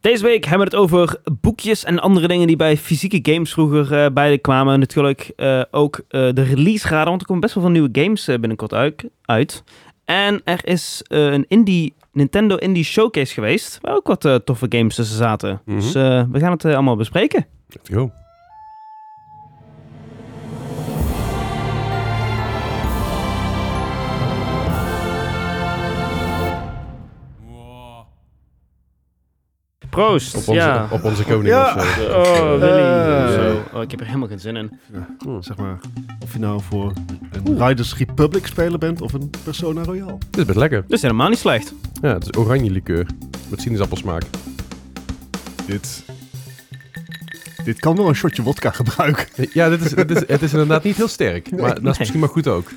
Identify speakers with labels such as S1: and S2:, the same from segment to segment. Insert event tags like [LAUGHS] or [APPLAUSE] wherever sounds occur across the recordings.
S1: Deze week hebben we het over boekjes en andere dingen die bij fysieke games vroeger eh, bij kwamen. Natuurlijk eh, ook eh, de release radar, want er komen best wel veel nieuwe games eh, binnenkort uit. uit. En er is eh, een indie, Nintendo Indie Showcase geweest, waar ook wat eh, toffe games tussen zaten.
S2: Mhm.
S1: Dus eh, we gaan het eh, allemaal bespreken.
S2: Let's go.
S1: Proost!
S2: Op onze,
S1: ja.
S2: op onze koning
S3: Ja.
S2: of zo.
S1: Oh, Willy.
S3: Eh.
S1: Zo. Oh, ik heb er helemaal geen zin in.
S3: Zeg maar, of je nou voor een Riders Republic speler bent of een Persona Royale.
S2: Dit is best lekker.
S1: Dus helemaal niet slecht.
S2: Ja, het is oranje likeur. Met sinaasappelsmaak.
S3: Dit, dit kan wel een shotje wodka gebruiken.
S2: Ja, dit is, dit is, het is inderdaad niet heel sterk. Maar dat
S1: Nee.
S2: is misschien maar goed ook.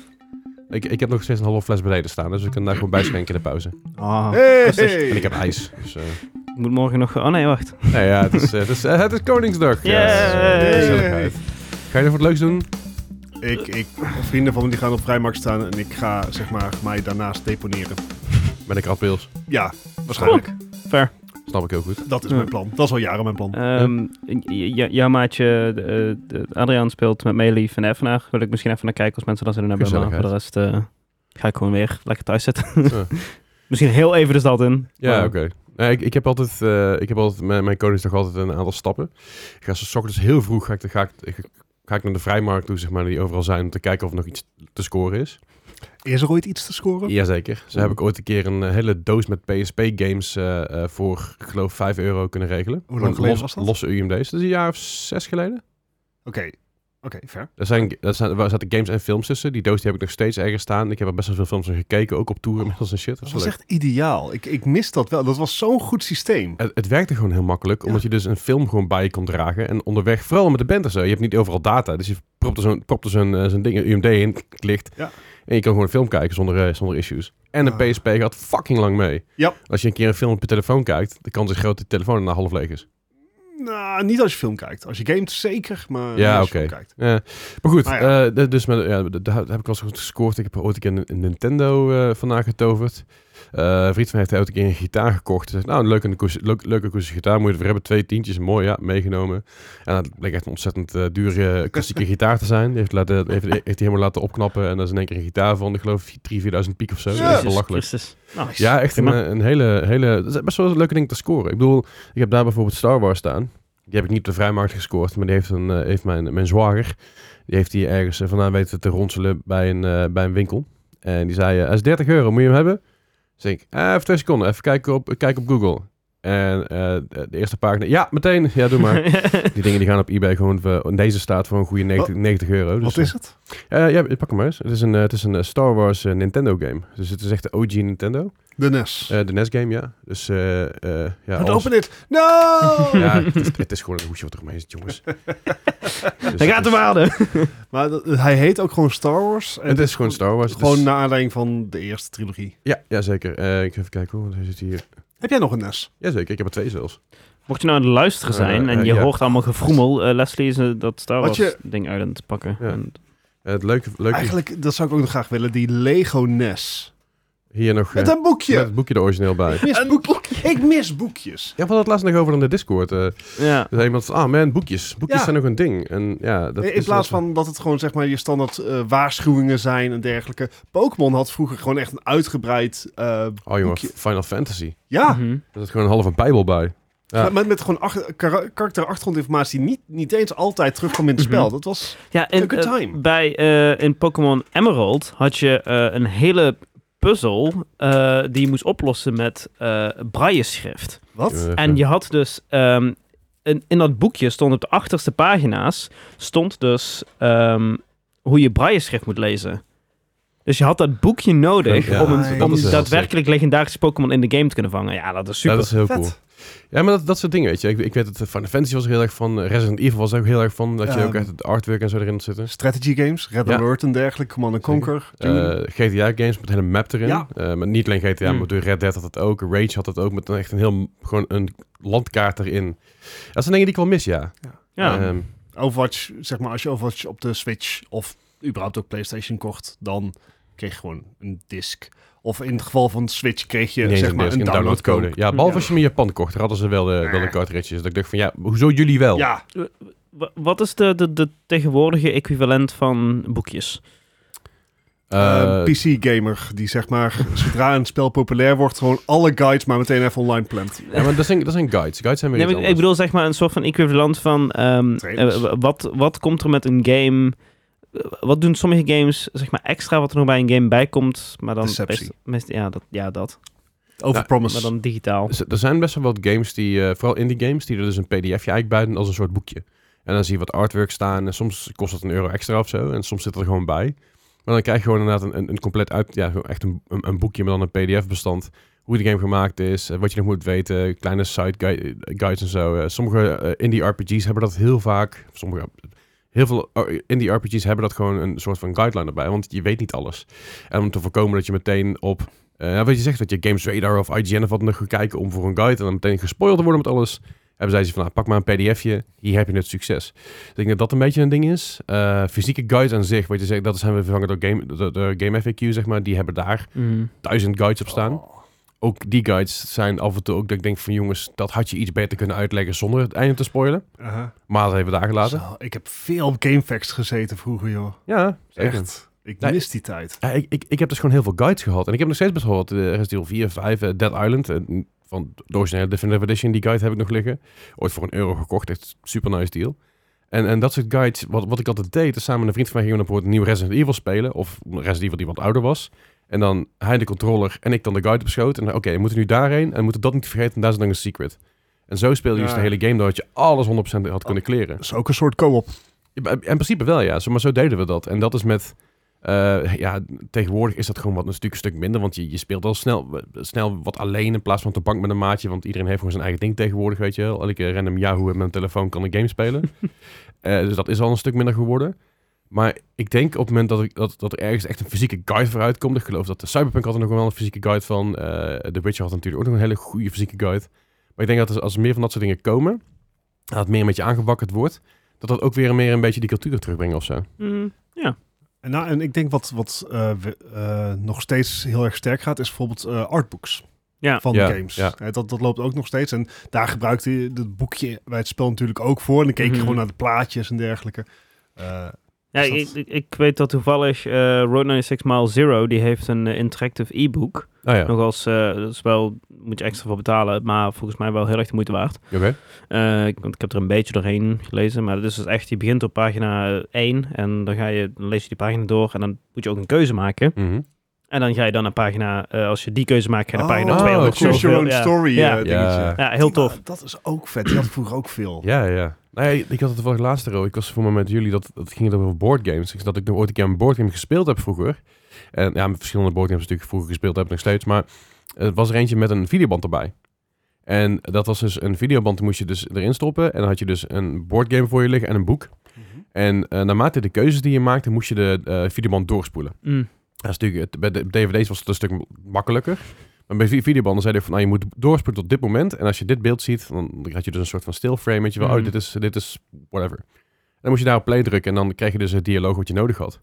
S2: Ik, ik heb nog steeds een halve fles beneden staan, dus ik kan daar gewoon bijschenken in de pauze.
S1: Ah,
S3: Hey!
S2: En ik heb ijs. Dus, eh,
S1: Ik moet morgen nog... Oh nee, wacht.
S2: nou ja, het is, eh, het is, eh, het is Koningsdag. Ja, het is, eh,
S1: Yay!
S2: gezelligheid. Ga je nog wat leuks doen?
S3: Ik, ik, vrienden van me die gaan op vrijmarkt staan en ik ga zeg maar, mij daarnaast deponeren.
S2: Met een krabbeels.
S3: Ja,
S2: Oh.
S3: waarschijnlijk.
S1: Fair.
S2: Snap ik heel [LAUGHS] goed.
S3: Dat is
S1: Ja.
S3: mijn plan. Dat is al jaren mijn plan.
S1: Ehm, j- j- jouw maatje eh, de- Adriaan speelt met Meli en Evenaar. Wil ik misschien even naar kijken als mensen dat zin in hebben. Maar voor de rest eh, ga ik gewoon weer lekker thuis zitten. [LAUGHS]
S2: Ja.
S1: misschien heel even de stad in.
S2: Ja,
S1: Maar-
S2: oké. Nou, ik, ik heb altijd, eh, ik heb altijd mijn, mijn Koningsdag altijd een aantal stappen. Ik ga s ochtends heel vroeg ga ik, ga, ik, ga ik naar de vrijmarkt toe, zeg maar, die overal zijn, om te kijken of er nog iets te scoren is.
S3: Is er ooit iets te scoren?
S2: Jazeker. Zo heb ik ooit een keer een eh, hele doos met PSP-games eh, eh, voor, ik geloof, 5 euro kunnen regelen.
S3: Hoe
S2: Gewoon
S3: lang geleden
S2: los-
S3: was dat?
S2: Losse UMD's. Dat is een jaar of zes geleden.
S3: Oké, oké, ver.
S2: Er, zijn, er, zijn, er zaten games en films tussen. Die doos die heb ik nog steeds ergens staan. Ik heb er best wel veel films in gekeken, ook op tour inmiddels en shit. Oh. Dat
S3: Dat
S2: is
S3: was
S2: wel leuk.
S3: echt ideaal. Ik, ik mis dat wel. Dat was zo'n goed systeem.
S2: Het, het werkte gewoon heel makkelijk,
S3: Ja.
S2: omdat je dus een film gewoon bij je kon dragen. En onderweg, vooral met de band en zo, je hebt niet overal data. Dus je propt er zo'n propt er zo'n, eh, zo'n ding, een UMD in, klikt.
S3: Ja.
S2: En je kan gewoon een film kijken zonder, eh, zonder issues. En een
S3: Ah.
S2: PSP gaat fucking lang mee.
S3: Ja.
S2: Als je een keer een film op je telefoon kijkt, de kans is groot dat de telefoon na half leeg is.
S3: Nou, niet als je film kijkt. Als je gamet zeker, maar
S2: Ja,
S3: niet als je
S2: oké.
S3: film kijkt.
S2: Ja. maar goed,
S3: Ah, ja.
S2: eh, d- dus met, ja, d- daar heb ik wel eens goed gescoord. Ik heb ooit een keer een- een Nintendo eh vandaan getoverd. Eh, een vriend van mij heeft ooit een keer een gitaar gekocht. Hij Zegt, nou, een leuke, akoestische- leuk- leuke akoestische gitaar. Moet je ervoor hebben. Twee tientjes, mooi, ja, meegenomen. En dat bleek echt een ontzettend eh, dure
S3: [LAUGHS]
S2: klassieke gitaar te zijn. Die heeft, laten, heeft, heeft die helemaal laten opknappen. En dat is in één keer een gitaar van, ik geloof, 3.000, 4.000 piek of zo.
S3: Jezus
S2: Dat is
S1: Jezus
S2: belachelijk.
S1: Christus. Nou,
S2: Ja, echt een,
S1: Prima.
S2: eh, een hele, hele... Dat is best wel een leuke ding te scoren. Ik bedoel, ik heb daar bijvoorbeeld Star Wars staan. Die heb ik niet op de vrijmarkt gescoord, maar die heeft, een, eh, heeft mijn, mijn zwager... Die heeft die ergens eh, vandaan weten te ronselen bij een, eh, bij een winkel. En die zei, eh, hij is 30 euro, moet je hem hebben? Dus ik, eh, even twee seconden, even kijken op, kijken op Google. En eh, de eerste pagina, ja, meteen, ja, doe
S1: [LAUGHS]
S3: [LAUGHS]
S2: maar. die dingen die gaan op eBay gewoon, eh, in deze staat voor een goede 90, 90 euro. Dus,
S3: Wat is het?
S2: eh, ja, pak hem maar eens. Het is een, eh, het is een eh, Star Wars eh, Nintendo game. Dus het is echt de OG Nintendo.
S3: De E NES.
S2: Eh, de NES game, ja. Dus eh eh ja,
S3: Goed,
S2: alles-
S3: open dit. No!
S2: [LAUGHS] ja het, is, het is gewoon een hoesje wat eromheen zit,
S3: [LAUGHS]
S2: jongens. Dus het
S1: Daar gaat de
S2: is-
S1: waarde.
S3: Maar dat- hij heet ook gewoon Star Wars. En
S2: Het is gewoon Star Wars.
S3: Gewoon
S2: dus,
S3: naar aanleiding van de eerste trilogie.
S2: ja, ja, zeker. Eh, ik ga even kijken hoor, want hij zit hier.
S3: Heb jij nog een E NES?
S2: Jazeker, ik heb er twee zelfs.
S1: Mocht je nou aan het luisteren zijn
S2: Eh, eh,
S1: en je
S2: ja.
S1: hoort allemaal gefroemel. eh, Leslie is eh, dat Star
S3: Wat
S1: Wars
S3: je-
S1: ding uit aan het pakken.
S2: Ja.
S1: En-
S2: Eh, het leuke, leuke
S3: Eigenlijk, dat zou ik ook nog graag willen, die Lego NES.
S2: hier nog... eh,
S3: Met een boekje!
S2: met het boekje er origineel bij.
S3: Ik mis boekjes. Ik mis boekjes.
S2: Ja, we hadden het laatst nog over in de Discord. eh er
S1: ja.
S2: zei iemand, ah man, boekjes. Boekjes
S3: Ja.
S2: zijn nog een ding. En ja, dat
S3: In
S2: is
S3: plaats
S2: wat-
S3: van dat het gewoon zeg maar je standaard eh, waarschuwingen zijn en dergelijke. Pokémon had vroeger gewoon echt een uitgebreid... eh,
S2: Oh jongen,
S3: boekje.
S2: Final Fantasy.
S3: ja,
S1: Mhm.
S2: Er zit gewoon een halve bijbel bij. Ja.
S3: Maar Met, met gewoon ach- kara- karakterachtergrondinformatie die niet, niet eens altijd terugkwam in het spel.
S1: Mhm.
S3: Dat was...
S1: Ja, in,
S3: Took a
S1: eh,
S3: time.
S1: bij, eh, in Pokémon Emerald had je eh, een hele puzzel eh, die je moest oplossen met eh braille-schrift.
S3: Wat?
S2: Eh,
S1: En je had dus... ehm, in, in dat boekje stond op de achterste pagina's... stond dus ehm, hoe je braille-schrift moet lezen. Dus je had dat boekje nodig
S2: Ja,
S1: om, een,
S3: dat
S1: om
S3: is
S2: heel
S1: daadwerkelijk legendarische Pokémon in de game te kunnen vangen. Ja, dat is super.
S2: Ja, dat is heel
S3: Vet.
S2: cool. Ja, maar dat, dat soort dingen, weet je. Ik, ik weet dat eh, Final Fantasy was er heel erg van. eh, Resident Evil was er ook heel erg van. Dat je
S3: Ja.
S2: ook echt het artwork en zo erin had zitten.
S3: Strategy games, Red
S2: Ja.
S3: Alert en dergelijke, Command and
S2: Zeker.
S3: Conquer. Doom.
S2: Eh, GTA-games met hele map erin.
S3: Ja. Hmm.
S2: Eh, maar niet alleen GTA,
S1: Mm.
S2: maar door Red Dead had het ook. Rage had het ook met een, echt een heel... Gewoon een landkaart erin. Dat zijn dingen die ik wel mis, ja.
S1: ja.
S2: Ehm,
S3: Overwatch, zeg maar, als je Overwatch op de Switch of überhaupt ook PlayStation kocht, dan kreeg je gewoon een disc. Of in het geval van Switch kreeg je
S2: Niet eens
S3: zeg maar
S2: disc,
S3: een downloadcode.
S2: Ja, behalve
S1: Ja.
S2: als je hem in Japan kocht, daar hadden ze wel de, wel de cartridges. Dat ik dacht van, ja, hoezo jullie wel?
S3: Ja,
S1: Wa- Wat is de, de, de tegenwoordige equivalent van boekjes?
S2: Eh,
S3: Ehm, PC-gamer die zeg maar zodra een spel populair wordt, gewoon alle guides maar meteen even online plant.
S2: ja, maar dat zijn, dat zijn guides. Guides zijn weer
S1: Nee,
S2: iets
S1: maar ik, ik
S2: anders.
S1: bedoel zeg maar een soort van equivalent van ehm,
S3: Trailers.
S1: eh, w- wat, wat komt er met een game? eh, Wat doen sommige games zeg maar extra wat er nog bij een game bij komt, maar dan
S3: Deceptie.
S1: meest- meest- ja, dat, ja, dat.
S2: Nou,
S3: Overpromise.
S1: Maar dan digitaal.
S2: Z- Er zijn best wel wat games die, eh, vooral indie games, die er dus een pdfje eigenlijk buiten als een soort boekje. En dan zie je wat artwork staan en soms kost dat een euro extra of zo. En soms zit er gewoon bij. Maar dan krijg je gewoon inderdaad een, een, een compleet uit, ja, gewoon echt een, een, een boekje met dan een pdf-bestand. Hoe de game gemaakt is, eh, wat je nog moet weten, kleine side gui- guides en zo. Eh, sommige eh, indie RPG's hebben dat heel vaak. Sommige, heel veel eh, indie RPG's hebben dat gewoon een soort van guideline erbij, want je weet niet alles. En om te voorkomen dat je meteen op eh, nou, wat je zegt, dat je Games Radar of IGN of wat dan ook gaat kijken om voor een guide en dan meteen gespoild te worden met alles. Hebben zij ze van, nou, pak maar een pdfje, hier heb je het succes. Dus ik denk dat dat een beetje een ding is. Eh, fysieke guides aan zich, wat je zegt, dat zijn we vervangen door game, door, door game FAQ, zeg maar. Die hebben daar
S1: Mhm.
S2: duizend guides op staan.
S3: Oh.
S2: Ook die guides zijn af en toe ook dat ik denk van, jongens, dat had je iets beter kunnen uitleggen zonder het einde te spoilen.
S3: Aha.
S2: Maar dat hebben we daar gelaten.
S3: uh-huh. Zo, ik heb veel op Gamefacts gezeten vroeger, joh.
S2: Ja, zeker.
S3: Echt. Ik
S2: Nee.
S3: mis die tijd.
S2: Ja, ik, ik, ik heb dus gewoon heel veel guides gehad. En ik heb nog steeds best wel wat. eh, Resident Evil 4, 5, eh, Dead Island. eh, van de originele Definitive Edition, die guide heb ik nog liggen. Ooit voor een euro gekocht. Echt super nice deal. En, en dat soort guides, wat, wat ik altijd deed, is samen met een vriend van mij gingen we bijvoorbeeld een nieuw Resident Evil spelen. Of een Resident Evil die wat ouder was. En dan hij de controller en ik dan de guide op schoot. En dan, oké, we moeten nu daarheen. En we moeten dat niet vergeten. En daar is dan een secret. En zo speelde je dus
S3: Ja.
S2: de hele game, doordat je alles 100% had kunnen kleren.
S3: Dat is ook een soort co-op.
S2: Ja, In principe wel, ja. Zo- Maar zo deden we dat. En dat is met... eh, ja, tegenwoordig is dat gewoon wat een stuk, een stuk minder. Want je, je speelt al snel, eh, snel wat alleen in plaats van op de bank met een maatje. Want iedereen heeft gewoon zijn eigen ding tegenwoordig, weet je wel. Elke random Yahoo met mijn telefoon kan een game spelen. Eh, dus dat is al een stuk minder geworden. Maar ik denk op het moment dat, ik, dat, dat er ergens echt een fysieke guide voor uitkomt. Ik geloof dat de Cyberpunk had er nog wel een fysieke guide van. eh The Witcher had natuurlijk ook nog een hele goede fysieke guide. Maar ik denk dat als- als er meer van dat soort dingen komen... dat het meer met je aangewakkerd wordt dat dat ook weer meer een beetje die cultuur terugbrengen of zo.
S1: Mhm.
S3: En, nou, en ik denk wat, wat eh, we- eh, nog steeds heel erg sterk gaat, is bijvoorbeeld eh, artbooks
S1: Ja.
S3: van
S2: Ja,
S3: games.
S2: ja.
S3: Hè, dat, dat loopt ook nog steeds. En daar gebruikte je het boekje bij het spel natuurlijk ook voor. En dan keek je
S1: Mhm.
S3: gewoon naar de plaatjes en dergelijke. Eh,
S1: Ja,
S3: Is
S1: ik,
S3: dat-
S1: ik- ik weet dat toevallig eh, Road 96 Mile Zero, die heeft een eh, interactive e-book.
S2: Nou ja,
S1: Nog als, eh, dat is wel, moet je extra voor betalen, maar volgens mij wel heel erg de moeite waard.
S2: oké.
S1: Eh, ik, want ik heb er een beetje doorheen gelezen, maar dat is dus echt, je begint op pagina 1 en dan, ga je, dan lees je die pagina door en dan moet je ook een keuze maken.
S2: Mhm.
S1: En dan ga je dan naar pagina, eh, als je die keuze maakt, ga je naar
S3: Oh,
S1: pagina
S2: oh,
S1: 200.
S2: cool.
S3: Choose your own
S1: Ja.
S3: story
S1: Ja.
S3: eh, dingetje.
S2: Ja.
S1: Ja, heel tof.
S3: Ja, dat is ook vet. Die had vroeger ook veel.
S2: Ja, ja. Nou ja, ik had het toevallig laatst erover. Ik was voor me met jullie, dat, dat ging het over boardgames. Ik- Dat ik nog ooit een keer een boardgame gespeeld heb vroeger. En ja, met verschillende boardgames natuurlijk vroeger gespeeld heb ik nog steeds. Maar het was er eentje met een videoband erbij. En dat was dus een videoband, die moest je dus erin stoppen. En dan had je dus een boardgame voor je liggen en een boek.
S3: Mhm.
S2: En eh, naarmate de keuzes die je maakte, moest je de eh, videoband doorspoelen.
S1: Mm.
S2: Dat is natuurlijk, het- bij de DVD's was het een stuk makkelijker. Maar bij vi- videobanden zeiden van, nou, je moet doorspoelen tot dit moment. En als je dit beeld ziet, dan had je dus een soort van stilframe. Weet je wel, oh,
S1: Mhm.
S2: dit is, dit is whatever. En dan moest je daar op play drukken en dan kreeg je dus het dialoog wat je nodig had.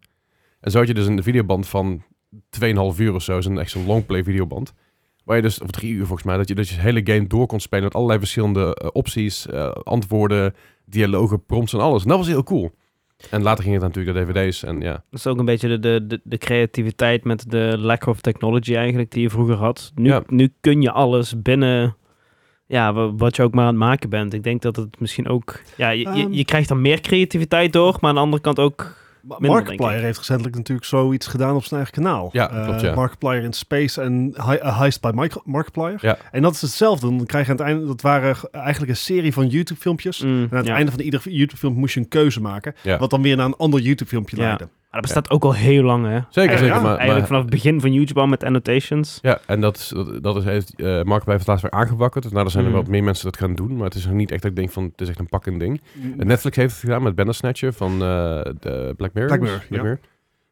S2: En zo had je dus een videoband van 2,5 uur of zo. Zo'n echt zo'n longplay videoband. Waar je dus, of drie uur volgens mij, dat je dus je hele game door kon spelen met allerlei verschillende eh, opties, eh, antwoorden, dialogen, prompts en alles. En dat was heel cool. En later ging het natuurlijk naar DVD's en ja.
S1: Dat is ook een beetje de, de, de, de creativiteit met de lack of technology eigenlijk die je vroeger had. Nu,
S2: Ja.
S1: nu kun je alles binnen ja, wa- wat je ook maar aan het maken bent. Ik denk dat het misschien ook... Ja, je, je,
S3: Ehm.
S1: je krijgt dan meer creativiteit door, maar aan de andere kant ook...
S3: Ma-
S1: Minder, denk
S3: Markiplier heeft recentelijk natuurlijk zoiets gedaan op zijn eigen kanaal.
S2: Ja,
S3: Eh,
S2: klopt, ja.
S3: Markiplier in Space en Hi- eh, Heist by Mike- Markiplier.
S2: Ja.
S3: En dat is hetzelfde. Dan krijg je aan het einde, dat waren g- eigenlijk een serie van YouTube-filmpjes.
S1: Mm,
S3: En aan het
S1: ja.
S3: einde van ieder YouTube-filmpje moest je een keuze maken.
S2: Ja.
S3: Wat dan weer naar een ander YouTube-filmpje
S1: Ja.
S3: leidde.
S1: Maar dat bestaat ook al heel lang, hè?
S2: Zeker,
S3: Ja,
S2: zeker.
S3: ja,
S2: maar, maar-
S1: Eigenlijk vanaf het begin van YouTube al met annotations.
S2: Ja, en dat, is, dat, dat is, heeft eh Mark blijft laatst weer aangewakkerd. Dus nou, er zijn er
S1: Mhm.
S2: wat meer mensen dat gaan doen. Maar het is nog niet echt dat ik denk van, het is echt een pakkend ding.
S3: Mm.
S2: En Eh, Netflix heeft het gedaan met Bandersnatcher van eh, de Black Mirror.
S3: Black Mirror,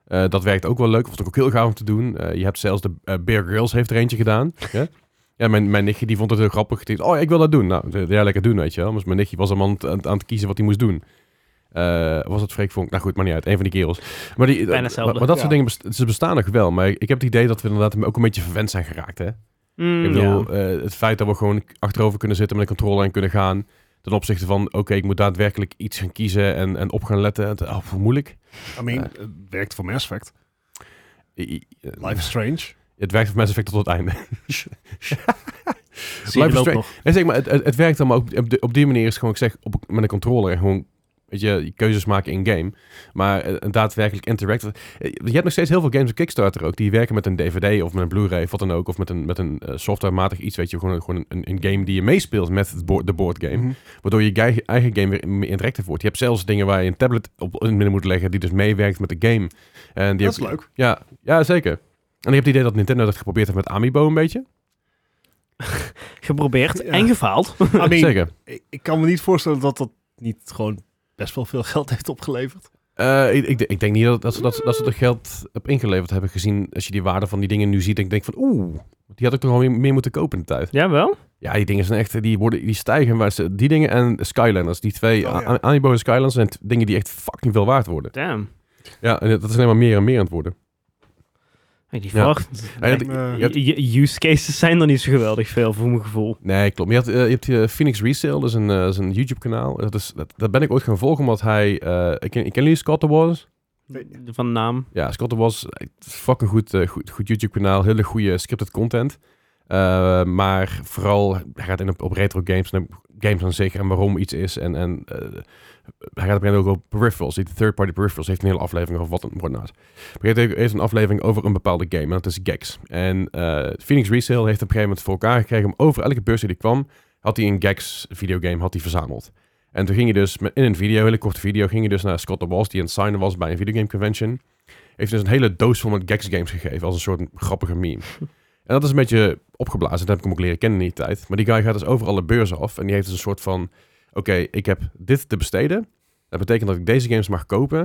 S3: ja.
S2: Eh, dat werkt ook wel leuk. Vond ik ook heel gaaf om te doen. Eh, je hebt zelfs de eh, Bear Girls heeft er eentje
S3: [LAUGHS]
S2: gedaan. ja? Ja, mijn, mijn nichtje die vond het heel Dus grappig. Die dacht, oh, ik wil dat doen. Nou, d- ja, lekker doen, weet je wel. Maar mijn nichtje was allemaal aan, het- aan het kiezen wat hij moest doen. Eh, was het Freek Vonk? Nou goed, maar niet uit. Een van die kerels. Maar, die,
S1: Bijna
S2: eh,
S1: hetzelfde.
S2: maar, maar dat
S3: Ja.
S2: soort dingen best- ze bestaan nog wel. Maar ik heb het idee dat we inderdaad ook een beetje verwend zijn geraakt. Hè?
S1: Mm,
S2: Ik
S1: ja.
S2: bedoel, eh, het feit dat we gewoon achterover kunnen zitten met een controle en kunnen gaan. Ten opzichte van, oké, ik moet daadwerkelijk iets gaan kiezen en, en op gaan letten. Het, oh, hoe moeilijk.
S3: I mean, het werkt voor Mass Effect.
S2: I- I- eh,
S3: Life is
S2: [LAUGHS]
S3: Strange.
S2: Het werkt voor Mass Effect tot het einde. [LAUGHS]
S3: Zie je
S2: is
S3: loopt
S2: Strange.
S3: nog.
S2: Nee, zeg maar, het, het, het werkt dan, maar op, op, de- op die manier is het gewoon, ik zeg, op, met een controller en gewoon, weet je, je keuzes maken in-game. Maar eh, een daadwerkelijk interacten. Eh, Je hebt nog steeds heel veel games op Kickstarter ook, die werken met een DVD of met een Blu-ray of wat dan ook, of met een, met een eh, softwarematig iets, weet je, gewoon, gewoon een, een game die je meespeelt met het board, de boardgame.
S3: Mhm.
S2: Waardoor je eigen, eigen game weer meer interactief wordt. Je hebt zelfs dingen waar je een tablet op in het midden moet leggen, die dus meewerkt met de game. En die
S3: Dat is
S2: heb-
S3: leuk.
S2: Ja, ja, zeker. En ik heb het idee dat Nintendo dat geprobeerd heeft met Amiibo een beetje.
S1: Geprobeerd
S3: Ja.
S1: en gefaald.
S3: [LAUGHS] I mean,
S2: Zeker.
S3: ik, ik kan me niet voorstellen dat dat niet gewoon best wel veel geld heeft opgeleverd.
S2: Eh, ik, ik, ik denk niet dat, dat, ze, dat, ze- dat ze er geld op ingeleverd hebben gezien. Als je die waarde van die dingen nu ziet, denk ik denk van oeh, die had ik toch wel meer, meer moeten kopen in de tijd.
S1: Jawel.
S2: Ja, die dingen zijn echt, die, worden, die stijgen. Maar ze, die dingen en Skylanders, die twee,
S3: Oh,
S2: A-
S3: ja.
S2: A- Amiibo en Skylanders, zijn t- dingen die echt fucking veel waard worden.
S1: Damn.
S2: Ja, en dat is alleen maar meer en meer aan het worden.
S1: Hey, die
S2: Ja.
S1: verwacht.
S2: Ja, dat-
S3: Ik, eh,
S2: je hebt-
S1: Je- Use cases zijn er niet zo geweldig veel, voor mijn gevoel.
S2: Nee, klopt. Maar Je, had, eh, je hebt eh, Phoenix Resale, dat is een, eh, dat is een YouTube-kanaal. Dat, is- dat, dat ben ik ooit gaan volgen, omdat hij... eh, ik, ken, ik ken jullie Scott de Wars?
S3: Nee.
S1: Van naam.
S2: Ja, Scott was fucking goed, eh, goed, goed YouTube-kanaal. Hele goede scripted content. Eh, maar vooral, hij gaat in op, op retro games en op games aan zich en waarom iets is. En, en eh, hij gaat op een gegeven moment ook op peripherals. Die third-party peripherals heeft een hele aflevering over wat en whatnot. Maar hij heeft een aflevering over een bepaalde game en dat is Gags. En eh, Phoenix Resale heeft op een gegeven moment voor elkaar gekregen om over elke beurs die kwam, had hij een Gags videogame had hij verzameld. En toen ging je dus met- in een video, een hele korte video, ging je dus naar Scott de Walls die aan het signen was bij een videogame convention heeft dus een hele doos vol met Gex games gegeven als een soort grappige meme. En dat is een beetje opgeblazen. Dat heb ik hem ook leren kennen in die tijd. Maar die guy gaat dus overal de beurzen af. En die heeft dus een soort van... Oké, ik heb dit te besteden. Dat betekent dat ik deze games mag kopen.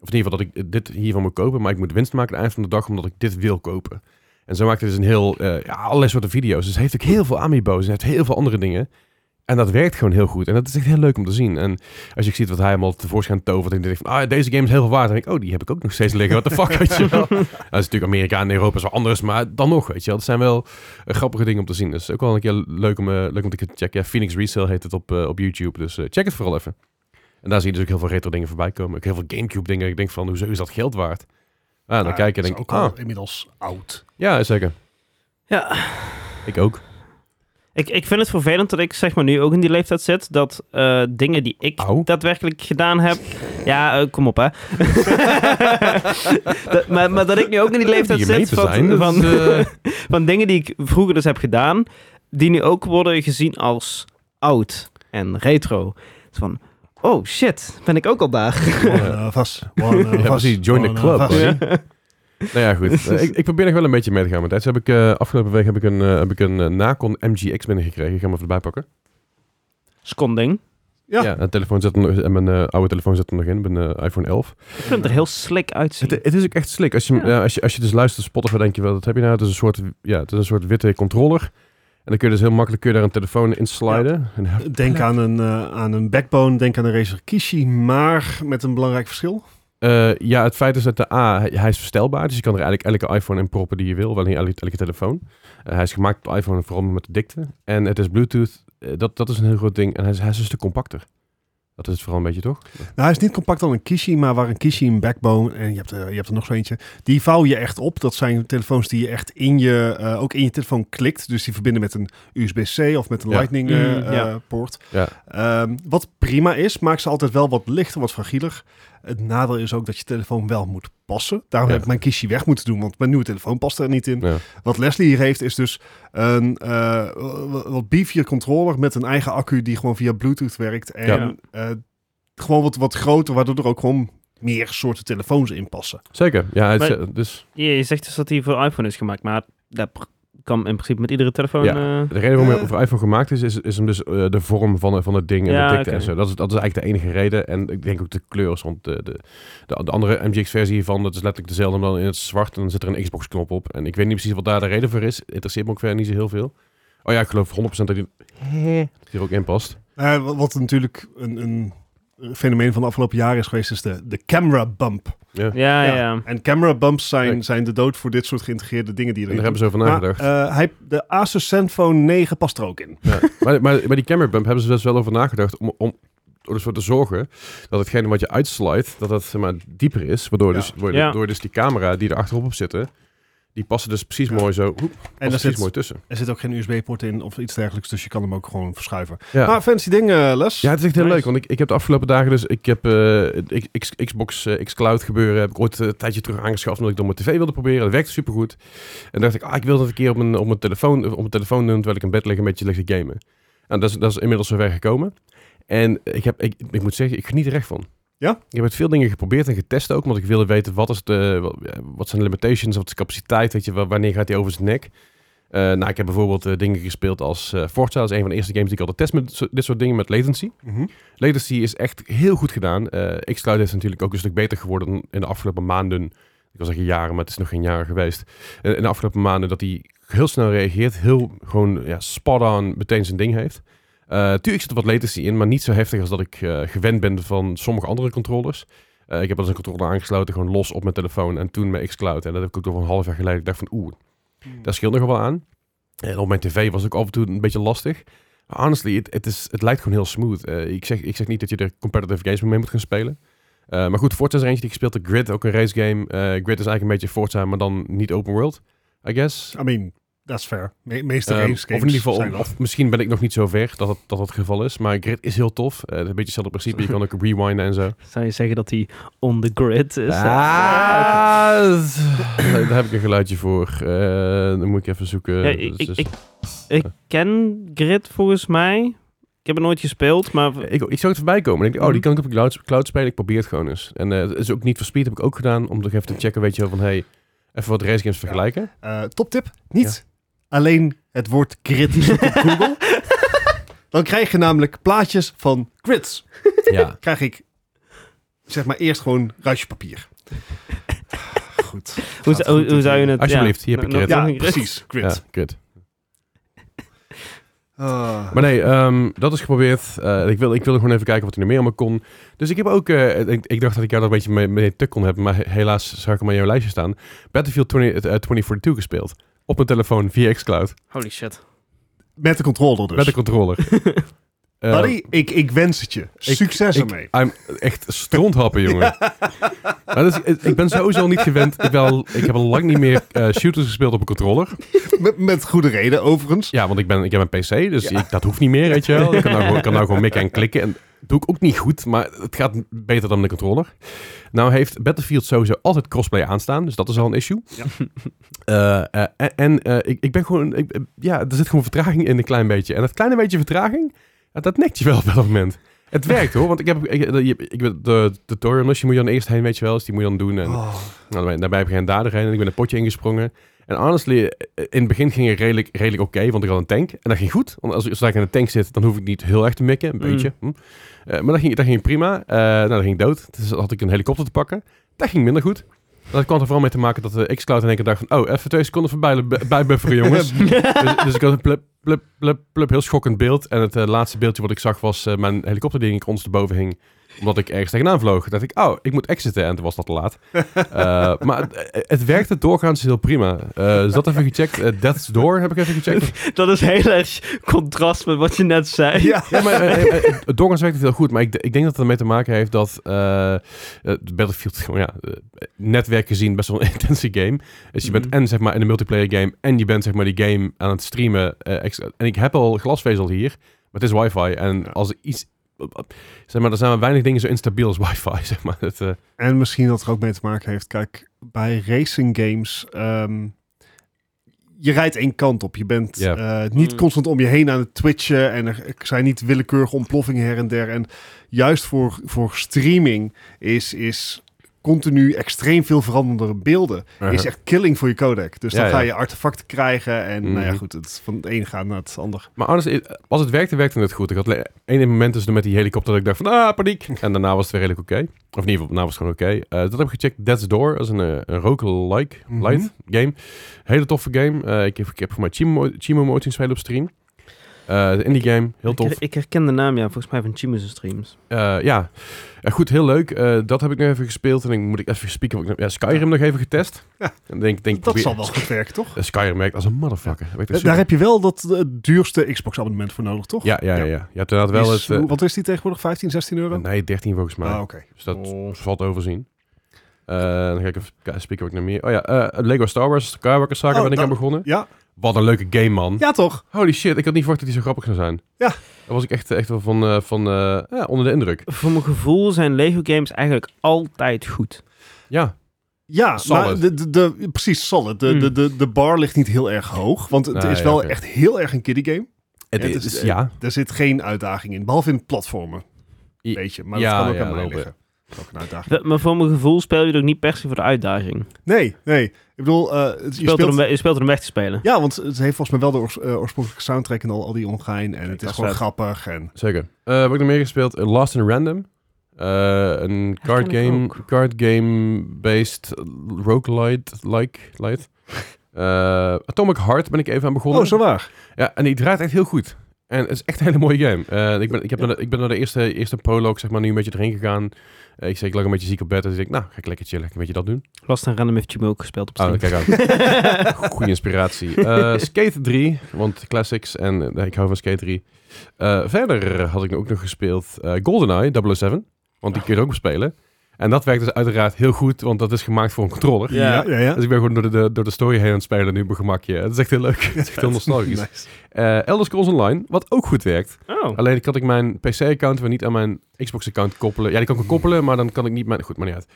S2: Of in ieder geval dat ik dit hiervan moet kopen. Maar ik moet winst maken aan het eind van de dag omdat ik dit wil kopen. En zo maakt hij dus een heel... eh, ja, allerlei soorten video's. Dus hij heeft ook heel veel amiibo's. En hij heeft heel veel andere dingen. En dat werkt gewoon heel goed. En dat is echt heel leuk om te zien. En als je ziet wat hij helemaal tevoorschijn tovert. En denk ik van, ah, deze game is heel veel waard. Dan denk ik, oh, die heb ik ook nog steeds liggen. What the fuck, weet je
S3: [LAUGHS]
S2: wel. Dat is natuurlijk Amerika en Europa is wel anders. Maar dan nog, weet je wel. Dat zijn wel eh, grappige dingen om te zien. Dus ook wel een keer leuk om, eh, leuk om te checken. Ja, Phoenix Resale heet het op, eh, op YouTube. Dus eh, check het vooral even. En daar zie je dus ook heel veel retro dingen voorbij komen. Ook heel veel Gamecube dingen. Ik denk van, hoezo is dat geld waard? Ah, dan
S3: maar
S2: kijk je en
S3: is
S2: denk ik,
S3: ook al
S2: ah,
S3: inmiddels oud.
S2: ja, zeker.
S1: Ja,
S2: Ik ook.
S1: ik, ik vind het vervelend dat ik zeg maar nu ook in die leeftijd zit. Dat eh, dingen die ik
S2: Au.
S1: daadwerkelijk gedaan heb. Ja, eh, kom op hè. [LAUGHS] dat, maar, maar dat ik nu ook in die leeftijd
S2: Die
S1: zit
S2: gemeen te
S1: van,
S2: zijn, dat
S1: van,
S2: is, [LAUGHS] eh,
S1: van dingen die ik vroeger dus heb gedaan. Die nu ook worden gezien als oud en retro. Dus van, oh shit, ben ik ook al daar.
S3: One of us.
S2: [LAUGHS]
S3: One
S2: Ja,
S3: of us,
S2: precies. Join the
S3: one
S2: club,
S3: of
S1: Oh,
S3: us.
S2: hoor.
S1: [LAUGHS]
S2: Nou ja, goed. Eh, ik, ik probeer nog wel een beetje mee te gaan met tijd. Dus heb ik, eh, afgelopen week heb ik een, eh, heb ik een eh, Nacon MGX binnengekregen. Ik ga hem even erbij pakken.
S1: Skonding.
S3: Ja.
S2: en de telefoon zit er nog, en mijn eh, oude telefoon zit er nog in. Mijn eh, iPhone 11.
S1: Ik vind het er heel slick uitzien.
S2: Het, het is ook echt slik. Als je, hem-
S1: Ja.
S2: ja, als je, als je dus luistert op Spotify, denk je wel, dat heb je nou? Het is een soort, ja, het is een soort witte controller. En dan kun je dus heel makkelijk kun je daar een telefoon in sliden. En,
S3: Denk aan een, eh, aan een backbone, denk aan een Razer Kishi, maar met een belangrijk verschil.
S2: eh, ja, het feit is dat de A, hij, hij is verstelbaar. Dus je kan er eigenlijk elke iPhone in proppen die je wil. Wel niet elke, elke telefoon. Eh, hij is gemaakt op de iPhone en vooral met de dikte. En het is Bluetooth. Eh, dat, dat is een heel groot ding. En hij is, hij is een stuk compacter. Dat is het vooral een beetje, toch?
S3: Nou, hij is niet compact dan een Kishi, maar waar een Kishi, een backbone en je hebt, eh, je hebt er nog zo eentje. Die vouw je echt op. Dat zijn telefoons die je echt in je, eh, ook in je telefoon klikt. Dus die verbinden met een USB-C of met een
S2: Ja.
S3: Lightning eh,
S1: Mm,
S3: eh,
S1: ja.
S3: poort.
S2: Ja.
S3: Ehm, wat prima is, maakt ze altijd wel wat lichter, wat fragieler. Het nadeel is ook dat je telefoon wel moet passen. Daarom
S2: Ja.
S3: heb ik mijn Kishi weg moeten doen, want mijn nieuwe telefoon past er niet in.
S2: Ja.
S3: Wat Leslie hier heeft is dus een eh, w- wat beefier controller met een eigen accu die gewoon via Bluetooth werkt. En
S1: Ja.
S3: eh, gewoon wat, wat groter, waardoor er ook gewoon meer soorten telefoons in passen.
S2: Zeker. Ja, het,
S1: Maar-
S2: eh, dus
S1: Ja, je zegt dus dat hij voor iPhone is gemaakt, maar dat pr- kan in principe met iedere telefoon.
S2: Ja.
S1: eh,
S2: de reden waarom hij
S3: Eh.
S2: voor iPhone gemaakt is, is, is hem dus eh, de vorm van, eh, van het ding en
S1: Ja,
S2: de dikte
S1: oké.
S2: en zo. Dat is, dat is eigenlijk de enige reden. En ik denk ook de kleurs, want de, de, de, de andere MGX-versie hiervan, dat is letterlijk dezelfde, maar dan in het zwart. En dan zit er een Xbox-knop op. En ik weet niet precies wat daar de reden voor is. Interesseert me ook verder niet zo heel veel.
S1: eh.
S2: Oh ja, ik geloof 100% dat die dat die er ook in past.
S3: Eh, wa- wat natuurlijk een, een, fenomeen van de afgelopen jaren is geweest, is de, de camera bump.
S2: Ja.
S1: Ah, Ja, ja.
S3: En camera bumps zijn,
S2: Ja.
S3: zijn de dood voor dit soort geïntegreerde dingen die
S2: Daar
S3: erin
S2: hebben ze over nagedacht.
S3: Maar, eh, hij, de Asus Zenfone 9 past er ook in.
S2: Ja. maar, maar, maar die camera bump hebben ze dus wel over nagedacht om, om ervoor te zorgen dat hetgene wat je uitslijt, dat dat zeg maar, dieper is. Waardoor,
S3: Ja.
S2: dus, waardoor,
S1: Ja.
S2: dus die camera die er achterop op zitten, die passen dus precies
S3: Ja.
S2: mooi zo. Oep, passen
S3: En daar
S2: precies
S3: zit,
S2: mooi tussen.
S3: er zit ook geen USB-poort in of iets dergelijks, dus je kan hem ook gewoon verschuiven.
S2: Ja.
S3: Maar fancy dingen, Les.
S2: ja, het is echt heel
S1: Nice.
S2: leuk, want ik, ik heb de afgelopen dagen dus, ik heb eh, ik- X- Xbox eh, Xcloud gebeuren, heb ik ooit eh, een tijdje terug aangeschaft omdat ik dan mijn tv wilde proberen. Dat werkte supergoed. En dacht ik, ah, ik wil dat een keer op mijn, op mijn telefoon, op mijn telefoon doen terwijl ik in bed lig een beetje lig te gamen. Nou, dat is, dat is inmiddels zover gekomen. En ik, heb, ik, ik moet zeggen, ik geniet er echt van.
S3: Ja?
S2: Ik heb het veel dingen geprobeerd en getest ook, want ik wilde weten wat, is de, wat, wat zijn de limitations, wat is de capaciteit, weet je, wa- wanneer gaat hij over zijn nek. Eh, nou, ik heb bijvoorbeeld eh, dingen gespeeld als eh, Forza, dat is een van de eerste games die ik al test met zo- dit soort dingen, met latency.
S3: Mhm.
S2: Latency is echt heel goed gedaan. Eh Xcloud is natuurlijk ook een stuk beter geworden in de afgelopen maanden. Ik wil zeggen jaren, maar het is nog geen jaren geweest. Eh, in de afgelopen maanden dat hij heel snel reageert. Heel gewoon ja, spot-on meteen zijn ding heeft. Eh, tuurlijk zit er wat latency in, maar niet zo heftig als dat ik eh, gewend ben van sommige andere controllers. Eh, ik heb wel eens een controller aangesloten, gewoon los op mijn telefoon en toen met Xcloud. En dat heb ik ook nog een half jaar geleden. Ik dacht van oeh, daar scheelt nog wel aan. En op mijn tv was het ook af en toe een beetje lastig. Maar honestly, het, het, is, het lijkt gewoon heel smooth. Eh, ik, zeg, ik zeg niet dat je er competitive games mee moet gaan spelen. Eh, maar goed, Forza is er eentje die ik speelde. Grid, ook een race game. Eh, Grid is eigenlijk een beetje Forza, maar dan niet open world, I guess.
S3: I mean, that's fair. Me meeste
S2: Ehm,
S3: race
S2: of in
S3: games
S2: ieder geval,
S3: zijn dat.
S2: of misschien ben ik nog niet zo ver dat dat, dat dat het geval is. Maar Grid is heel tof. Eh, een beetje hetzelfde principe. Je kan ook rewinden en zo.
S1: Zou je zeggen dat hij on the grid is?
S2: Ah, daar daar heb ik een geluidje voor. Eh, dan moet ik even zoeken.
S1: Ja, ik,
S2: Dus-
S1: ik,
S2: dus-
S1: ik, ik ken Grid volgens mij. Ik heb het nooit gespeeld, [LAUGHS] maar...
S2: Ik, ik zag het voorbij komen. Ik denk,
S1: Mhm.
S2: oh, die kan ik op de cloud, cloud spelen. Ik probeer het gewoon eens. En eh, het is ook niet voor speed, heb ik ook gedaan. Om toch even te checken, weet je wel, van hey, even wat race games
S1: [LAUGHS]
S2: vergelijken.
S3: Eh, toptip, niet alleen het woord grid
S2: [LAUGHS]
S3: zoeken op Google. Dan krijg je namelijk plaatjes van grids.
S2: Ja.
S3: Krijg ik, zeg maar, eerst gewoon
S2: [LAUGHS]
S3: ruisjepapier. Goed.
S1: Hoe,
S3: Gaat
S1: zou- hoe,
S3: goed,
S1: hoe zou je het...
S2: Alsjeblieft, hier heb ik
S1: nog-
S2: Grid.
S1: nog
S3: Ja,
S1: een Grid.
S3: precies,
S2: Ja,
S3: grid.
S2: kut.
S3: Ah.
S2: Maar nee, ehm, dat is geprobeerd. Eh, ik, wil, ik wilde gewoon even kijken wat er nog meer allemaal kon. Dus ik heb ook... eh, ik, ik dacht dat ik jou daar een beetje mee, mee tuk kon hebben. Maar he- helaas zag ik hem aan jouw lijstje staan. Battlefield 20, eh, 2042 gespeeld. Op mijn telefoon via xCloud.
S1: [LAUGHS] Holy shit.
S3: Met de controller dus.
S2: Met een controller. Eh,
S3: Buddy, ik, ik wens het je. Succes
S2: ik-
S3: ermee. [LAUGHS]
S2: I'm echt stronthappen, jongen. Maar dat is- ik ben sowieso niet gewend. Ik, wel, ik heb al lang niet meer eh, shooters gespeeld op een controller.
S3: Met, met goede reden, overigens.
S2: Ja, want ik, ben, ik heb een PC, dus ik, dat hoeft niet meer, weet je wel. Ik kan nou, gewoon- ik kan nou gewoon mikken en klikken. En dat doe ik ook niet goed, maar het gaat beter dan de controller. Nou heeft Battlefield sowieso altijd crossplay aanstaan, dus dat is al een issue.
S3: Ja.
S2: [LAUGHS] Eh, eh, en en, eh, ik, ik ben gewoon... Ik, ja, er zit gewoon vertraging in een klein beetje. En dat kleine beetje vertraging, dat, dat nekt je wel op dat moment. Het werkt hoor, want ik heb ik, ik, ik, de tutorial missie moet je dan eerst heen, weet je wel. Dus die moet je dan doen. En
S3: Oh,
S2: nou, daarbij, daarbij heb ik geen dader heen en ik ben een potje ingesprongen. En honestly, eh, in het begin ging het redelijk, redelijk oké, want ik had een tank. En dat ging goed. Want als, als ik in de tank zit, dan hoef ik niet heel erg te mikken, een
S1: Mm.
S2: beetje. Hm. Eh, maar dat ging, dat ging prima. Eh nou, dat ging dood. Dus had ik een helikopter te pakken. Dat ging minder goed. Dat kwam er vooral mee te maken dat de Xcloud in één keer dacht van... Oh, even twee seconden voorbij bijbufferen, jongens. dus, dus ik had een plup, plup, plup, plup, heel schokkend beeld. En het eh, laatste beeldje wat ik zag was eh, mijn helikopter die ik ons erboven hing. Omdat ik ergens tegenaan vloog. dacht ik, oh, ik moet exiten. En toen was dat te laat. Eh, maar het, het werkte doorgaans heel prima. Eh, dus dat even gecheckt. Eh, Death's Door heb ik even
S1: [LAUGHS]
S2: gecheckt.
S1: Dat is heel erg contrast met wat je net zei.
S3: [LAUGHS] ja.
S2: Ja, maar eh, eh, eh, doorgaans werkt het heel goed. Maar ik, ik denk dat het ermee te maken heeft dat eh, eh, Battlefield, [LAUGHS] gewoon, ja, eh, netwerk gezien, best wel een [LAUGHS] intense game. Dus je bent
S1: Mhm.
S2: en zeg maar in de multiplayer game en je bent zeg maar die game aan het streamen. eh, extra- en ik heb al glasvezel hier, maar het is wifi. En als er iets... eh, Zeg maar, er zijn maar weinig dingen zo instabiel als [LAUGHS] wifi, zeg maar. Het, eh,
S3: En misschien dat er ook mee te maken heeft. Kijk, bij racing games. ehm, je rijdt één kant op. Je bent
S2: Ja.
S3: eh, niet
S1: Mm.
S3: constant om je heen aan het twitchen. En er zijn niet willekeurige ontploffingen her en der. En juist voor, voor streaming is, is continu extreem veel veranderende beelden. Is echt killing voor je codec. Dus
S2: Ja,
S3: dan
S2: ja.
S3: ga je artefacten krijgen. En nou ja,
S2: Mhm.
S3: goed, het, van het een gaat naar het ander.
S2: Maar anders, eh, als het werkte, werkte het goed. Ik had le- één moment dus met die helikopter dat ik dacht van, ah, paniek. En daarna was het weer redelijk oké. Of in ieder geval, daarna was het gewoon oké. Eh, dat heb ik gecheckt. Death's Door, dat is een, eh, een roguelike
S3: Mhm.
S2: light game. Hele toffe game. Eh, ik, heb, ik heb voor mij Chimo, Chimo Mode zien spelen op stream. Eh, de indie game, heel tof.
S1: Ik, ik herken de naam, ja. Volgens mij van Chimus Streams.
S2: Eh, ja, Eh, goed, heel leuk. Eh, dat heb ik nog even gespeeld. En dan moet ik even spieken. wat ik nog- Ja, Skyrim nog even getest.
S3: Ja.
S2: En denk, denk,
S3: Dat
S2: probeer-
S3: zal wel goed werken, toch?
S2: Eh, Skyrim werkt als een motherfucker. Werkt echt
S3: Daar
S2: super.
S3: heb je wel dat eh, duurste Xbox-abonnement voor nodig, toch?
S2: ja, ja, ja, ja. Je hebt inderdaad wel
S3: Is-
S2: het... eh,
S3: hoe- wat is die tegenwoordig? 15, 16 euro?
S2: nee, 13 volgens mij.
S3: ah, oké.
S2: Dus dat
S1: Oh.
S2: valt te overzien. Eh, dan ga ik even k- spieken wat ik nog meer... Oh ja, eh, Lego Star Wars Skywalker Saga
S3: Oh,
S2: ben ik
S3: dat-
S2: aan begonnen.
S3: Ja?
S2: Wat een leuke game, man.
S3: ja, toch?
S2: Holy shit, ik had niet verwacht dat die zo grappig zou zijn.
S3: Ja.
S2: Daar was ik echt, echt wel van, eh, van eh, ja, onder de indruk.
S1: Voor mijn gevoel zijn Lego games eigenlijk altijd goed.
S2: Ja,
S3: Ja,
S2: Solid.
S3: maar de, de, de- precies, solid. De,
S1: Hmm.
S3: de, de, de bar ligt niet heel erg hoog, want het
S2: Nee,
S3: is
S2: ja,
S3: wel
S2: oké.
S3: echt heel erg een kiddie game.
S2: het
S3: Ja,
S2: is...
S3: het is, eh,
S2: ja.
S3: Er zit geen uitdaging in, behalve in platformen.
S2: I-
S3: Weet je, maar
S2: ja,
S3: dat kan ook
S2: ja,
S3: aan mij
S2: wel,
S3: liggen. Dat is ook een uitdaging.
S1: We- Maar voor mijn gevoel speel je het ook niet per se voor de uitdaging. Je
S3: Nee, nee. Ik bedoel, eh, het- je
S1: speelt, er om,
S3: speelt...
S1: we- je speelt er om weg te spelen.
S3: Ja, want het heeft volgens mij wel de oors- eh, oorspronkelijke soundtrack en al, al die omgein. En het
S1: Dat
S3: is
S1: is
S3: gewoon
S1: vet.
S3: grappig. En...
S2: Zeker. Eh, wat heb ik nog meer gespeeld? Eh, Lost in Random. Eh, een card
S1: ken ik
S2: game,
S1: ook.
S2: card game based roguelite like
S3: [LAUGHS]
S2: light. Eh, Atomic Heart ben ik even aan begonnen.
S3: Oh, zo waar.
S2: Ja, en die draait echt heel goed. En het is echt een hele mooie game. Eh, ik, ben, ik, heb naar de, ik ben naar de eerste, eerste prologue zeg maar, nu een beetje erin gegaan. Eh, ik, zei, ik lag een beetje ziek op bed. Dus ik denk, nou, ga ik lekker chillen. Een beetje dat doen.
S1: Last en Random heeft Jimmy ook gespeeld op
S2: Oh,
S1: stream.
S2: kijk aan.
S1: [LAUGHS]
S2: Goede inspiratie. Eh, Skate 3, want classics en eh, ik hou van Skate 3. Eh, verder had ik ook nog gespeeld eh, GoldenEye 007, want die kun je ook spelen. En dat werkt dus uiteraard heel goed, want dat is gemaakt voor een controller.
S3: Ja, ja, ja.
S2: Dus ik ben gewoon door de, door de story heen aan het spelen nu op mijn gemakje. Het is echt heel leuk. Het is echt heel nostalgisch.
S3: [LAUGHS] Nice.
S2: Eh, Elder Scrolls Online, wat ook goed werkt.
S1: Oh.
S2: Alleen kan ik mijn PC-account weer niet aan mijn Xbox-account koppelen. Ja, die kan ik wel
S3: Hmm.
S2: koppelen, maar dan kan ik niet mijn... Goed, maar niet uit.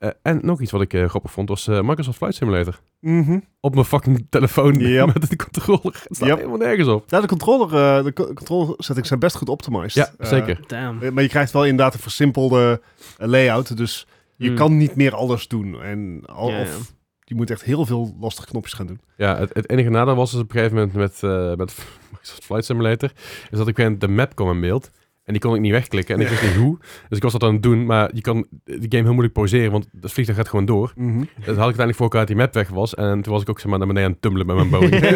S2: Eh, en nog iets wat ik eh, grappig vond, was eh, Microsoft Flight Simulator
S3: Mhm.
S2: op mijn fucking telefoon [LAUGHS]
S3: Yep.
S2: met de controller. Het staat
S3: Yep.
S2: helemaal nergens op.
S3: Ja, de controller, eh de co- controller settings zijn best goed optimized.
S2: Ja,
S3: Eh,
S2: zeker.
S1: Damn.
S3: maar je krijgt wel inderdaad een versimpelde eh, layout. Dus je
S1: Hmm.
S3: kan niet meer alles doen. En al,
S1: Ja, ja.
S3: of je moet echt heel veel lastige knopjes gaan doen.
S2: Ja, het, het enige nadeel was dus op een gegeven moment met, eh, met [LAUGHS] Microsoft Flight Simulator, is dat ik op een gegeven moment de map kwam in beeld. En die kon ik niet wegklikken en ik wist niet hoe. Dus ik was dat aan het doen, maar je kan de game heel moeilijk pauzeren, want het vliegtuig gaat gewoon door.
S3: Mhm.
S2: Dat had ik uiteindelijk voor elkaar dat die map weg was. En toen was ik ook zeg maar, naar beneden aan het tummelen met mijn
S1: [LAUGHS]
S3: [LAUGHS]
S2: Boeing.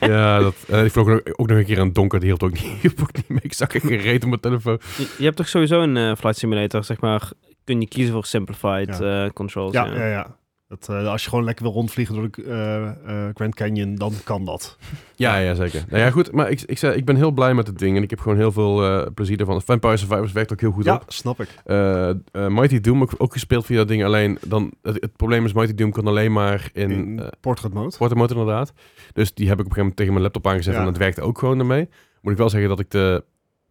S2: [LAUGHS] ja, dat, en ik vloog ook, ook nog een keer aan het donker, die hield ook niet, [LAUGHS] hielp ook niet mee. Ik zag geen reet op mijn telefoon.
S1: Je, je hebt toch sowieso een eh, flight simulator, zeg maar. Kun je kiezen voor simplified eh, controls.
S3: Ja,
S1: ja.
S3: ja, ja. Dat, eh, als je gewoon lekker wil rondvliegen door de eh, eh, Grand Canyon, dan kan dat.
S2: Ja, ja, zeker. Nou ja, goed. Maar ik, ik, zei, ik ben heel blij met het ding. En ik heb gewoon heel veel eh, plezier ervan. Vampire Survivors werkt ook heel goed
S3: ja,
S2: op.
S3: snap ik.
S2: Eh, eh, Mighty Doom ook, ook gespeeld via dat ding. Alleen, dan, het, het probleem is, Mighty Doom kan alleen maar in...
S3: In
S2: eh,
S3: portrait mode.
S2: Portemotor inderdaad. Dus die heb ik op een gegeven moment tegen mijn laptop aangezet
S3: Ja.
S2: en dat werkte ook gewoon daarmee. Moet ik wel zeggen dat ik de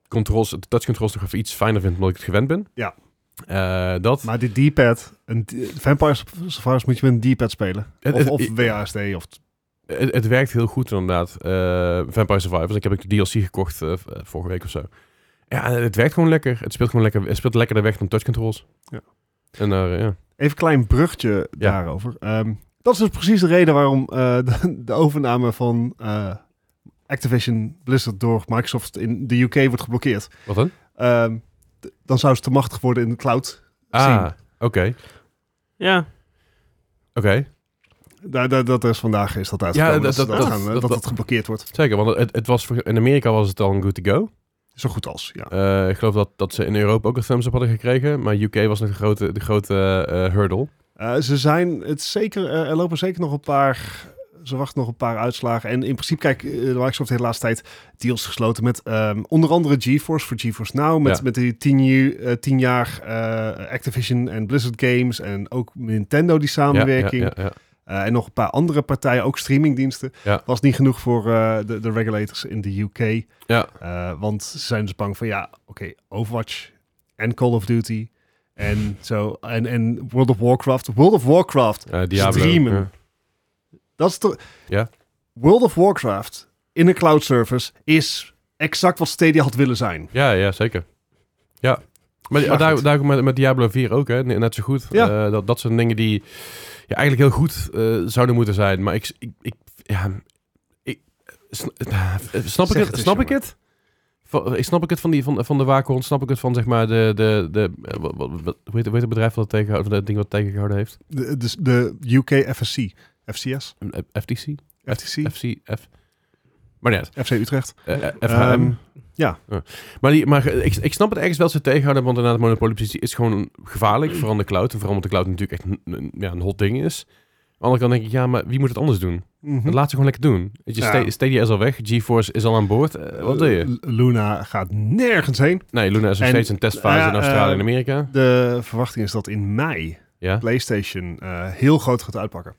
S2: controls, de touch controls toch even iets fijner vind omdat ik het gewend ben.
S3: Ja.
S2: Eh, dat.
S3: Maar die D-pad, een d- Vampire Safaris moet je met een D-pad spelen.
S2: Het-
S3: Of,
S2: het-
S3: of
S2: i-
S3: WASD. Of,
S2: Het, het werkt heel goed inderdaad. Eh, Vampire Survivors. Ik heb ook de DLC gekocht eh, v- eh, vorige week of zo. Ja, het werkt gewoon lekker. Het speelt gewoon lekker. Het speelt lekkerder weg dan touch controls.
S3: Ja.
S2: En daar, eh, ja.
S3: even een klein brugje
S2: Ja.
S3: daarover. Ehm, dat is dus precies de reden waarom eh, [LAUGHS] de, de overname van eh, Activision Blizzard door Microsoft in de UK wordt geblokkeerd.
S2: Wat dan?
S3: Ehm, d- dan zou ze te machtig worden in de cloud.
S2: Ah,
S3: Zien.
S2: oké. Oké.
S1: Ja.
S3: Daar, daar, dat is vandaag is dat uitgekomen.
S2: dat-
S3: dat,
S2: dat-
S3: dat,
S2: dat-
S3: gaan, eh,
S2: dat-
S3: dat,
S2: dat-
S3: het geblokkeerd wordt.
S2: Zeker, want het, het was, voor- in Amerika was het al een good to go.
S3: Zo goed als, ja.
S2: Eh, ik geloof dat, dat ze in Europa ook een thumbs up hadden gekregen. Maar UK was nog de grote, de grote eh, hurdle.
S3: Eh, ze zijn het zeker, eh, er lopen zeker nog een paar. Ze wachten nog een paar uitslagen. En in principe, kijk, eh, Microsoft heeft de laatste tijd deals gesloten met ehm, onder andere GeForce voor GeForce Now. Met,
S2: Ja.
S3: met die tien, ju- eh, tien jaar eh, Activision en Blizzard Games. En ook Nintendo die samenwerking.
S2: Ja, ja, ja,
S3: Eh, en nog een paar andere partijen, ook streamingdiensten.
S2: Ja.
S3: Was niet genoeg voor eh, de, de regulators in de UK.
S2: ja.
S3: Eh, want ze zijn dus bang van, ja, oké, Overwatch en Call of Duty en zo. En, en World of Warcraft. World of Warcraft,
S2: Ja, eh, Diablo.
S3: Streamen.
S2: Ja.
S3: dat is toch...
S2: Ja.
S3: World of Warcraft in een cloud service is exact wat Stadia had willen zijn.
S2: Ja, ja, zeker. Ja. Maar die-
S3: Ja,
S2: daar,
S3: goed.
S2: daar met, met Diablo 4 ook, hè? ne- net zo goed.
S3: Ja.
S2: Eh, dat, dat zijn dingen die ja, eigenlijk heel goed eh, zouden moeten zijn. Maar ik, ik, ik ja, ik, sn- eh, snap ik
S3: Zeg
S2: het?
S3: het eens,
S2: snap ik
S3: jongen.
S2: het? Van- eh, Ik snap ik het van, die, van, van de waakhond, snap ik het van zeg maar de, de, de eh, wat, wat, wat- hoe, heet, hoe heet het bedrijf dat tegenhoudt, of dat ding wat tegengehouden heeft?
S3: De, de, de UK FSC. FCS?
S2: Een F- FTC?
S3: FTC?
S2: FCF. Maar net.
S3: FC Utrecht.
S2: Eh, FHM.
S3: Ehm, ja.
S2: Eh. Maar, die, maar ik, ik snap het ergens wel ze tegenhouden, want inderdaad, monopoliepositie is gewoon gevaarlijk. Vooral aan de cloud. En vooral omdat de cloud natuurlijk echt een, een- ja, een hot ding is. Aan de andere kant denk ik, ja, maar wie moet het anders doen?
S3: Mhm.
S2: Dat laat ze gewoon lekker doen. Weet je,
S3: Ja.
S2: Sta- Stadia is al weg, GeForce is al aan boord. Eh, wat doe je?
S3: L- Luna gaat nergens heen.
S2: Nee, Luna is nog
S3: en-
S2: steeds een testfase
S3: nou ja,
S2: in Australië en
S3: eh,
S2: Amerika.
S3: De verwachting is dat in mei
S2: Ja.
S3: PlayStation eh, heel groot gaat uitpakken.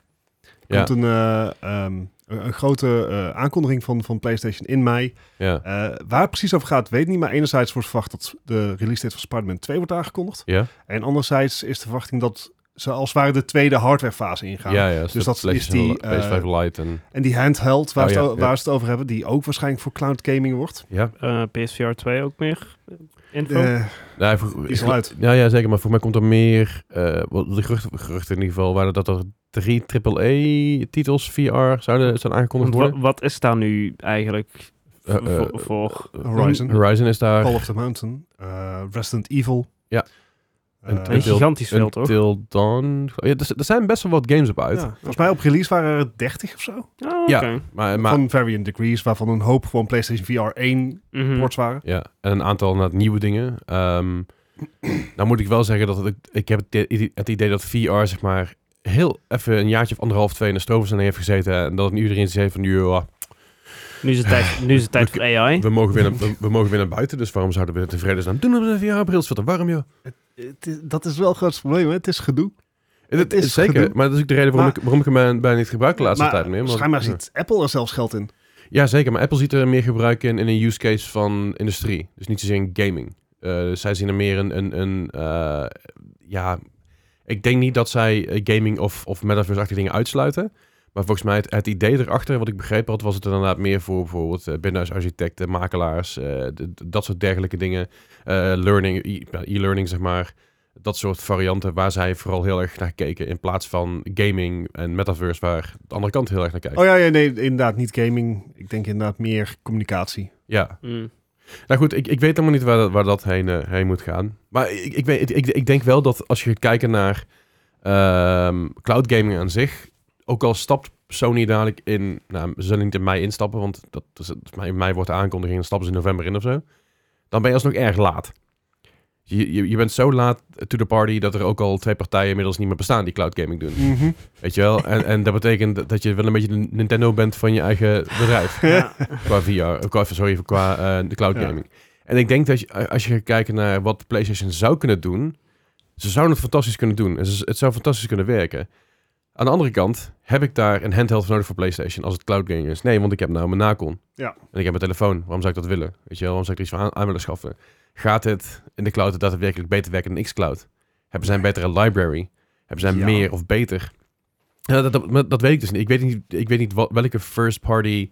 S3: Er
S2: Ja.
S3: komt een, eh, ehm, een een grote eh, aankondiging van, van PlayStation in mei.
S2: Ja.
S3: Eh, waar het precies over gaat, weet ik niet. Maar enerzijds wordt verwacht dat de release date van Spider-Man 2 wordt aangekondigd.
S2: Ja.
S3: En anderzijds is de verwachting dat ze als het ware de tweede hardwarefase ingaan.
S2: Ja, ja.
S3: dat is
S2: PlayStation-
S3: die, eh,
S2: PS5 Lite en...
S3: En die handheld waar,
S2: Oh,
S3: ze
S2: ja,
S3: het, o-
S2: ja.
S3: waar ze het over hebben, die ook waarschijnlijk voor cloud gaming wordt.
S2: Ja.
S1: Eh, PSVR 2 ook meer eh, info.
S3: Eh,
S2: Nou, voor-
S3: Die is al uit.
S2: Ja, ja, zeker. Maar voor mij komt er meer... eh, wel, de geruchten, geruchten in ieder geval waren dat er drie AAA-titels VR zouden, zijn
S1: Want
S2: aangekondigd
S1: wa-
S2: worden.
S1: wat is daar nu eigenlijk
S2: Eh, eh,
S1: voor- voor?
S3: Horizon.
S2: Horizon is daar.
S3: Call of the Mountain, eh, Resident Evil.
S2: Ja.
S3: Eh,
S2: En
S1: Een
S2: Until-
S1: gigantisch veel, toch?
S2: Until Dawn. Oh, Ja, er, er zijn best wel wat games op uit.
S3: ja, volgens mij op release waren er 30 of zo.
S1: Oh,
S2: Ja.
S1: oké.
S2: Maar, maar,
S3: Van varying degrees, waarvan een hoop gewoon PlayStation VR 1
S2: Hmm.
S1: Mhm.
S3: ports waren.
S2: ja, en een aantal inderdaad nieuwe dingen. Ehm nou moet ik wel zeggen dat het- ik heb het, i- het idee dat VR zeg maar heel even een jaartje of anderhalf, twee in de stroversnelling heeft gezeten. En dat nu iedereen zegt van, joh,
S1: Nu is het tijd, nu is het
S2: [LAUGHS]
S1: tijd voor AI.
S2: we mogen, weer naar, we, we mogen weer naar buiten, dus waarom zouden we tevreden zijn? Doen we een VR-bril, is wat te warm, joh.
S3: Het is- dat is wel het grootste probleem, hè? het is gedoe.
S2: Het,
S3: Het
S2: is
S3: is
S2: zeker,
S3: gedoe.
S2: maar dat is ook de reden waarom,
S3: Maar-
S2: ik, waarom ik hem bij- bijna niet gebruik de laatste
S3: maar,
S2: tijd meer. want-
S3: schijnbaar
S2: ja.
S3: ziet Apple er zelfs geld in.
S2: Ja, zeker. Maar Apple ziet er meer gebruik in in een use case van industrie. Dus niet zozeer in gaming. Eh, dus zij zien er meer een... een, een eh, ja, ik denk niet dat zij eh, gaming of, of metaverse-achtige dingen uitsluiten. Maar volgens mij het, het idee erachter, wat ik begrepen had, was het inderdaad meer voor bijvoorbeeld eh, binnenhuisarchitecten, makelaars, eh, d- d- dat soort dergelijke dingen. Eh, learning, e- ja, e-learning zeg maar. Dat soort varianten waar zij vooral heel erg naar keken. In plaats van gaming en metaverse, waar de andere kant heel erg naar kijkt.
S3: Oh ja, ja, nee, inderdaad, niet gaming. Ik denk inderdaad meer communicatie.
S2: Ja,
S3: [LAUGHS]
S1: Mm.
S2: Nou goed, ik, ik weet helemaal niet waar, dat- waar dat heen, eh, heen moet gaan. Maar ik, ik, weet, ik, ik denk wel dat als je gaat kijken naar ehm, cloud gaming aan zich, ook al stapt Sony dadelijk in, nou, ze zullen niet in mei instappen, want dat is, het- in mei wordt de aankondiging en dan stappen ze in november in of zo, dan ben je alsnog erg laat. Je, je, je bent zo laat to the party dat er ook al twee partijen inmiddels niet meer bestaan die cloud gaming doen. Weet je wel? En, en dat betekent dat- dat je wel een beetje de Nintendo bent van je eigen bedrijf
S1: Ja.
S2: qua VR, eh, qua, sorry, qua eh, de cloud
S3: Ja.
S2: gaming. En ik denk dat je, eh, als je gaat kijken naar wat PlayStation zou kunnen doen, ze zouden het fantastisch kunnen doen. En ze- het zou fantastisch kunnen werken. Aan de andere kant, heb ik daar een handheld voor nodig voor PlayStation als het cloud gaming is? Nee, want ik heb nou mijn Nacon.
S3: Ja.
S2: En ik heb mijn telefoon. Waarom zou ik dat willen? Weet je wel, waarom zou ik er iets voor aan, aan willen schaffen? Gaat het in de cloud daadwerkelijk beter werken dan Xcloud? Hebben zij een betere library? Hebben zij
S3: Ja.
S2: meer of beter? Ja, dat, dat, maar dat weet ik dus niet. Ik weet niet, ik weet niet wat, welke first party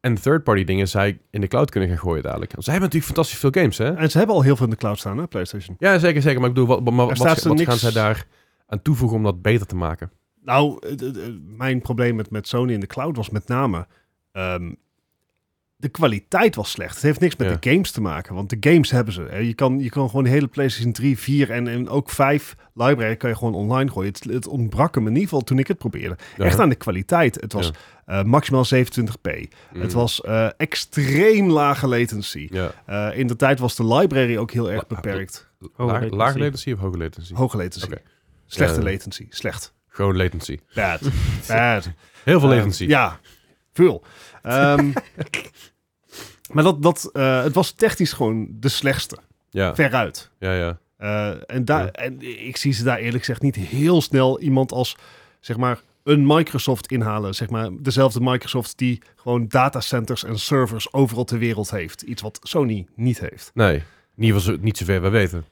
S2: en third party dingen zij in de cloud kunnen gaan gooien dadelijk. Want zij hebben natuurlijk fantastisch veel games, hè?
S3: En ze hebben al heel veel in de cloud staan, hè, PlayStation.
S2: Ja, zeker, zeker. Maar ik bedoel, wat, maar wat,
S3: staat
S2: wat,
S3: er
S2: gaan
S3: niks-
S2: zij daar aan toevoegen om dat beter te maken?
S3: Nou, eh, d- d- mijn probleem met, met Sony in de cloud was met name... ehm, de kwaliteit was slecht. Het heeft niks met
S2: Ja.
S3: de games te maken, want de games hebben ze. hè. Je kan, je kan gewoon de hele PlayStation 3, 4 en, en ook 5 library kan je gewoon online gooien. Het, het ontbrak hem in ieder geval toen ik het probeerde.
S2: Ja.
S3: Echt aan de kwaliteit. Het was
S2: Ja.
S3: eh, maximaal 27p.
S2: Mm.
S3: Het was eh, extreem lage latency.
S2: Ja.
S3: Eh, in de tijd was de library ook heel erg
S2: La-
S3: beperkt.
S1: Hoge
S2: Laag,
S1: latency.
S2: lage latency of hoge latency?
S3: Hoge latency.
S2: ah, Oké.
S3: Slechte
S2: Ja.
S3: latency. Slecht.
S2: Gewoon latency. [LAUGHS]
S3: Bad. Bad.
S2: Heel veel
S3: Eh,
S2: latency.
S3: ja, veel.
S2: [LAUGHS]
S3: Ehm, maar dat, dat, eh, het was technisch gewoon de slechtste.
S2: Ja,
S3: Veruit.
S2: ja, ja.
S3: Eh, en, daar,
S2: Ja.
S3: en ik zie ze daar eerlijk gezegd niet heel snel iemand als, zeg maar, een Microsoft inhalen. Zeg maar, dezelfde Microsoft die gewoon datacenters en servers overal ter wereld heeft. Iets wat Sony niet heeft.
S2: Nee, in ieder geval zo- niet zover we weten.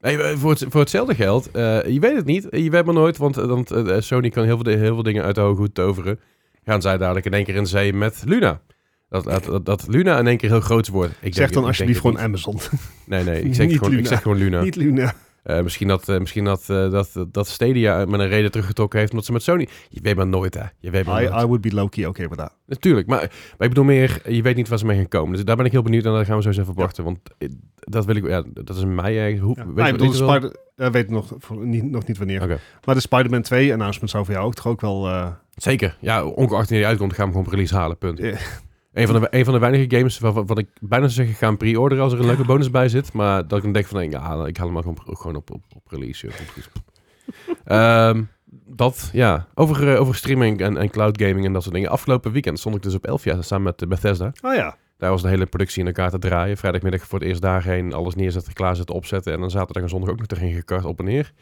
S2: Nee, we- voor, het, voor hetzelfde geld, eh, je weet het niet. Je weet maar nooit, want, eh, want eh, Sony kan heel veel, di- heel veel dingen uit de hoge hoed toveren. Gaan zij dadelijk in één keer in zee met Luna. Dat, dat, dat, dat Luna in één keer heel groot wordt. Ik
S3: zeg dan
S2: als je
S3: alsjeblieft gewoon Amazon.
S2: Nee, nee,
S3: [LAUGHS]
S2: ik zeg,
S3: niet
S2: gewoon, ik
S3: Luna.
S2: zeg gewoon Luna.
S3: [LAUGHS] niet Luna.
S2: Eh, misschien dat, eh, misschien dat, eh, dat, dat Stadia met een reden teruggetrokken heeft omdat ze met Sony... Je weet maar nooit, hè. Je weet maar
S3: I,
S2: nooit.
S3: I would be low-key okay with that.
S2: Natuurlijk, maar, maar ik bedoel meer, je weet niet waar ze mee gaan komen. Dus daar ben ik heel benieuwd en daar gaan we zo eens even op
S3: Ja.
S2: wachten. Want eh, dat wil ik, ja, dat is in mei ergens. Hoe,
S3: Ja.
S2: weet
S3: Maar
S2: je
S3: ik
S2: wat
S3: bedoel,
S2: ik wil?
S3: Spider, eh, weet nog, voor- niet, nog niet wanneer.
S2: Oké.
S3: Maar de Spider-Man 2 announcement zou voor jou ook toch ook wel... eh,
S2: Zeker, ja, ongeacht wanneer die uitkomt, gaan we hem gewoon op release halen, punt.
S3: Ja.
S2: Een van, de, een van de weinige games waarvan wat ik bijna zou zeggen, ik ga hem pre-orderen als er een leuke bonus bij zit. Maar dat ik dan denk van, nee, ja, ik haal hem maar gewoon, gewoon op, op, op release. joh. Komt goed. Ehm, dat, ja. Over, eh, over streaming en, en cloud gaming en dat soort dingen. Afgelopen weekend stond ik dus op Elfia samen met eh, Bethesda.
S3: Oh ja.
S2: Daar was de hele productie in elkaar te draaien. Vrijdagmiddag voor het eerst daarheen alles neerzetten, klaarzetten, opzetten. En dan zaterdag en zondag ook nog erheen gekart, op en neer.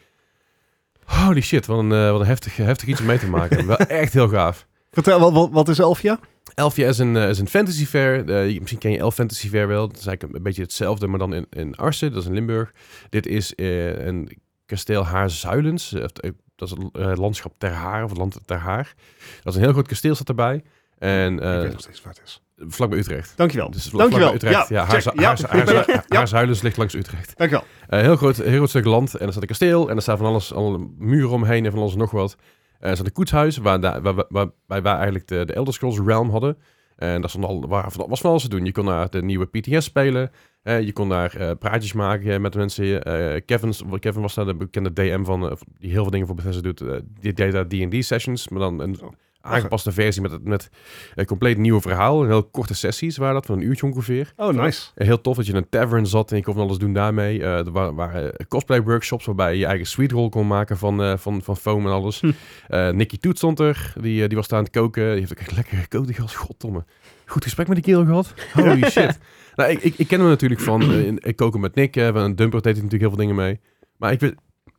S2: Holy shit, wat een, eh, wat een heftig, heftig iets om mee te maken.
S3: [LAUGHS]
S2: Wel echt heel gaaf.
S3: Vertel, wat, wat, wat is Elfia?
S2: Elfia is een, eh, is een fantasy fair. Eh, je- misschien ken je Elf Fantasy Fair wel. Dat is eigenlijk een beetje hetzelfde, maar dan in, in Arsen, dat is in Limburg. Dit is eh, een kasteel Haarzuilens. Eh, eh, Dat is het eh, landschap Ter Haar, of het land Ter Haar. Dat is een heel groot kasteel, staat erbij. En
S3: ik
S2: eh,
S3: weet nog steeds waar het is.
S2: vlakbij Utrecht.
S3: Dankjewel.
S2: Dus vlak-
S3: Dankjewel.
S2: vlakbij Utrecht. Ja,
S3: check.
S2: Haarzu- Haarzu-
S3: ik ben er.
S2: Haarzu-
S3: Ja,
S2: Haarzuilens ligt langs Utrecht.
S3: dankjewel.
S2: Eh, heel, groot, heel groot stuk land. En er staat een kasteel. En er staan van alles, alle muren omheen en van alles en nog wat. Eh, er staat een koetshuis waar, da- waar, waar, waar- waar eigenlijk de, de Elder Scrolls Realm hadden. En daar stond al, waar, van- was van alles te doen. Je kon daar de nieuwe PTS spelen. Eh, je kon daar eh, praatjes maken eh, met mensen. Eh, Kevin, Kevin was daar de bekende DM van, eh, die heel veel dingen voor Bethesda doet. Eh, die deed daar D&D sessions, maar dan een
S3: Oh.
S2: aangepaste versie met, het- met een compleet nieuw verhaal. Heel korte sessies waren dat, van een uurtje ongeveer.
S3: Oh, nice.
S2: Eh, Heel tof dat je in een tavern zat en je kon van alles doen daarmee. Eh, er wa- waren cosplay workshops waarbij je je eigen sweet roll kon maken van, eh, van, van foam en alles.
S1: Hm.
S2: Eh, Nicky Toet stond er, die, eh, die was daar aan het koken. Die heeft ook echt lekker gekookt. Ik dacht, goddomme. Goed gesprek met die kerel gehad. Holy shit. Nou, ik, ik, ik ken hem natuurlijk van eh, in- ik koken met Nick. eh, van een dumper deed hij natuurlijk heel veel dingen mee. Maar ik, weet-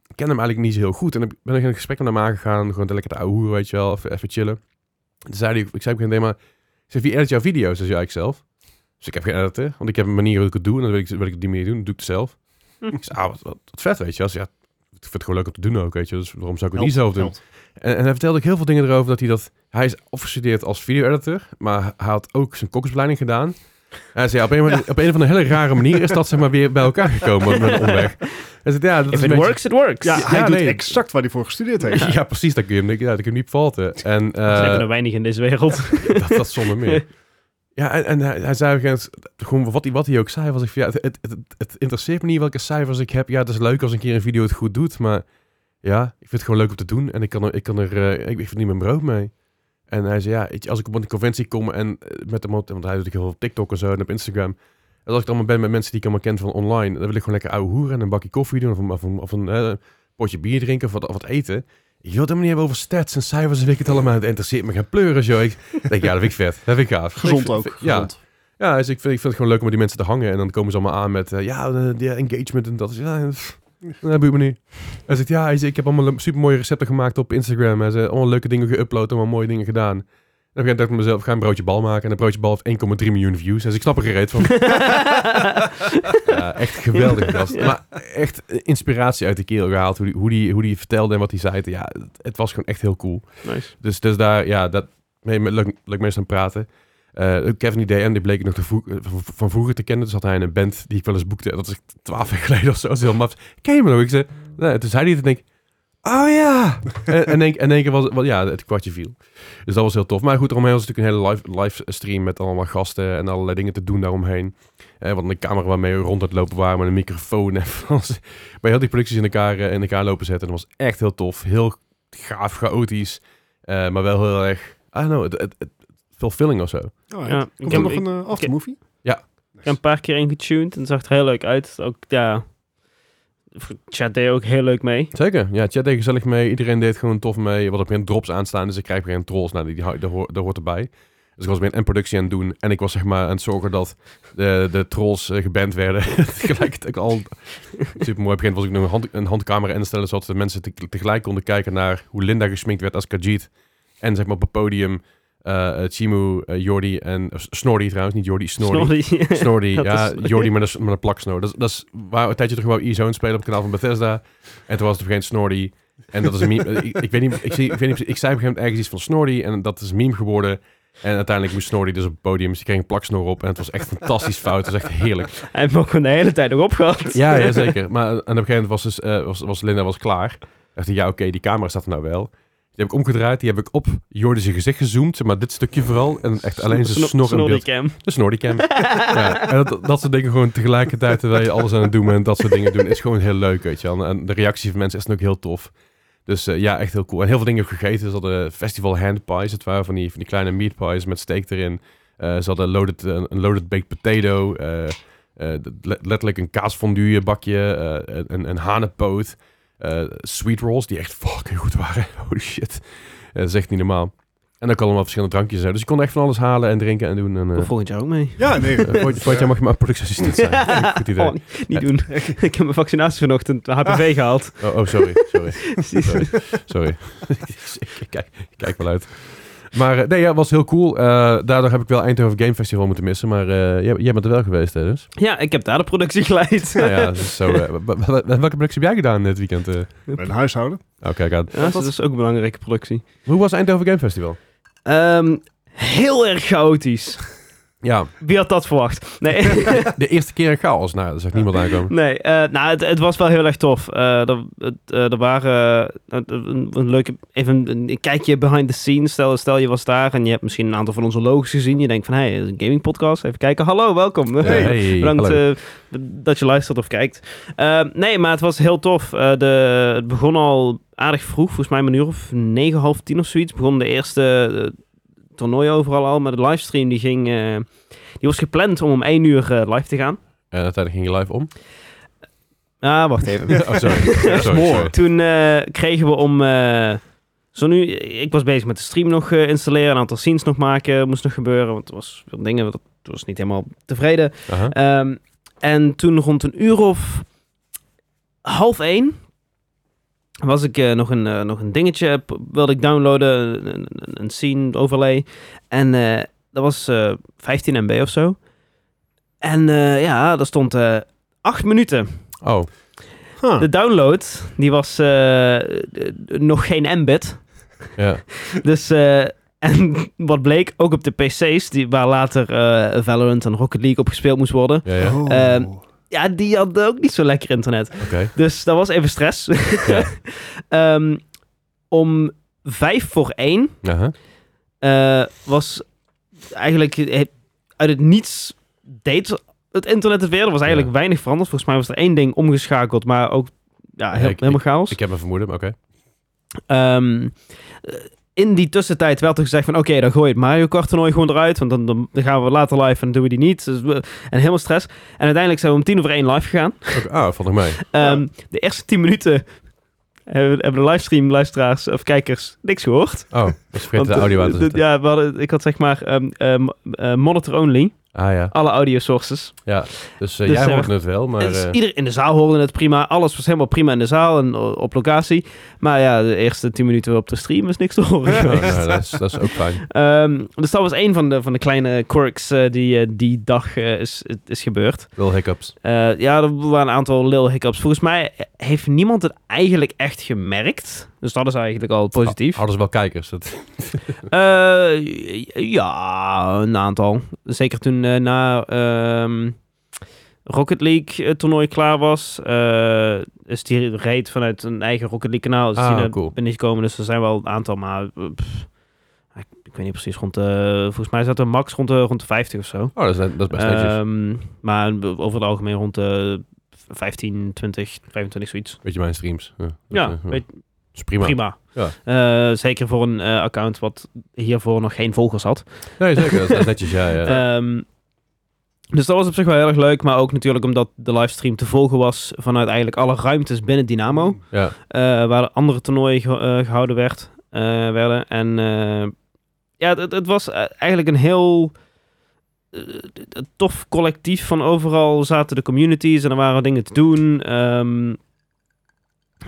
S2: ik ken hem eigenlijk niet zo heel goed. En ik ben ik in een gesprek met hem aangegaan. Gewoon te lekker te ouwehoeren, weet je wel. Even, even chillen. Toen zei hij, ik zei op een gegeven moment, maar... ik zeg, wie edit jouw video's? Dat is eigenlijk zelf. Dus ik heb geen editor, want ik heb een manier hoe ik het doe. En dan wil ik, wil ik het die manier doen, dan doe ik het zelf.
S1: Hm.
S2: Ik zeg, ah, wat, wat, wat vet, weet je. Als, ja, ik vind het gewoon leuk om te doen ook, weet je. Dus waarom zou ik het niet zelf doen?
S3: Helpt.
S2: En, en hij vertelde ook heel veel dingen erover dat hij dat... Hij is afgestudeerd als video-editor, maar hij had ook zijn kokkersopleiding gedaan. En hij zei, ja, op, een, of andere- op een of andere hele rare manier is dat zeg maar weer bij elkaar gekomen met een omweg. Hij zei, ja, dat
S1: If
S2: is
S1: it
S2: een beetje-
S1: works, it works.
S3: Ja,
S1: Ja.
S3: hij
S2: Ja,
S3: doet
S2: nee.
S3: exact waar hij voor gestudeerd
S2: [LAUGHS]
S3: heeft.
S2: Ja, precies, dat kun je hem, ja, dat kun je hem niet vervalten. En, eh,
S1: Er zijn er weinig in deze
S2: [LAUGHS]
S1: wereld.
S2: dat, dat zonder
S1: [LAUGHS]
S2: meer. Ja, en, en hij, hij zei op een gegeven moment, gewoon wat hij, wat hij ook zei, was ik van, ja, het, het, het, het interesseert me niet welke cijfers ik heb. Ja, het is leuk als een keer een video het goed doet, maar ja, ik vind het gewoon leuk om te doen en ik kan er, ik kan er, eh, ik, ik verdien mijn brood mee. En hij zei, ja, weet je, als ik op een conventie kom en eh, met hem, op- want hij doet ook heel veel op TikTok en zo en op Instagram. En als ik dan maar ben met mensen die ik allemaal ken van online, dan wil ik gewoon lekker ouwe hoeren en een bakje koffie doen of een, of een, of een eh, potje bier drinken of wat, of wat eten. Je wilt het helemaal niet hebben over stats en cijfers en weet ik het allemaal. Het interesseert me geen pleuren, zo. Ik denk, ja, dat vind ik vet. Dat vind ik gaaf.
S3: [LAUGHS] Gezond
S2: Ik
S3: ook.
S2: vind- Ja,
S3: Gezond.
S2: ja dus ik, vind, ik vind het gewoon leuk om met die mensen te hangen. En dan komen ze allemaal aan met, eh, ja, de, de engagement en dat. is ja, pff, dat boeit me niet. Hij zegt, ja, hij zegt, ik heb allemaal super mooie recepten gemaakt op Instagram. Hij zegt, allemaal leuke dingen geüpload, allemaal mooie dingen gedaan. En op een gegeven moment dacht ik mezelf, ik ga een broodje bal maken. En een broodje bal heeft 1,3 miljoen views. Dus ik snap er gereed
S1: [LAUGHS]
S2: van. Ja, echt geweldig gast. Maar echt eh, inspiratie uit de kerel gehaald. Hoe die, hoe, die, hoe die vertelde en wat hij zei. Ja, het, het was gewoon echt heel cool.
S1: nice.
S2: Dus, dus daar, ja, dat mee, met- leuk, leuk mensen aan praten. Eh, Kevin die DM, die bleek ik nog te vroeg- eh, van- van vroeger te kennen. Dus had hij een band die ik wel eens boekte. Dat is echt 12 jaar geleden of zo. Dat is heel maf. Ken je me nog? Ik zei, nee. Toen zei hij het en ik, oh ja. en, en, denk, en in één keer was het, wel, ja, het kwartje viel. Dus dat was heel tof. Maar goed, eromheen was natuurlijk een hele live, live stream met allemaal gasten en allerlei dingen te doen daaromheen. Eh, want een camera waarmee we rond het lopen waren met een microfoon. En van alles. maar heel die producties in elkaar, eh, in elkaar lopen zetten. Dat was echt heel tof. Heel gaaf, chaotisch. eh, maar wel heel erg, I don't know, het, het, het- fulfilling of zo.
S3: Oh, ja.
S1: Ja, ik heb-
S3: Komt er nog
S1: ik-
S3: een eh, aftermovie?
S1: Ik heb een paar keer ingetuned en het zag er heel leuk uit. Ook, ja, chat deed ook heel leuk mee.
S2: Zeker, ja, chat deed gezellig mee. Iedereen deed gewoon tof mee. Wat op geen drops aanstaan, dus ik krijg geen trolls. Nou, die, die, hou- daar hoor- daar hoort erbij. Dus ik was weer een productie aan het doen. En ik was zeg maar aan het zorgen dat de, de trolls eh, geband werden. [LAUGHS] Tegelijk ook al super mooi. Op een gegeven moment was ik nog een, hand, een handcamera instellen, zodat de mensen te- tegelijk konden kijken naar hoe Linda gesminkt werd als Khajiit. En zeg maar op het podium eh Chimu, eh, Jordi en of Snorri trouwens, niet Jordi, Snorri.
S1: Snorri. [LAUGHS]
S2: [LAUGHS] Snorri,
S1: Dat
S2: ja,
S1: is-
S2: Jordi met een, met een plaksnoor. Dat, is- dat is waar een tijdje terug wou e-zone spelen op het kanaal van Bethesda. En toen was het op een gegeven moment Snorri. En dat is een meme. [LAUGHS] ik, ik weet niet, ik, zie, ik, weet niet, ik zei op een gegeven moment ergens iets van Snorri en dat is een meme geworden. En uiteindelijk moest Snorri dus op het podium. Dus die kreeg een plaksnoor op en het was echt fantastisch fout. Het was echt heerlijk.
S1: Hij heeft me ook gewoon de hele tijd erop gehad.
S2: [LAUGHS] Ja, ja zeker. [LAUGHS] Maar aan op een gegeven moment was, dus, eh, was, was Linda was klaar. Dacht ik, ja oké, die camera staat er nou wel. Die heb ik omgedraaid, die heb ik op Jordi zijn gezicht gezoomd. zeg Maar dit stukje vooral. En echt alleen zijn
S1: Snor-
S2: snor in beeld.
S1: Snorricam.
S2: De Snorricam. ja, en dat, dat soort dingen gewoon tegelijkertijd terwijl je alles aan het doen bent en dat soort dingen doen, is gewoon heel leuk, weet je wel. En de reactie van mensen is dan ook heel tof. Dus eh, ja, echt heel cool. En heel veel dingen heb ik gegeten. Ze hadden festival handpies. Het waren van die, van die kleine meatpies met steak erin. Eh, ze hadden loaded, eh, een loaded baked potato. eh, eh, d- le- letterlijk een kaasfondue bakje. eh, een, een hanenpoot. eh, sweet rolls, die echt fucking goed waren. [LAUGHS] Holy shit. Eh, dat is echt niet normaal. En dan kan allemaal verschillende drankjes zijn. Dus je kon echt van alles halen en drinken en doen. En, eh,
S1: Kom volgend jaar ook mee.
S3: Ja, nee.
S2: eh, Voigt- Voigt, jij mag je maar
S1: [LAUGHS]
S2: productieassistent zijn. Goed idee.
S1: Oh, niet niet doen. [LAUGHS] ik heb mijn vaccinatie vanochtend HPV gehaald.
S2: Oh, oh, sorry. Sorry. Sorry. sorry. [LAUGHS] ik, kijk, ik kijk wel uit. Maar eh, nee, ja, was heel cool. Eh, daardoor heb ik wel Eindhoven Game Festival moeten missen. Maar eh, jij, jij bent er wel geweest, hè? Dus.
S1: ja, ik heb daar de productie geleid.
S2: Nou ja, dus zo, eh, wa- wa- wa- welke productie heb jij gedaan dit weekend? eh?
S3: Mijn huishouden.
S2: Oh, kijk aan.
S1: Ja, dus dat is ook een belangrijke productie.
S2: Hoe was Eindhoven Game Festival?
S1: Ehm, heel erg chaotisch.
S2: Ja,
S1: Wie had dat verwacht?
S2: [LAUGHS]
S1: Nee,
S2: de eerste keer een chaos. Nou, daar zag niemand aankomen.
S1: nee eh, nou, het, het was wel heel erg tof. Eh, er, het, eh, er waren eh, een, een leuke, even een, een kijkje behind the scenes. Stel, stel je was daar en je hebt misschien een aantal van onze logos gezien. Je denkt van, hé, hey, een gaming podcast. Even kijken. Hallo, welkom.
S3: Hey.
S1: Bedankt
S2: hallo.
S1: eh, dat je luistert of kijkt. Eh, nee, maar het was heel tof. Eh, de, het begon al aardig vroeg, volgens mij om een uur of negen, half tien of zoiets. Begon de eerste eh, toernooi overal al, maar de livestream die ging... eh, die was gepland om om één uur eh, live te gaan.
S2: En uiteindelijk ging je live om.
S1: Ah, wacht even.
S2: Oh, sorry. sorry, sorry.
S1: Toen eh, kregen we om... eh, zo nu, ik was bezig met de stream nog eh, installeren, een aantal scenes nog maken, moest nog gebeuren, want er was veel dingen, dat was niet helemaal tevreden.
S2: Aha.
S1: Ehm, en toen rond een uur of half één was ik eh, nog, een, eh, nog een dingetje, p- wilde ik downloaden, een, een- een scene overlay. En eh, dat was eh, 15 MB of zo. En eh, ja, daar stond eh acht minuten.
S2: Oh,
S3: Huh.
S1: De download, die was eh, eh, nog geen Mbit.
S2: ja.
S1: Dus, eh, en [LAUGHS] wat bleek, ook op de PC's, die, waar later eh, Valorant en Rocket League op gespeeld moest worden.
S2: Ja, ja.
S3: Oh.
S1: Ehm, Ja, die had ook niet zo lekker internet.
S2: Oké.
S1: Dus dat was even stress.
S2: Ja.
S1: [LAUGHS] Ehm, om vijf voor één
S2: Aha.
S1: eh, was eigenlijk eh, uit het niets deed het internet het weer. Er was eigenlijk
S2: Ja.
S1: weinig veranderd. Volgens mij was er één ding omgeschakeld, maar ook ja, heel-
S2: ik- ik-
S1: helemaal chaos.
S2: Ik heb een vermoeden, maar oké.
S1: Ehm, eh, in die tussentijd werd er gezegd van... oké, dan gooi je het Mario Kart toernooi gewoon eruit... want dan, dan gaan we later live en dan doen we die niet. Dus we- en helemaal stress. En uiteindelijk zijn we om tien over één live gegaan.
S2: Oké, Ah, valt nog mee.
S1: Ehm, De eerste tien minuten hebben, hebben de livestream luisteraars of kijkers niks gehoord.
S2: Oh, ik vergeet de
S1: Want,
S2: audio aan
S1: eh,
S2: te
S1: d-
S2: zetten.
S1: Ja, we hadden, ik had zeg maar ehm, ehm, eh, monitor only,
S2: Ah ja,
S1: alle audio sources.
S2: dus eh,
S1: Dus,
S2: jij
S1: eh,
S2: hoort het wel, maar...
S1: Dus
S2: eh,
S1: ieder in de zaal hoorde het prima, alles was helemaal prima in de zaal en o- op locatie. Maar ja, de eerste tien minuten op de stream is niks te
S2: [LAUGHS]
S1: horen
S2: oh,
S1: geweest.
S2: nou, dat, is, dat is ook fijn.
S1: Ehm, dus dat was een van de, van de kleine quirks eh, die eh, die dag eh, is, is gebeurd.
S2: Wel hiccups.
S1: Eh, ja, er waren een aantal lil hiccups. Volgens mij heeft niemand het eigenlijk echt gemerkt. Dus dat is eigenlijk al positief.
S2: Hadden ze wel kijkers. Ah, Dat,
S1: Eh, ja, een aantal. Zeker toen eh, na ehm, Rocket League eh, toernooi klaar was, eh, is die reed vanuit een eigen Rocket League kanaal. Dus
S2: Ah,
S1: die naar
S2: cool.
S1: binnen gekomen. Dus er zijn wel een aantal, maar eh, pff, ik, ik weet niet precies. Rond de, volgens mij zat er max rond de, rond de 50 of zo.
S2: oh, dat is, dat is best netjes.
S1: Ehm, maar over het algemeen rond de 15, 20, 25 zoiets.
S2: Weet je mijn streams. Ja, dat,
S1: Ja,
S2: eh,
S1: weet-
S2: is prima.
S1: prima.
S2: Ja.
S1: Eh, zeker voor een eh, account wat hiervoor nog geen volgers had.
S2: Nee, zeker. Dat is, dat is netjes,
S1: [LAUGHS]
S2: ja. ja.
S1: Ehm, dus dat was op zich wel heel erg leuk. Maar ook natuurlijk omdat de livestream te volgen was vanuit eigenlijk alle ruimtes binnen Dynamo.
S2: ja.
S1: eh, waar de andere toernooien ge- eh, gehouden werd, eh, werden. En eh, ja, het, het was eh, eigenlijk een heel eh, eh, tof collectief van overal zaten de communities en er waren dingen te doen. Ehm,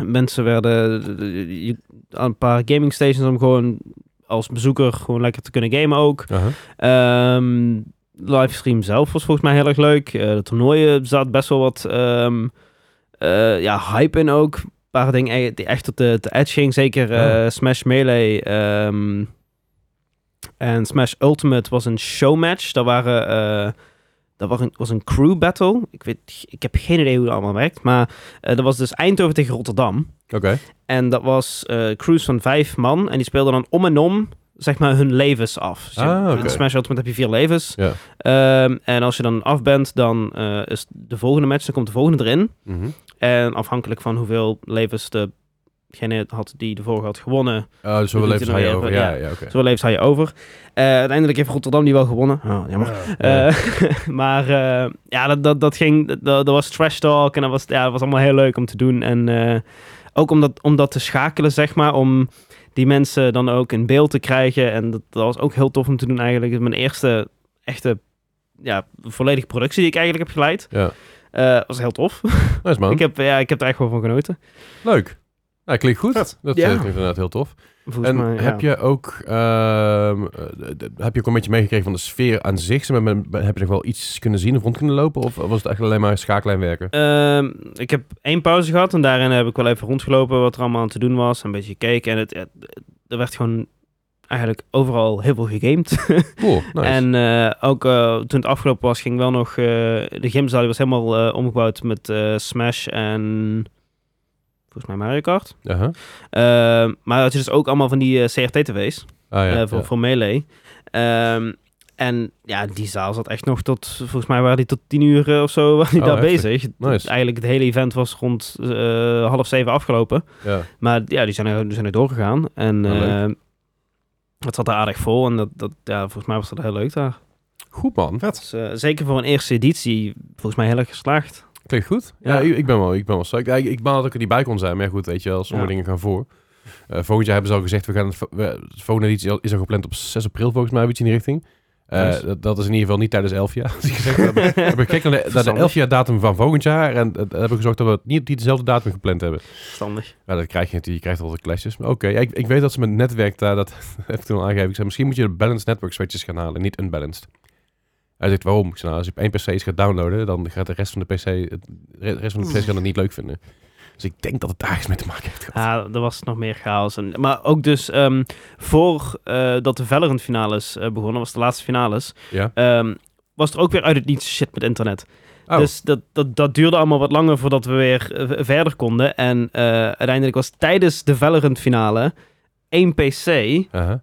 S1: mensen werden eh, je- aan een paar gaming stations om gewoon als bezoeker gewoon lekker te kunnen gamen ook.
S2: Aha.
S1: Ehm livestream zelf was volgens mij heel erg leuk. Eh, de toernooien zat best wel wat ehm, eh, ja, hype in ook. Een paar dingen e- die echt op de, de edge ging. Zeker eh, Smash Melee ehm, en Smash Ultimate was een showmatch. Dat, waren, eh, dat was, een, was een crew battle. Ik, weet, ik heb geen idee hoe dat allemaal werkt. Maar eh, dat was dus Eindhoven tegen Rotterdam.
S2: Oké.
S1: En dat was eh crews van vijf man. En die speelden dan om en om, zeg maar, hun levens af. Dus je-
S2: Ah, oké.
S1: In Smash Ultimate heb je vier levens.
S2: Ja.
S1: Ehm, en als je dan af bent, dan eh, is de volgende match, dan komt de volgende erin.
S2: Mhm.
S1: En afhankelijk van hoeveel levens de degene had die de vorige had gewonnen,
S2: Oh, dus wel
S1: doet
S2: even
S1: hij
S2: hij
S1: dan
S2: over.
S1: weer,
S2: Ja,
S1: ja.
S2: ja, oké.
S1: zowel heeft hij over. Eh, uiteindelijk heeft Rotterdam die wel gewonnen.
S2: Ah,
S1: Oh, jammer.
S2: Ja.
S1: Eh, [LAUGHS] maar eh, ja, dat, dat, dat ging, dat, dat was trash talk en dat was, ja, dat was allemaal heel leuk om te doen. En eh, ook om dat, om dat te schakelen, zeg maar, om die mensen dan ook in beeld te krijgen. En dat, dat was ook heel tof om te doen eigenlijk. Mijn eerste echte, ja, volledige productie die ik eigenlijk heb geleid.
S2: Ja. Oh.
S1: Eh, was heel tof. [LAUGHS]
S2: Nice man.
S1: Ik, heb, ja, ik heb er echt wel van genoten.
S2: Leuk. Nou, klinkt goed.
S3: Vet.
S2: Dat
S1: Ja.
S2: eh, klinkt inderdaad heel tof.
S1: Volgens
S2: En
S1: mij, ja.
S2: heb je ook ehm, eh, d- d- heb je ook een beetje meegekregen van de sfeer aan zich? Zeg maar, ben- ben- Heb je nog wel iets kunnen zien of rond kunnen lopen? Of was het eigenlijk alleen maar schaaklijn werken?
S1: Ehm, ik heb één pauze gehad en daarin heb ik wel even rondgelopen wat er allemaal aan te doen was. Een beetje gekeken en het, het- er werd gewoon eigenlijk overal heel veel gegamed. [LAUGHS]
S2: Cool, nice.
S1: En eh, ook eh, toen het afgelopen was ging wel nog, eh, de gymzaal die was helemaal eh, omgebouwd met eh, Smash en volgens mij Mario Kart.
S2: Aha.
S1: Ehm, maar het is dus ook allemaal van die eh, CRT-tv's
S2: Ah, ja,
S1: eh, voor,
S2: ja.
S1: voor Melee. Ehm, en ja, die zaal zat echt nog tot, volgens mij waren die tot tien uur eh, of zo, waren die
S2: Oh,
S1: daar
S2: heftig.
S1: bezig.
S2: Nice.
S1: Eigenlijk het hele event was rond eh, half zeven afgelopen.
S2: Ja.
S1: Maar ja, die zijn er, die zijn er doorgegaan. En
S2: Ah, leuk.
S1: eh, het zat er aardig vol en dat, dat, ja, volgens mij was dat heel leuk daar.
S2: Goed man.
S1: Dus, eh, zeker voor een eerste editie, volgens mij heel erg geslaagd.
S2: Klinkt goed.
S1: Ja.
S2: Ja, Ik, ik ben wel, ik ben wel psyched. Ja, ik, ik baal dat ik er niet bij kon zijn. Maar ja, goed, weet je wel, sommige
S1: Ja.
S2: dingen gaan voor. Eh, volgend jaar hebben ze al gezegd, we gaan het, vo- we, de volgende editie al- is al gepland op 6 april volgens mij, iets in die richting. Eh,
S1: Nice.
S2: dat, dat is in ieder geval niet tijdens 11
S1: [LAUGHS]
S2: jaar. Dus ik zeg, dat- ik heb gekeken naar de, naar de 11 jaar datum van volgend jaar en eh, hebben gezorgd dat we het niet, niet dezelfde datum gepland hebben.
S1: Verstandig.
S2: Ja, dat krijg je natuurlijk. Je krijgt altijd clashes. Maar oké, ja, ik, ik weet dat ze met netwerk daar, dat [LAUGHS] heb ik toen al aangegeven. Ik zei, misschien moet je de balanced network switches gaan halen, niet unbalanced. Hij zegt, waarom? Ik zei, nou, als je op één PC iets gaat downloaden, dan gaat de rest van de PC, het, de
S1: [LAUGHS]
S2: rest van de PC's gaan het niet leuk vinden. Dus ik denk dat het daar iets mee te maken heeft gehad.
S1: Ja, er was nog meer chaos. En, maar ook dus ehm voor eh, dat de Valorant finales eh, begonnen, was de laatste finales,
S2: Ja?
S1: ehm, was er ook weer uit het niets shit met internet.
S2: Oh,
S1: Dus dat, dat, dat duurde allemaal wat langer voordat we weer eh, v- verder konden. En eh, uiteindelijk was tijdens de Valorant finale één PC
S2: Oh, aha,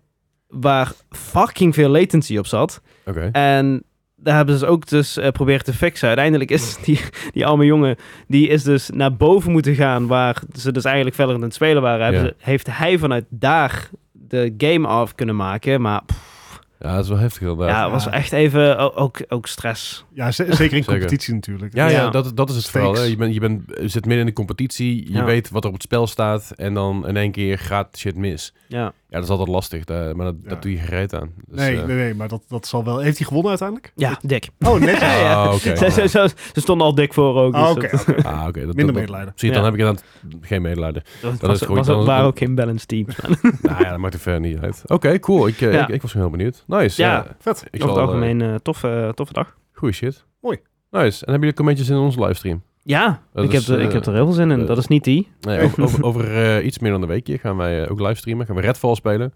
S1: waar fucking veel latency op zat.
S2: oké.
S1: En daar hebben ze dus ook dus eh proberen te fixen. Uiteindelijk is die, die arme jongen, die is dus naar boven moeten gaan waar ze dus eigenlijk Valorant aan het spelen waren. Hebben
S2: Ja.
S1: ze- heeft hij vanuit daar de game af kunnen maken. Maar pff,
S2: Ja, dat is wel heftig inderdaad.
S1: ja,
S2: Ja,
S1: het was echt even o- ook, ook stress.
S3: Ja, ze- zeker in
S2: [LAUGHS] Zeker.
S3: competitie natuurlijk.
S2: ja,
S1: ja.
S2: dat, dat is het
S3: Stakes.
S2: vooral. hè. Je, bent je, bent je zit midden in de competitie, je
S1: Ja.
S2: weet wat er op het spel staat en dan in één keer gaat shit mis.
S1: Ja.
S2: Ja, dat is altijd lastig, daar- maar dat, dat doe je gereed aan. Dus,
S3: nee,
S2: eh,
S3: nee, nee, maar dat, dat zal wel. Heeft hij gewonnen uiteindelijk?
S1: ja, dik. [LAUGHS]
S3: Oh, net.
S1: Ja, ja.
S2: Ah, oké.
S1: Ze, ze, ze- ze stonden al dik voor ook. dus
S3: Ah,
S1: dat-
S3: oké. oké.
S2: Ah, oké. dat-
S3: Minder
S2: dat-
S3: medelijden.
S2: Zie je, dan
S1: Ja.
S2: heb ik inderdaad geen medelijden. [LAUGHS]
S1: Dat,
S2: Dat
S1: was,
S2: is goed,
S1: was
S2: dan
S1: ook,
S2: is
S1: waren
S2: het-
S1: ook geen balance teams.
S2: nou ja, dat maakt er verder niet uit. Oké, cool. Ik, eh,
S1: Ja.
S2: ik, ik was gewoon heel benieuwd. Nice. Ja,
S1: Ja.
S3: Vet.
S2: ik
S1: Over
S2: zal,
S1: het
S2: eh,
S1: algemeen eh, toffe, toffe dag.
S2: goeie shit.
S3: Mooi.
S2: Nice. En hebben jullie commentjes in onze livestream?
S1: Ja,
S2: Dat
S1: ik,
S2: is,
S1: heb er, ik
S2: eh,
S1: heb er heel veel zin in.
S2: eh,
S1: dat is niet die.
S2: Nee, over over, over, eh, iets meer dan een weekje gaan wij eh, ook livestreamen. Gaan we Redfall spelen.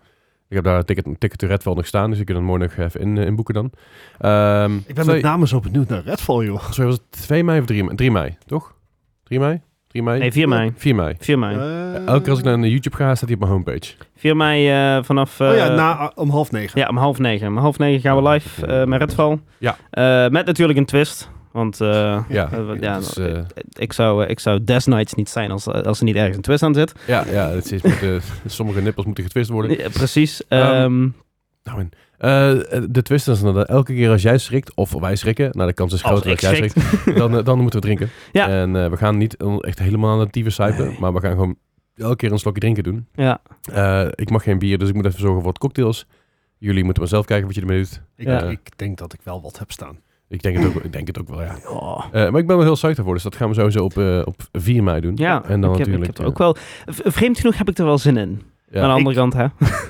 S2: Ik heb daar een ticket, een ticket to Redfall nog staan, dus je kunt het mooi nog even in, eh, inboeken dan. Ehm,
S3: Ik ben
S2: sorry,
S3: met name zo benieuwd naar Redfall, joh.
S2: sorry, was het 2 mei of 3 mei? 3 mei, toch? 3 mei? 3 mei?
S1: Nee, 4 mei.
S2: 4 mei.
S1: 4 mei.
S3: Eh,
S2: Elke keer als ik naar YouTube ga, staat hij op mijn homepage.
S1: 4 mei eh, vanaf... eh,
S3: oh ja, na, om half negen.
S1: ja, om half negen. Om half negen gaan we live eh, met Redfall.
S2: Ja.
S1: Eh, met natuurlijk een twist. Want eh,
S2: Ja,
S1: eh, wat- ja,
S2: dat is, eh,
S1: ik, zou, eh, ik zou Death Knights niet zijn als, als er niet ergens een twist aan zit.
S2: ja, ja het is met, eh, [LAUGHS] sommige nippels moeten getwist worden.
S1: Eh, precies.
S2: Ehm,
S1: ehm,
S2: Nou, en, eh, de twist is inderdaad, elke keer als jij schrikt, of wij schrikken, nou de kans is
S1: als
S2: groter
S1: ik
S2: dat jij
S1: schrik.
S2: schrikt, dan, eh, dan moeten we drinken.
S1: Ja.
S2: En eh, we gaan niet eh, echt helemaal aan het dieven suipen,
S1: Nee.
S2: maar we gaan gewoon elke keer een slokje drinken doen.
S1: Ja.
S2: Eh, ik mag geen bier, dus ik moet even zorgen voor wat cocktails. Jullie moeten maar zelf kijken wat je ermee doet.
S3: Ik,
S1: Ja.
S3: ik denk dat ik wel wat heb staan.
S2: Ik denk het ook, ik denk het ook wel, ja.
S1: Oh.
S2: Eh, maar ik ben wel heel psyched daarvoor, dus dat gaan we sowieso op, eh, op 4 mei doen.
S1: Ja,
S2: en dan
S1: ik, heb, ik
S2: natuurlijk.
S1: heb er ook wel... v- Vreemd genoeg heb ik er wel zin in.
S2: eh,
S1: Aan
S2: ja.
S1: de andere
S3: Ik-
S1: kant, hè?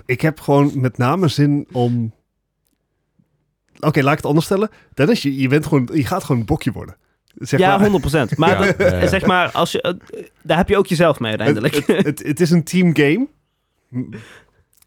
S3: Ik heb gewoon met name zin om... Oké, laat ik het anders stellen. Dennis, je, je, bent gewoon, je gaat gewoon een bokje worden. Zeg
S1: ja,
S3: maar,
S2: [LAUGHS]
S1: 100%. Maar
S2: Ja.
S1: dat-
S2: Ja, ja.
S1: zeg maar, als je, eh, daar heb je ook jezelf mee uiteindelijk.
S3: Het, het, het- het is een team game.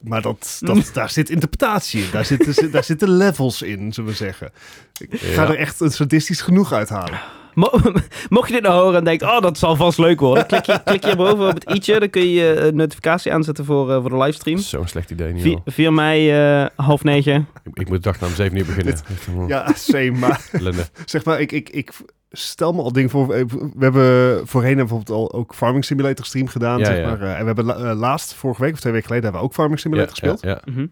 S3: Maar
S1: [LAUGHS]
S3: dat, dat, daar zit interpretatie in. Daar zitten, daar zitten levels in, zullen we zeggen. Ik ga
S2: Ja.
S3: er echt een sadistisch genoeg uithalen.
S1: [LAUGHS] Mo- [LAUGHS] Mocht je dit nou horen en denkt, oh, dat zal vast leuk worden. Klik, je, klik hierboven op het i'tje, dan kun je je eh, notificatie aanzetten voor, eh, voor de livestream.
S2: Zo'n slecht idee niet.
S1: Vi- 4 mei, eh, half negen.
S2: Ik, ik moet de dag na om 7 uur beginnen. Echt, eh,
S3: Ja, same. Maar
S2: ellende.
S3: zeg maar, ik, ik, ik, stel me al dingen voor. Eh, We hebben voorheen hebben we bijvoorbeeld al ook Farming Simulator stream gedaan.
S2: Ja,
S3: zeg
S2: ja.
S3: Maar. eh, en we hebben la- eh, laatst, vorige week of twee weken geleden, hebben we ook Farming Simulator gespeeld.
S2: Ja,
S1: Mhm.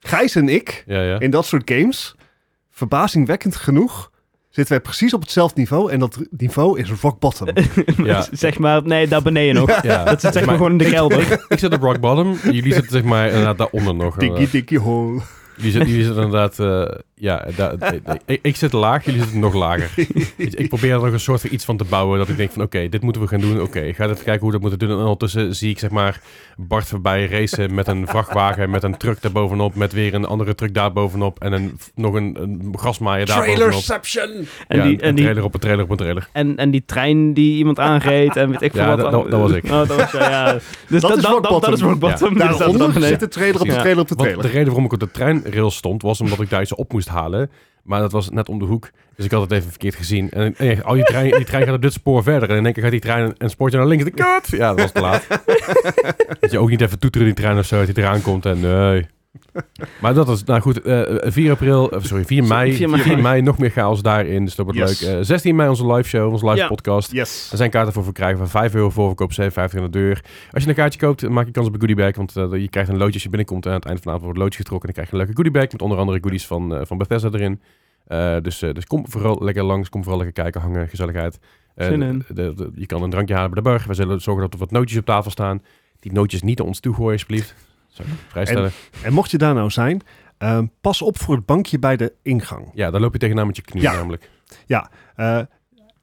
S3: Gijs en ik,
S2: ja, ja. ja.
S3: in dat soort games, verbazingwekkend genoeg, zitten wij precies op hetzelfde niveau. En dat niveau is rock
S2: [LAUGHS]
S3: bottom.
S2: Ja.
S1: [LAUGHS] zeg maar, nee, daar beneden nog.
S2: [LAUGHS] Ja.
S1: Dat zit zeg maar
S2: Maar-
S1: gewoon in de kelder.
S2: Ik zit op rock bottom. Jullie zitten zeg maar inderdaad daaronder nog. eh,
S3: Diggy diggy hole.
S2: Jullie zitten, jullie zitten inderdaad... eh, ja,
S1: [LAUGHS]
S2: daar- ik, ik zit laag, jullie zitten nog lager. ik, ik probeer er nog een soort van iets van te bouwen. Dat ik denk van oké, dit moeten we gaan doen. Oké, ik ga even kijken hoe we dat moeten doen. En ondertussen zie ik zeg maar Bart voorbij racen met een vrachtwagen. Met een truck daarbovenop. Met weer een andere truck daarbovenop. En een, nog een, een grasmaaier daarbovenop.
S3: [LAUGHS] Trailerception!
S1: En,
S2: ja,
S1: die,
S2: een
S1: en, die,
S2: trailer op een trailer op een trailer.
S1: en, en die trein die iemand aanreed en weet ik veel
S2: Ja,
S1: wat.
S2: dat- dat- dat was ik.
S1: Oh, dat was jij, ja. Dus dat,
S3: is
S1: dat,
S3: rock
S1: dat, dat
S3: bottom.
S1: is rock bottom. Dus dat- dat-
S3: Daaronder
S1: nee.
S3: zit de trailer op de
S1: Ja.
S3: trailer op de
S2: Want de
S3: trailer.
S2: reden waarom ik op de treinrail stond, was omdat ik daar iets op moest halen. Maar dat was net om de hoek. Dus ik had het even verkeerd gezien. En, en al die trein, die trein gaat op dit spoor verder. En in één keer gaat die trein een spoortje naar links. Ik denk, Kut! Ja, dat was te
S3: [LAUGHS]
S2: laat. dat je ook niet even toeteren in die trein of zo, dat die eraan komt. En nee. Maar dat is, nou goed, eh, 4 april, eh, sorry, 4 mei, 4
S1: 4
S2: mei,
S1: mei.
S2: nog meer chaos daarin. Dus dat wordt
S3: Yes.
S2: leuk. Eh, 16 mei onze live show, onze live
S1: Ja.
S2: podcast.
S3: Yes.
S2: Er zijn kaarten voor verkrijgen van 5 euro voorverkoop, 7,50 aan de deur. Als je een kaartje koopt, maak je kans op een goodiebag. Want eh, je krijgt een loodje als je binnenkomt. En aan het eind van de avond wordt het loodje getrokken. En dan krijg je een leuke goodiebag. Met onder andere goodies van, eh, van Bethesda erin. Eh, dus, eh, dus kom vooral lekker langs. Kom vooral lekker kijken, hangen, gezelligheid. Eh,
S1: Zin in.
S2: de- de- je kan een drankje halen bij de bar. We zullen zorgen dat er wat nootjes op tafel staan. Die nootjes niet naar ons toe gooien, alsjeblieft. Zou ik vrijstellen.
S3: En mocht je daar nou zijn, ehm, pas op voor het bankje bij de ingang.
S2: Ja, daar loop je tegenaan met je knie
S3: Ja.
S2: namelijk.
S3: Eh,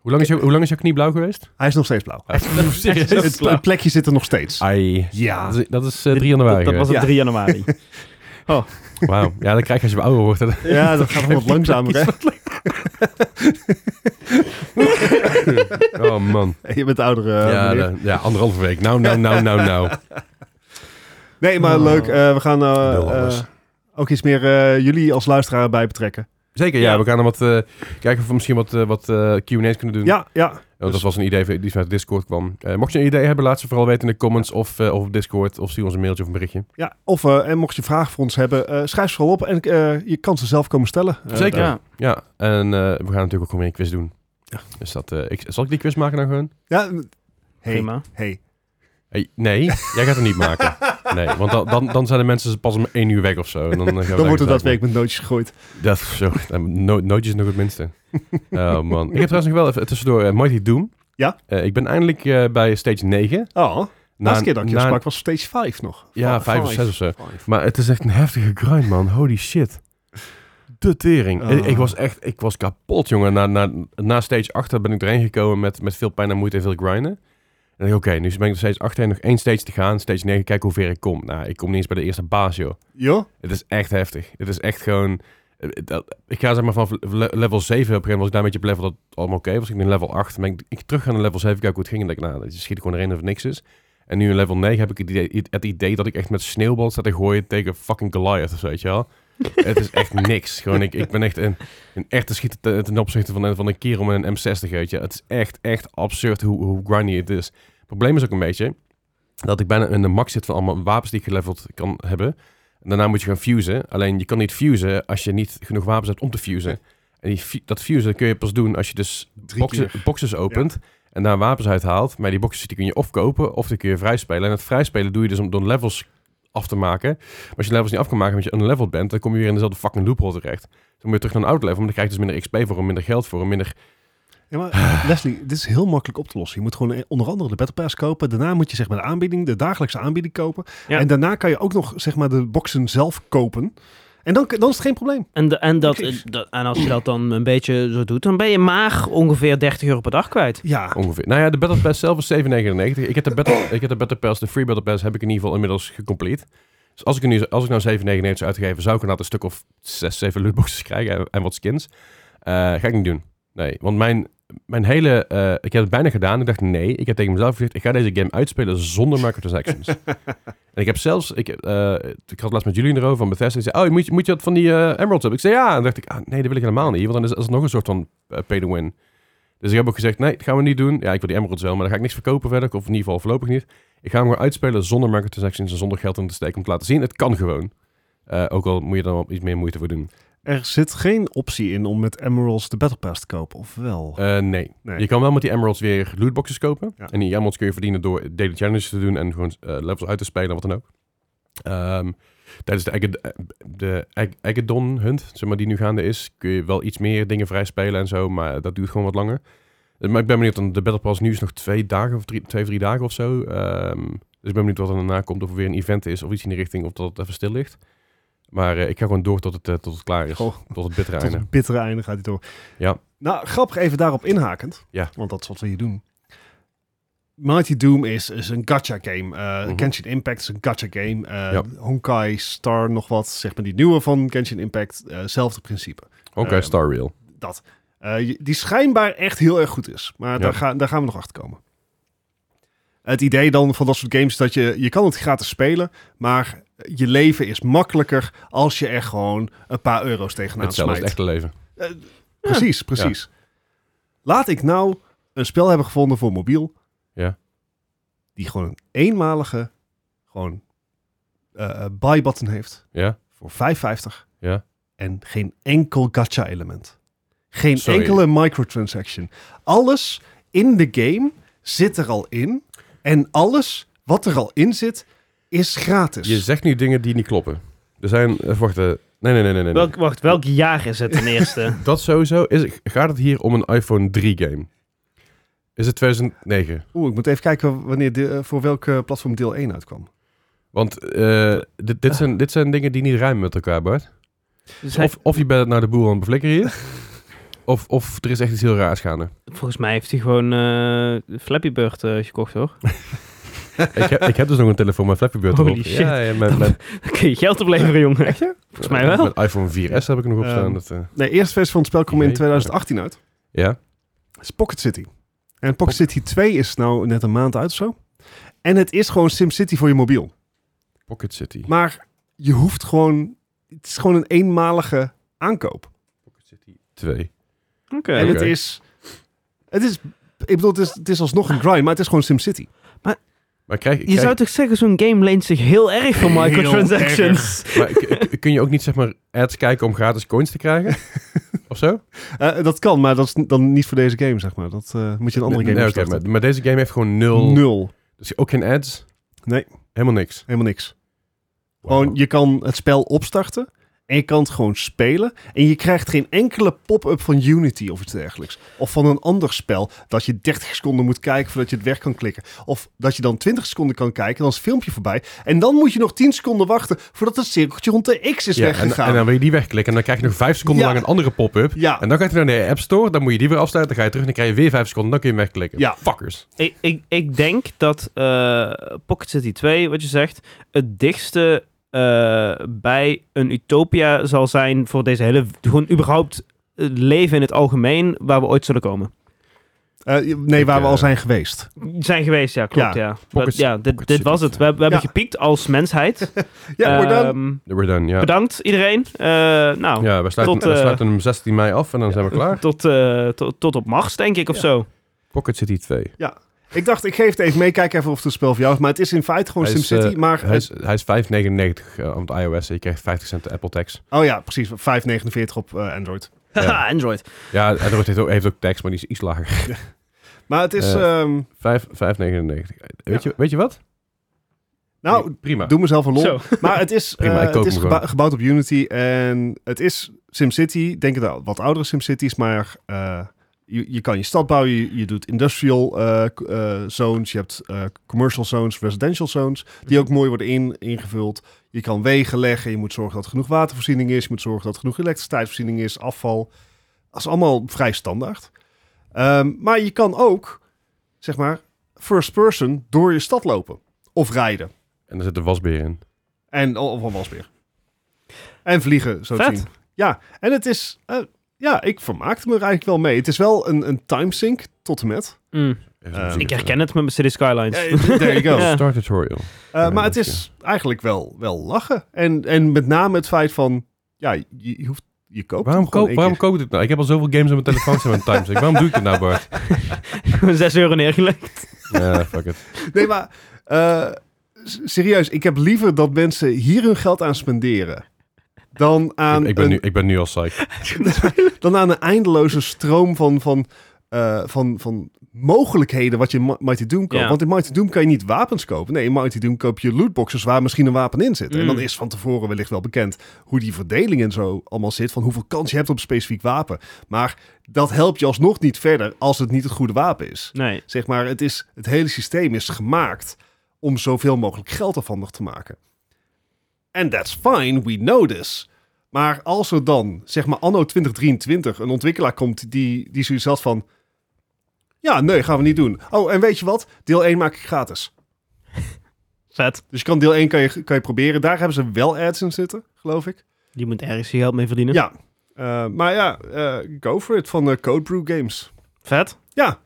S2: Hoe lang, is jou- hoe lang is jouw knie blauw
S1: [LAUGHS]
S2: geweest?
S3: hij is nog steeds blauw.
S2: Serieus?
S1: Dat is
S3: Het,
S1: blauw.
S3: het plekje zit er nog steeds.
S2: Ai.
S3: Ja.
S2: Dat is, dat is eh, 3 januari
S1: Dat, dat was op
S3: Ja.
S1: 3
S3: [LAUGHS]
S1: januari.
S2: geweest. Wauw. Ja, dat krijg je als je ouder wordt. hè.
S3: Ja, dat gaat wel wat langzamer, hè?
S2: Oh man.
S3: Je bent ouder, eh,
S2: ja,
S3: meneer.
S2: de- ja, anderhalve week. Nou, nou, nou, nou, nou.
S3: Nee, maar
S1: Oh.
S3: leuk. eh, we gaan eh,
S2: Wil
S3: eh,
S2: alles.
S3: ook iets meer eh, jullie als luisteraar bij betrekken.
S2: Zeker, ja.
S1: Ja.
S2: We gaan er wat, eh, kijken of we misschien wat, eh, wat eh, Q&A's kunnen doen.
S3: Ja, ja.
S2: Want dat was een idee die vanuit Discord kwam. Eh, mocht je een idee hebben, laat ze vooral weten in de comments of, eh, of op Discord. Of stuur ons een mailtje of een berichtje.
S3: ja. Of, eh, en mocht je vragen voor ons hebben, eh, schrijf ze vooral op. En eh, je kan ze zelf komen stellen. Eh,
S2: Zeker.
S3: daar.
S1: Ja.
S2: Ja, en eh, we gaan natuurlijk ook gewoon weer een quiz doen.
S3: Ja.
S2: Dus dat, eh, ik, zal ik die quiz maken nou gewoon?
S3: Ja. Hey,
S1: Prima.
S3: hey.
S2: Hey, nee, jij gaat het niet
S3: [LAUGHS]
S2: maken. Nee, want dan, dan, dan zijn de mensen pas om één uur weg of zo. En dan, eh, gaan we
S3: Dan wordt er dat
S2: eigenlijk-
S3: week met nootjes gegooid.
S2: Dat, zo, no, nootjes nog het
S3: [LAUGHS]
S2: minste. Oh man. Ik heb trouwens nog wel even tussendoor eh, Mighty Doom.
S3: Ja?
S2: Eh, ik ben eindelijk eh, bij stage 9.
S3: Oh, laatste keer dat ik je
S2: na-
S3: sprak was stage 5 nog.
S2: Ja,
S3: Five,
S2: 5 of
S3: five.
S2: 6 of zo. Maar het is echt een heftige grind, man. Holy shit. De tering.
S3: Oh.
S2: Ik, ik was echt ik was kapot, jongen. Na, na, na stage 8 ben ik erheen gekomen met, met veel pijn en moeite en veel grinden. En ik dacht, oké, nu ben ik nog steeds achter en nog één stage te gaan. Stage 9, kijk hoe ver ik kom. Nou, ik kom niet eens bij de eerste baas, joh.
S3: Joh?
S2: Het is echt heftig. Het is echt gewoon... eh, dat- Ik ga zeg maar van le- level 7 op een gegeven moment was ik daar een beetje op level dat het allemaal oké was. Ik ben in level 8. Dan ben ik, ik terug gaan naar level 7, kijk hoe het ging. En denk ik, nou, je schiet gewoon erin of het niks is. En nu in level 9 heb ik het idee, het idee dat ik echt met sneeuwbal sta te gooien tegen fucking Goliath of zo, weet je wel. het is echt niks. Gewoon, ik, ik ben echt een, een echte schieter te- ten opzichte van, een- van een kerel met een M60, weet je. Het is echt, echt absurd hoe, hoe grindy het is. Het probleem is ook een beetje dat ik bijna in de max zit van allemaal wapens die ik geleveld kan hebben. En daarna moet je gaan fusen. Alleen je kan niet fusen als je niet genoeg wapens hebt om te fusen. En die, fu- dat fusen kun je pas doen als je dus
S3: Drie
S2: boxen,
S3: keer.
S2: boxes opent en daar wapens uithaalt. Maar die boxes die kun je of kopen of die kun je vrijspelen. En het vrijspelen doe je dus om door levels af te maken. Maar als je levels niet af kan maken omdat je unleveld bent, dan kom je weer in dezelfde fucking loophole terecht. Dus Dan moet je terug naar een oud level, maar dan krijg je dus minder XP voor, minder geld voor, minder...
S3: Ja, maar [SIGHS] Leslie, dit is heel makkelijk op te lossen. Je moet gewoon eh, onder andere de Battle Pass kopen. Daarna moet je zeg maar de aanbieding, de dagelijkse aanbieding kopen.
S1: Ja.
S3: En daarna kan je ook nog zeg maar de boxen zelf kopen. En dan, dan is het geen probleem.
S1: En, de, en, dat,
S3: Precies.
S1: dat- en als je dat dan een beetje zo doet, dan ben je maar ongeveer 30 euro per dag kwijt.
S3: Ja,
S2: Ongeveer. Nou ja, de Battle Pass zelf is 7,99. Ik heb de Battle, ik heb de Battle Pass, de Free Battle Pass, heb ik in ieder geval inmiddels gecomplete. Dus als ik, er nu, als ik nou 7,99 zou uitgeven, zou ik inderdaad een stuk of 6, 7 lootboxes krijgen en, en wat skins. Eh, ga ik niet doen. Nee, want mijn, mijn hele... eh, ik heb het bijna gedaan. Ik dacht, nee. Ik heb tegen mezelf gezegd, ik ga deze game uitspelen zonder microtransactions. en ik heb zelfs... Ik, heb, eh, ik had laatst met jullie erover van Bethesda. Die zei, oh, moet je, moet je wat van die eh, emeralds hebben? Ik zei, ja. En dacht ik, ah, nee, dat wil ik helemaal niet. Want dan is, is het nog een soort van eh, pay to win. Dus ik heb ook gezegd, nee, dat gaan we niet doen. Ja, ik wil die emeralds wel, maar daar ga ik niks verkopen verder. Of in ieder geval voorlopig niet. Ik ga hem gewoon uitspelen zonder microtransactions en zonder geld in te steken. Om te laten zien, het kan gewoon. Eh, ook al moet je er dan wel iets meer moeite voor doen.
S3: Er zit geen optie in om met Emeralds de Battle Pass te kopen, of wel?
S2: Eh, nee.
S3: Nee.
S2: Je kan wel met die emeralds weer lootboxes kopen.
S3: Ja.
S2: En die emeralds kun je verdienen door daily challenges te doen en gewoon eh, levels uit te spelen, wat dan ook. Ehm, tijdens de, Agad- eh, de Ag- Agadon hunt, zeg maar, die nu gaande is, kun je wel iets meer dingen vrij spelen en zo, maar dat duurt gewoon wat langer. Eh, Maar ik ben benieuwd, want de Battle Pass nu is nog twee dagen of drie, twee, drie dagen of zo. Ehm, dus ik ben benieuwd wat er daarna komt, of er weer een event is of iets in die richting, of dat het even stil ligt. Maar eh, ik ga gewoon door tot het, eh, tot het klaar is,
S3: Goh,
S2: tot het bittere
S3: [LAUGHS] tot
S2: einde.
S3: het bittere einde gaat hij door.
S2: Ja.
S3: Nou, grappig even daarop inhakend.
S2: Ja.
S3: Want dat is wat we hier doen. Mighty Doom is, is een gacha game. Eh
S2: Mhm.
S3: Genshin Impact is een gacha game. Eh,
S2: Ja.
S3: Honkai Star nog wat, zeg maar die nieuwe van Genshin Impact. eh, Zelfde principe.
S2: Oké,
S3: Ehm,
S2: Star Rail.
S3: Dat. Eh, je- die schijnbaar echt heel erg goed is. Maar daar,
S2: Ja.
S3: gaan daar gaan we nog achter komen. Het idee dan van dat soort games is dat je, je kan het gratis spelen, maar je leven is makkelijker als je er gewoon een paar euro's tegenaan
S2: Hetzelfde als
S3: smijt.
S2: het echte leven.
S3: Precies, precies. Laat ik nou een spel hebben gevonden voor mobiel.
S2: Ja.
S3: Die gewoon een eenmalige gewoon eh buy button heeft
S2: Ja?
S3: voor 5,50.
S2: Ja.
S3: En geen enkel gacha element. Geen
S2: Sorry.
S3: enkele microtransaction. Alles in de game zit er al in. En alles wat er al in zit is gratis.
S2: Je zegt nu dingen die niet kloppen. Er zijn, eh, wacht, eh, nee, nee, nee, nee. nee.
S1: Welk, wacht, welk jaar is het ten
S2: [LAUGHS]
S1: eerste?
S2: Dat sowieso, is, gaat het hier om een iPhone 3 game? Is het 2009?
S3: Oeh, ik moet even kijken wanneer de, eh, voor welke platform deel 1 uitkwam.
S2: Want eh, dit, dit, zijn, dit zijn dingen die niet rijmen met elkaar, Bart.
S1: Dus hij-
S2: Of, of je bent naar de boer aan het
S1: [LAUGHS]
S2: beflikkeren hier. Of, of er is echt iets heel raars gaande.
S1: volgens mij heeft hij gewoon eh, Flappy Bird eh, gekocht,
S2: [LAUGHS]
S1: hoor.
S2: ik, heb, ik heb dus nog een telefoon met Flappy Bird
S1: Holy
S2: erop.
S1: shit.
S2: Ja, ja, met, met,
S1: Dan kun je geld opleveren, jongen. Volgens mij wel.
S2: Met iPhone 4S heb ik er nog op staan.
S3: Ehm,
S2: dat, eh,
S3: Nee, eerste versie van het spel kwam in
S2: Idee.
S3: 2018 uit.
S2: ja,
S3: Het is Pocket City. En Pocket City 2 is nou net een maand uit of zo. En het is gewoon SimCity voor je mobiel.
S2: Pocket City.
S3: Maar je hoeft gewoon... Het is gewoon een eenmalige aankoop.
S2: Pocket City 2.
S1: Oké.
S3: En
S2: Oké.
S3: het is... Het is... Ik bedoel, het is, het is alsnog een grind, maar het is gewoon SimCity.
S2: Maar krijg,
S1: Je
S2: krijg-
S1: zou toch zeggen, zo'n game leent zich heel erg voor
S3: [LAUGHS] Heel
S1: microtransactions.
S2: Maar k- k- kun je ook niet zeg maar ads kijken om gratis coins te
S1: [LAUGHS]
S2: krijgen? of zo?
S3: Eh, dat kan, maar dat is dan niet voor deze game, zeg maar. Dat eh, moet je een andere
S2: Nee,
S3: game
S2: oké,
S3: starten.
S2: maar, maar deze game heeft gewoon nul.
S3: Nul.
S2: Dus ook geen ads?
S3: Nee.
S2: Helemaal niks.
S3: Helemaal niks. Gewoon, je kan het spel opstarten en je kan het gewoon spelen. En je krijgt geen enkele pop-up van Unity of iets dergelijks. Of van een ander spel dat je 30 seconden moet kijken voordat je het weg kan klikken. Of dat je dan 20 seconden kan kijken, dan is het filmpje voorbij. En dan moet je nog 10 seconden wachten voordat het cirkeltje rond de X is
S2: Ja, en,
S3: weggegaan.
S2: en dan wil je die wegklikken en dan krijg je nog vijf seconden
S3: Ja.
S2: lang een andere pop-up.
S3: ja,
S2: En dan ga je naar de App Store, dan moet je die weer afsluiten, dan ga je terug en dan krijg je weer vijf seconden, dan kun je hem wegklikken.
S3: Ja.
S2: Fuckers.
S1: ik, ik, ik denk dat eh, Pocket City 2, wat je zegt, het dichtste eh, bij een utopia zal zijn voor deze hele... Gewoon überhaupt het leven in het algemeen waar we ooit zullen komen.
S3: Eh, nee,
S2: Ik,
S3: waar we
S2: eh,
S3: al zijn geweest.
S1: Zijn geweest, ja, klopt,
S3: Ja.
S1: ja.
S2: Pocket-
S1: ja, dit,
S2: Pocket
S1: dit
S2: City
S1: was het. We, we hebben gepiekt als mensheid.
S3: Ja, maar dan...
S1: Ehm,
S2: We're done, ja.
S1: Bedankt, iedereen. Eh, nou,
S2: Ja, we sluiten,
S1: Tot,
S2: we
S1: eh,
S2: sluiten hem 16 mei af en dan zijn we
S3: [LAUGHS]
S2: klaar.
S1: tot, eh, tot, tot op Mars, denk ik, of
S3: Ja.
S1: zo.
S2: Pocket City 2.
S3: Ik dacht, ik geef het even mee, kijk even of het een spel voor jou is. Maar het is in feite gewoon
S2: Hij is,
S3: SimCity,
S2: eh,
S3: maar...
S2: Hij is, hij is 5,99 eh, op de iOS en je krijgt 50 cent Apple tax.
S3: Oh ja, precies, 5,49 op eh, Android.
S2: Ja.
S1: Haha, [LAUGHS] Android.
S2: Ja, Android heeft ook, heeft ook tax, maar die is iets lager.
S3: Maar het is...
S2: Eh,
S3: ehm,
S2: 5, 5,99. Weet, je, weet je wat?
S3: nou,
S2: Nee, prima.
S3: Doe mezelf een lol.
S1: Zo.
S3: Maar het is,
S2: Prima,
S3: eh,
S2: ik koop
S3: het is
S2: hem gewoon.
S3: gebou- gebouwd op Unity en het is SimCity. Denk het wel, wat oudere SimCities, maar eh, je, je kan je stad bouwen. Je, je doet industrial eh, k- eh, zones, je hebt eh, commercial zones, residential zones, die ook mooi worden in, ingevuld. Je kan wegen leggen, je moet zorgen dat er genoeg watervoorziening is, je moet zorgen dat er genoeg elektriciteitsvoorziening is, afval. Dat is allemaal vrij standaard. Ehm, maar je kan ook, zeg maar, first person door je stad lopen of rijden.
S2: En er zit een wasbeer in.
S3: En al- of een wasbeer. En vliegen, zo te
S1: Vet.
S3: zien. Ja, en het is... eh, ja, ik vermaakte me er eigenlijk wel mee. Het is wel een, een timesync, tot en met.
S1: Mm.
S3: Eh,
S1: Ik herken het met mijn City Skylines.
S3: Eh, there you go.
S1: [LAUGHS] Ja.
S2: Start tutorial.
S3: Eh,
S2: Ja,
S3: maar het
S2: dat
S3: is eigenlijk wel, wel lachen. En, en met name het feit van... Ja, je, je hoeft... Je koopt
S2: Waarom,
S3: hem gewoon
S2: koop,
S3: één
S2: waarom
S3: keer.
S2: koop ik dit nou? Ik heb al zoveel games op mijn telefoon staan met timesync. Waarom doe ik dit nou, Bart?
S1: [LAUGHS] 6 euro neergelegd.
S2: [LAUGHS] Ja, fuck it.
S3: Nee, maar... eh, s- serieus, ik heb liever dat mensen hier hun geld aan spenderen... dan aan,
S2: Ik, ik ben
S3: een,
S2: nu, ik ben nu al psych.
S3: [LAUGHS] dan aan een eindeloze stroom van, van, eh, van, van mogelijkheden wat je in Ma- Mighty Doom koopt.
S1: Ja.
S3: Want in Mighty Doom kan je niet wapens kopen. Nee, in Mighty Doom koop je lootboxes waar misschien een wapen in zit. En
S1: Mm.
S3: dan is van tevoren wellicht wel bekend hoe die verdeling en zo allemaal zit. Van hoeveel kans je hebt op een specifiek wapen. Maar dat helpt je alsnog niet verder als het niet het goede wapen is.
S1: Nee.
S3: Zeg maar, het, is, het hele systeem is gemaakt om zoveel mogelijk geld afhandig te maken. And that's fine, we know this. Maar als er dan, zeg maar anno 2023, een ontwikkelaar komt die, die zoiets had van... Ja, nee, gaan we niet doen. Oh, en weet je wat? Deel 1 maak ik gratis.
S1: Vet.
S3: Dus je kan deel 1 kan je, kan je proberen. Daar hebben ze wel ads in zitten, geloof ik.
S1: Die moet ergens je geld mee verdienen.
S3: Ja. Eh, maar ja, eh, go for it van eh, Code Brew Games.
S1: Vet.
S3: Ja.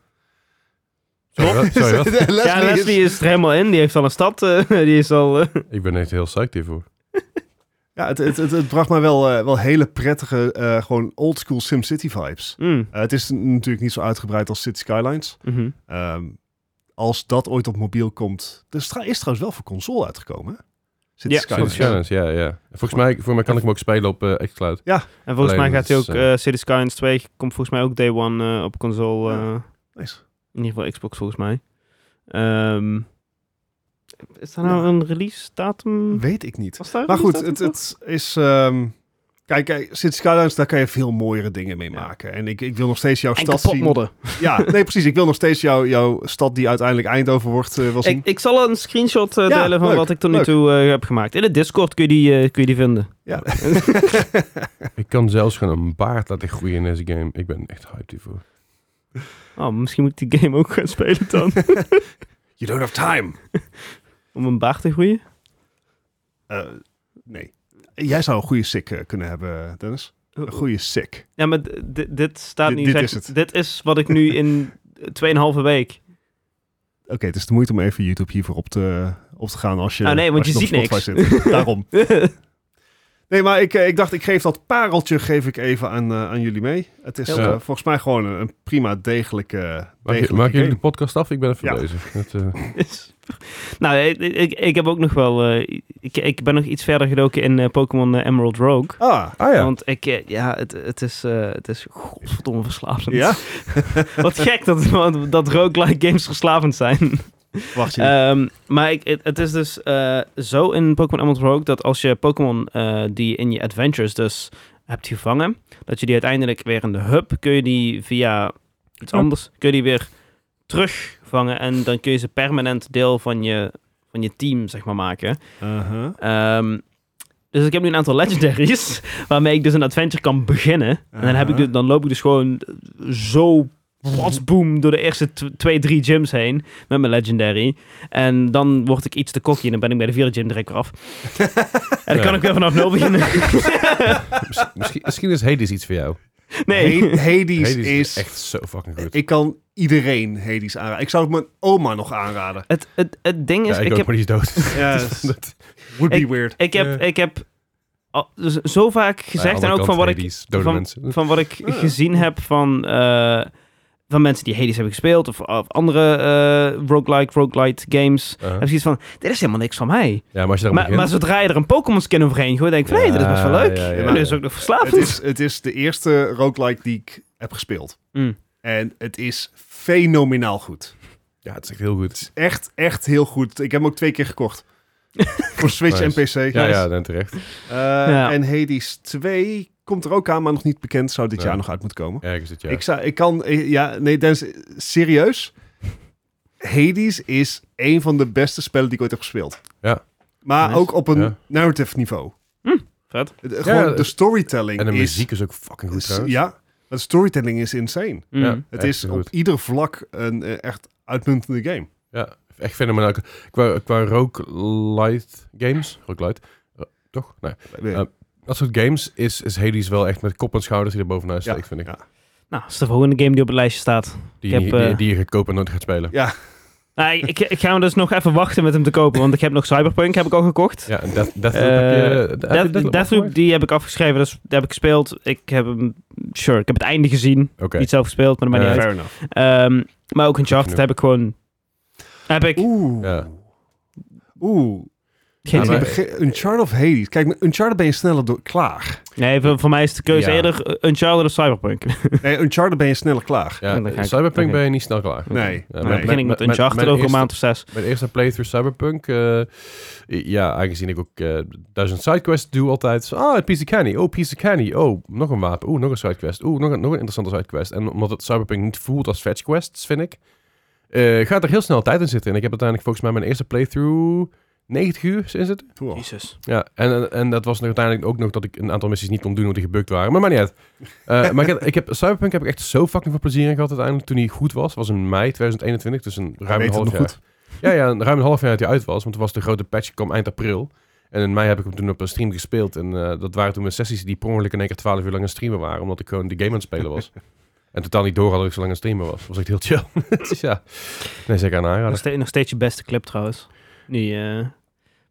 S2: Sorry, wat? Sorry,
S3: [LAUGHS]
S2: wat?
S3: Leslie
S1: ja,
S3: is-
S1: Leslie is... er helemaal in. Die heeft al een stad. eh, [LAUGHS] die is al... eh,
S2: Ik ben echt heel psyched hiervoor.
S3: Ja, het, het, het, het bracht mij wel, eh, wel hele prettige, eh gewoon oldschool SimCity vibes.
S1: mm,
S3: Eh, het is n- natuurlijk niet zo uitgebreid als City Skylines.
S1: mhm.
S3: Ehm, als dat ooit op mobiel komt. Er is, trouw- is trouwens wel voor console uitgekomen. hè? City
S1: Ja,
S2: City
S3: Skylines.
S2: Skylines, ja, ja. Volgens mij, voor mij kan ik hem ook spelen op eh xCloud.
S1: En volgens mij
S2: Alleen
S1: gaat hij ook...
S2: dat is, eh,
S1: eh City Skylines 2 komt volgens mij ook day one eh, op console.
S3: Ja.
S1: eh,
S3: Nice.
S1: in ieder geval Xbox volgens mij. Ehm, is daar nou een release datum?
S3: Weet ik niet.
S1: Was daar een
S3: Maar goed,
S1: release
S3: het,
S1: datum
S3: het is. ehm, kijk, kijk, City Skylines, daar kan je veel mooiere dingen mee
S1: Ja.
S3: maken. En ik, ik wil nog steeds jouw
S1: voor? En
S3: stad zien.
S1: kapotmodden.
S3: Ja, nee, precies. Ik wil nog steeds jouw jouw stad die uiteindelijk Eindhoven wordt eh, wel zien.
S1: Ik, ik zal een screenshot eh,
S3: Ja,
S1: delen van
S3: leuk,
S1: wat ik tot nu
S3: leuk.
S1: toe eh, heb gemaakt. In de Discord kun je die, eh, kun je die vinden.
S3: Ja.
S2: Ik kan zelfs gewoon een baard laten groeien in deze game. Ik ben echt hyped hiervoor.
S1: Oh, misschien moet ik die game ook gaan spelen [LAUGHS] dan.
S3: You don't have time.
S1: Om een baard te groeien.
S3: Eh, nee. Jij zou een goede sick eh, kunnen hebben, Dennis. Een goede sick.
S1: Ja, maar d- d- dit staat
S3: Dit-
S1: nu...
S3: dit
S1: zeg-
S3: is het.
S1: Dit is wat ik
S3: [LAUGHS]
S1: nu in 2,5 week... [LAUGHS]
S3: Oké, het is de moeite om even YouTube hiervoor op te, op te gaan als je.
S1: Ah, nee, want
S3: als
S1: je
S3: nog
S1: ziet
S3: op
S1: [LAUGHS]
S3: Spotify Zit. Daarom. Nee, maar ik, eh, ik dacht, ik geef dat pareltje geef ik even aan, eh, aan jullie mee. Het is
S1: Heel
S3: eh,
S2: goed.
S3: volgens mij gewoon een, een prima degelijke.
S2: Maak, je,
S3: degelijke
S2: maak jullie
S3: game.
S2: de podcast af? Ik ben even [LAUGHS]
S3: Ja.
S2: bezig. Het, eh,
S1: Is- nou, ik, ik, ik heb ook nog wel... eh, ik, ik ben nog iets verder gedoken in eh, Pokémon eh, Emerald Rogue.
S3: Ah,
S2: ah ja,
S1: Want ik, eh, ja, het, het is, eh, het is godverdomme verslavend.
S3: ja?
S1: [LAUGHS] Wat gek dat, dat roguelike games verslavend zijn.
S3: Wacht je.
S1: Ehm, maar ik, het, het is dus eh, zo in Pokémon Emerald Rogue dat als je Pokémon eh, die in je adventures dus hebt gevangen, dat je die uiteindelijk weer in de hub, kun je die via iets
S2: Ja.
S1: anders, kun je die weer terugvangen en dan kun je ze permanent deel van je, van je team, zeg maar, maken.
S3: Uh-huh.
S1: [LAUGHS] Ehm, dus ik heb nu een aantal legendaries [LAUGHS] waarmee ik dus een adventure kan beginnen. En dan, heb ik
S3: Aha.
S1: dus, dan loop ik dus gewoon zo boom door de eerste tw- twee, drie gyms heen met mijn legendary. En dan word ik iets te kokkie en dan ben ik bij de vierde gym direct weer af. en dan kan
S2: Ja.
S1: ik weer vanaf nul beginnen. [LAUGHS]
S2: misschien- misschien, misschien is Hades iets voor jou.
S1: nee.
S3: Hades,
S2: Hades is,
S3: is.
S2: echt zo fucking goed.
S3: Ik kan iedereen Hades aanraden. Ik zou het mijn oma nog aanraden.
S1: Het, het, het ding is,
S2: ja, ik,
S1: ik,
S2: ook,
S1: heb,
S2: maar die is dood.
S3: Ja,
S2: [LAUGHS] Dat-
S3: would be weird.
S1: ik heb,
S2: Ja.
S1: ik heb al- dus zo vaak gezegd en
S2: Aan de
S1: ook van
S2: andere
S1: wat
S2: kant,
S1: ik,
S2: Hades, dode
S1: van-
S2: mensen.
S1: van wat ik
S2: Ah,
S3: Ja.
S1: gezien heb van, eh, van mensen die Hades hebben gespeeld of, of andere eh, roguelike, roguelite games.
S2: Uh-huh.
S1: Heb ik zoiets van, dit is helemaal niks van mij.
S2: Ja, maar als je daar
S1: Maar, maar zodra je er een Pokémon skin overheen gooit, denk ik van, hé,
S2: Ja,
S1: dit is best wel leuk.
S2: ja, ja,
S1: En dit is
S2: ja.
S1: ook nog
S3: Het
S1: verslavend.
S3: is, het is de eerste roguelike die ik heb gespeeld.
S1: Mm.
S3: En het is fenomenaal goed.
S2: Ja, het is echt heel goed.
S3: Echt, echt heel goed. Ik heb hem ook twee keer
S2: [LAUGHS]
S3: gekocht. Voor Switch
S2: Nice.
S3: en PC.
S2: Ja, ja, dan terecht.
S3: Eh,
S1: Ja.
S3: En Hades 2 komt er ook aan, maar nog niet bekend. Zou dit
S2: Ja.
S3: jaar nog uit moeten komen.
S2: Ergens dit jaar.
S3: Ik, zou, ik kan... eh, Ja, nee, Dennis, eh, serieus. Hades is een van de beste spellen die ik ooit heb gespeeld.
S2: Ja.
S3: Maar
S1: Nice.
S3: ook op een
S2: Ja. Hm,
S3: narrative niveau.
S1: Vet.
S3: Het- Gewoon
S2: het-
S3: de storytelling
S2: eh, en de
S3: is...
S2: muziek is ook fucking goed trouwens.
S3: Ja, de storytelling is insane.
S1: Mm.
S2: Ja,
S3: Het
S2: echt
S3: is
S2: heel
S3: op
S2: goed.
S3: ieder vlak een eh, echt uitmuntende game.
S2: Ja, echt fenomenaal. Qua, qua roguelite games, roguelite, eh, toch? Nee. Ja. Dat soort games is, is Hades wel echt met kop en schouders die er bovenuit
S3: Ja,
S2: steekt, vind ik.
S3: ja.
S1: Nou, dat is de volgende game die op het lijstje staat.
S2: Die,
S1: Ik heb,
S2: je niet- die,
S1: eh,
S2: die je gaat kopen en nooit gaat spelen.
S1: Nou, ik, ik- ik ga me dus nog even wachten met hem te kopen, want ik heb nog Cyberpunk heb ik al gekocht.
S2: Ja, en Death, Deathloop heb je...
S1: Eh,
S2: heb je
S1: Death-
S2: Deathloop
S1: Deathloop,
S2: afgemaakt?
S1: die heb ik afgeschreven, dus die heb ik gespeeld. Ik heb hem, sure, ik heb het einde gezien.
S2: Oké.
S1: Niet zelf gespeeld, maar dat maakt
S2: Eh,
S1: niet uit.
S3: Fair enough.
S1: Ehm, maar ook Uncharted heb ik gewoon, heb ik,
S3: Oeh.
S2: Ja.
S3: Oeh.
S1: Geen
S2: Ja,
S1: idee.
S3: Ik
S2: maar-
S3: begrijp- Uncharted of Hades? Kijk, met Uncharted ben je sneller door,
S2: [LAUGHS]
S3: klaar.
S1: Nee, voor, voor mij is de keuze
S2: Ja.
S1: eerder eh, Uncharted of Cyberpunk.
S3: Nee, Uncharted ben je sneller klaar.
S2: Ja,
S1: En dan ga ik-
S2: Cyberpunk
S1: oké.
S2: ben je niet snel klaar.
S3: Nee.
S2: Ja,
S1: Dan
S3: nee.
S1: begin ik met
S2: Mijn-
S1: Uncharted
S2: mijn
S1: over een
S2: eerste-
S1: maand of zes.
S2: Mijn eerste playthrough Cyberpunk. eh, ja, aangezien ik ook eh, duizend sidequests doe altijd. zo, Ah, een piece of candy. Oh, piece of candy. Oh, nog een wapen. Oeh, nog een sidequest. Oeh, nog een, nog een interessante sidequest. En omdat het Cyberpunk niet voelt als fetch quests, vind ik, eh, gaat er heel snel tijd in zitten. En ik heb uiteindelijk volgens mij mijn eerste playthrough 90 uur in zitten.
S3: Cool.
S1: Jezus.
S2: Ja, en, en, en dat was uiteindelijk ook nog dat ik een aantal missies niet kon doen omdat die gebukt waren. Maar maakt
S3: [LAUGHS]
S2: niet uit. Eh, maar ik heb, ik heb, Cyberpunk heb ik echt zo fucking veel plezier in gehad uiteindelijk toen hij goed was. was in mei 2021, dus een ruim een
S3: weet het
S2: half
S3: nog
S2: jaar.
S3: goed.
S2: Ja, ja, een ruim een half jaar dat hij uit was. Want toen was de grote patch, kwam eind april. En in mei heb ik hem toen op een stream gespeeld. En eh, dat waren toen mijn sessies die per ongeluk in één keer 12 uur lang aan het streamen waren. Omdat ik gewoon de game aan het spelen
S1: [LAUGHS]
S2: was. en totaal niet door had dat ik zo lang aan het streamen was. Dat was echt heel chill. [LAUGHS] dus ja, nee, zeker aan
S1: Nog,
S2: aanrader.
S1: ste- nog steeds je beste clip trouwens. Die, eh,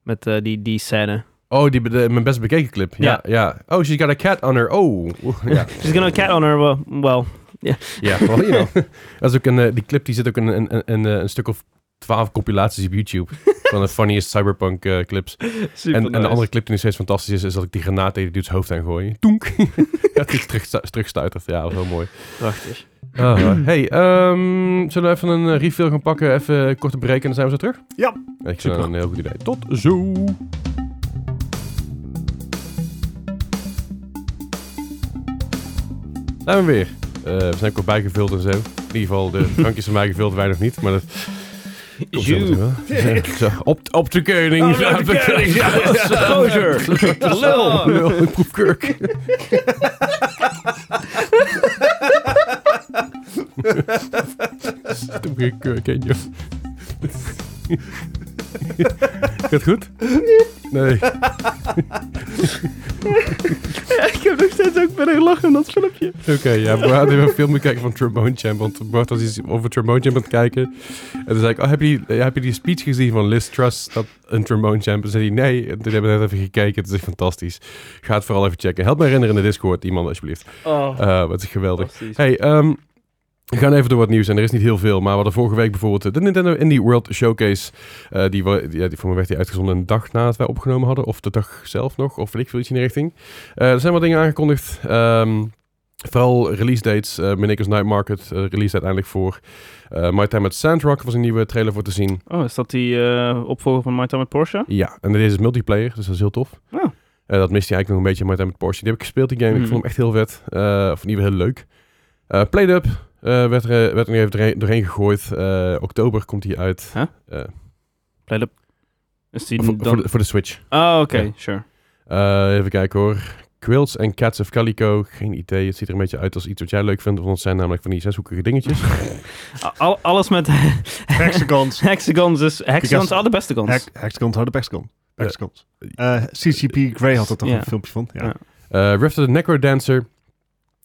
S1: met eh, die, die scène.
S2: Oh, die, be- de- mijn best bekeken clip. Ja, ja. Oh, she's got a cat on her. Oh. Oeh, Ja,
S1: She's gonna cat on her, well... well.
S2: ja well, you know. [LAUGHS] Dat is ook een, eh, die clip die zit ook in een, een, een, eh, een stuk of 12 compilaties op YouTube.
S1: [LAUGHS]
S2: van de funniest cyberpunk eh, clips.
S1: Super
S2: En, en de andere clip die nog steeds fantastisch is, is dat ik die granaat tegen die dude's hoofd aan gooi. Toenk! dat hij terug, terugstuitert. Ja, dat was heel mooi.
S1: Prachtig.
S2: Ah, hey, ehm, zullen we even een eh, refill gaan pakken? Even een korte break en dan zijn we zo terug?
S3: Ja.
S2: Ik vind
S1: Super.
S2: dat een heel goed idee. Tot zo! Zijn we weer. Eh, we zijn ook al bijgevuld en zo. In ieder geval, de drankjes zijn bijgevuld, wij nog niet. Maar dat komt zo
S1: Jude.
S2: natuurlijk wel. [LAUGHS] Zo, op, op de keuning.
S1: Oh, op de keuning,
S2: [LAUGHS]
S1: ja. Gozer. Lul.
S2: Lul. Ik
S1: [LAUGHS]
S2: proef kurk. Zit hem geen kurk in, joh. [LAUGHS] Gaat goed? Nee.
S1: [LAUGHS] Ik heb nog steeds ook bijna gelachen in dat filmpje.
S2: Oké, ja, we hadden even een filmpje kijken van Trombone Champ. Want Bart was iets over Trombone Champ aan het kijken. En toen zei ik, oh, heb, je, die- heb je die speech gezien van Liz Truss, dat een Trombone Champ? En zei hij, nee. En toen hebben we net even gekeken. Het is echt fantastisch. Ga het vooral even checken. Help me herinneren in de Discord, iemand, alsjeblieft.
S1: Oh,
S2: Eh wat is geweldig.
S1: fantastisch.
S2: Hey, ehm, we gaan even door wat nieuws en er is niet heel veel, maar we hadden vorige week bijvoorbeeld eh, de Nintendo Indie World Showcase. Eh, die, wa- die- ja, die voor me werd die uitgezonden een dag nadat wij opgenomen hadden, of de dag zelf nog, of weet ik veel iets in die richting. Eh, er zijn wat dingen aangekondigd, ehm, vooral release dates. eh Minneker's Night Market, eh, release uiteindelijk voor. Eh, My Time at Sandrock was een nieuwe trailer voor te zien.
S1: Oh, is dat die eh, opvolger van My Time with Porsche?
S2: Ja, en deze is multiplayer, dus dat is heel tof.
S1: Oh.
S2: Eh, dat miste hij eigenlijk nog een beetje met hem met Porsche. Die heb ik gespeeld, die game. Ik
S1: Mhm.
S2: vond hem echt heel vet. Eh, of in ieder geval heel leuk. Eh Played Up eh, werd, er, werd er nu even doorheen, doorheen gegooid. Eh, oktober komt hij uit.
S1: Huh?
S2: Eh,
S1: Play the- Is die
S2: voor,
S1: dan...
S2: voor de, voor de Switch.
S1: Oh, oké,
S2: Ja.
S1: sure.
S2: Eh, even kijken hoor. Quilts en Cats of Calico. Geen idee. Het ziet er een beetje uit als iets wat jij leuk vindt. Want het zijn namelijk van die zeshoekige dingetjes.
S1: Al- alles met [LAUGHS]
S2: [LAUGHS]
S3: Hexagons.
S1: hexagons is... Hexagons
S3: Because-
S1: are the beste guns.
S3: Hex- Hexagons, harde Hexagon. Hexagons. Eh, CCP Grey had er toch
S1: Ja.
S3: een filmpje van. Ja.
S1: Ja.
S2: Eh Rift of the Necro Dancer.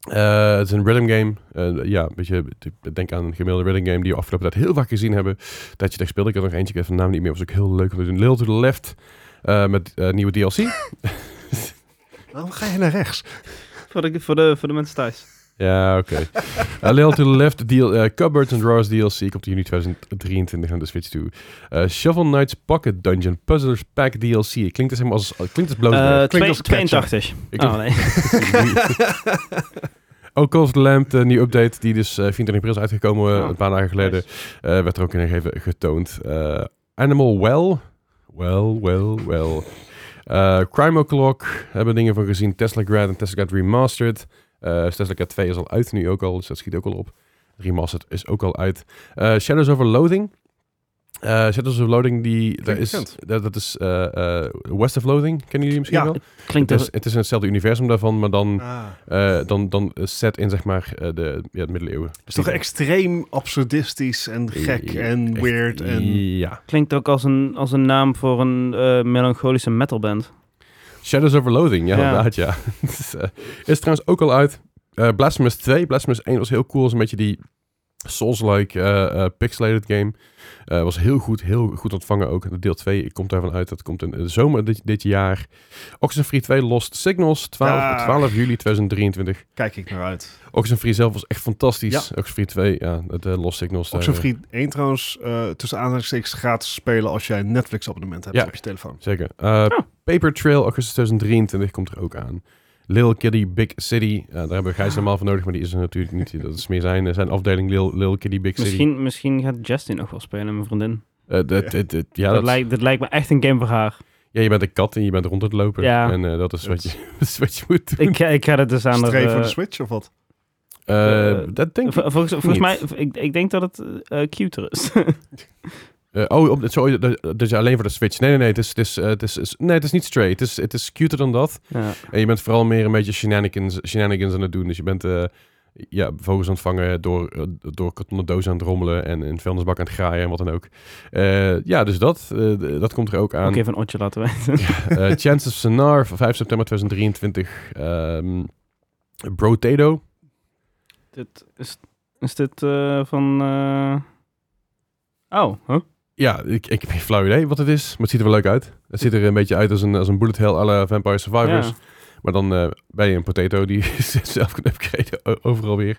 S2: Eh, het is een rhythm game. Eh, ja, een beetje, ik denk aan een gemiddelde rhythm game die we afgelopen tijd heel vaak gezien hebben. Dat je daar speelde. Ik had nog eentje, ik heb de naam niet meer. Was ook heel leuk om te doen. Lil to the Left. eh, met eh, nieuwe DLC.
S3: Waarom ga je naar
S2: [LAUGHS]
S3: rechts?
S1: Voor, de, voor, de, voor de mensen thuis.
S2: ja, oké. Eh, Lil to the Left, deal, eh, Cupboards and Drawers DLC. Komt in juni 2023 aan de Switch toe. Eh, Shovel Knight's Pocket Dungeon Puzzlers Pack DLC. Klinkt dus helemaal als... Klinkt als blozen.
S1: Eh,
S3: klinkt als
S1: twee-
S3: een catcher.
S1: 82.
S2: Ik-
S1: Oh, nee.
S2: [LAUGHS] Ook Call of the Lamp, de nieuwe update, die dus eh 24 april is uitgekomen, eh,
S1: Oh,
S2: een paar dagen geleden, eh, werd er ook in even getoond. Eh, Animal Well, well, well, well. Eh, Crime O'Clock, hebben we dingen van gezien. Tesla Grad en Tesla Grad Remastered. Eh Tesla Grad 2 is al uit nu ook al, dus dat schiet ook al op. Remastered is ook al uit. Eh, Shadows of Loathing. Eh, Shadows of Loathing, die, dat is,
S3: bekend.
S2: dat, dat is eh, eh, West of Loathing, kennen jullie misschien
S3: Ja.
S2: wel?
S1: Klinkt
S2: het,
S1: als...
S2: is, het is in hetzelfde universum daarvan, maar dan
S3: Ah.
S2: eh, dan, dan set in zeg maar eh, de ja, de middeleeuwen.
S3: Het is toch extreem absurdistisch en gek
S2: Ja,
S3: en
S2: echt-
S3: weird en...
S2: Ja.
S1: Klinkt ook als een, als een naam voor een eh, melancholische metalband.
S2: Shadows of Loathing, ja,
S1: Ja.
S2: inderdaad, ja. [LAUGHS] Het is, eh, is trouwens ook al uit. Eh Blasphemous 2. Blasphemous 1 was heel cool. Is een beetje die Souls-like eh, eh, pixelated game. Eh, was heel goed, heel goed ontvangen ook. Deel 2 komt daarvan uit. Dat komt in de zomer dit, dit jaar. Oxenfree 2 Lost Signals, 12,
S3: Ah.
S2: 12 juli 2023.
S3: Kijk ik naar uit.
S2: Oxenfree zelf was echt fantastisch. Oxenfree 2, ja, de Lost Signals. daar, eh,
S3: Oxenfree 1 trouwens, eh, tussen aanhalingstekens, gratis spelen als jij een Netflix abonnement hebt
S2: Ja.
S3: op je telefoon.
S2: Zeker. Eh, Paper Trail, augustus 2023 komt er ook aan. Lil Kitty Big City, eh, daar hebben we Gijs normaal voor nodig, maar die is er natuurlijk niet. Dat is meer zijn, eh, zijn afdeling Lil, Lil Kitty Big City.
S1: Misschien, misschien gaat Justin nog wel spelen, mijn vriendin.
S2: Eh, dat, dit- dit- ja,
S1: dat,
S2: dat,
S1: lijkt, dat lijkt me echt een game voor haar.
S2: ja, je bent een kat en je bent rond het lopen.
S1: Ja.
S2: En eh, dat is wat
S3: Dat-
S2: je, [LAUGHS] dat is wat je moet doen.
S1: Ik, ik ga dat dus aan
S3: Streef
S1: de...
S3: voor de Switch of wat?
S2: Eh,
S1: eh,
S2: dat denk ik.
S1: Vol- volgens, volgens
S2: niet.
S1: mij, ik, ik denk dat het eh, cuter is. [LAUGHS]
S2: Eh, oh, op, sorry, dat- dat is alleen voor de Switch. Nee, nee, nee. Het is, het is, eh, het is, is- nee, het is niet straight. Het is, het is cuter dan dat.
S1: ja.
S2: En je bent vooral meer een beetje shenanigans, shenanigans aan het doen. Dus je bent eh, ja, vogels aan het vangen, door, eh, door kartonnen dozen aan het rommelen en in vuilnisbak aan het graaien en wat dan ook. Eh, ja, dus dat, eh, d- dat komt er ook aan.
S1: Ook even een otje laten weten. [LAUGHS]
S2: Eh, Chance of Sonar, van 5 september 2023. Ehm Brotato.
S1: dit, is, is dit eh, van... eh, Oh, huh?
S2: Ja, ik, ik heb geen flauw idee wat het is, maar het ziet er wel leuk uit. Het ziet er een beetje uit als een, als een bullet hell à la Vampire Survivors.
S1: Ja.
S2: Maar dan eh, ben je een potato die [LAUGHS] zelf kan upgraden o- overal weer.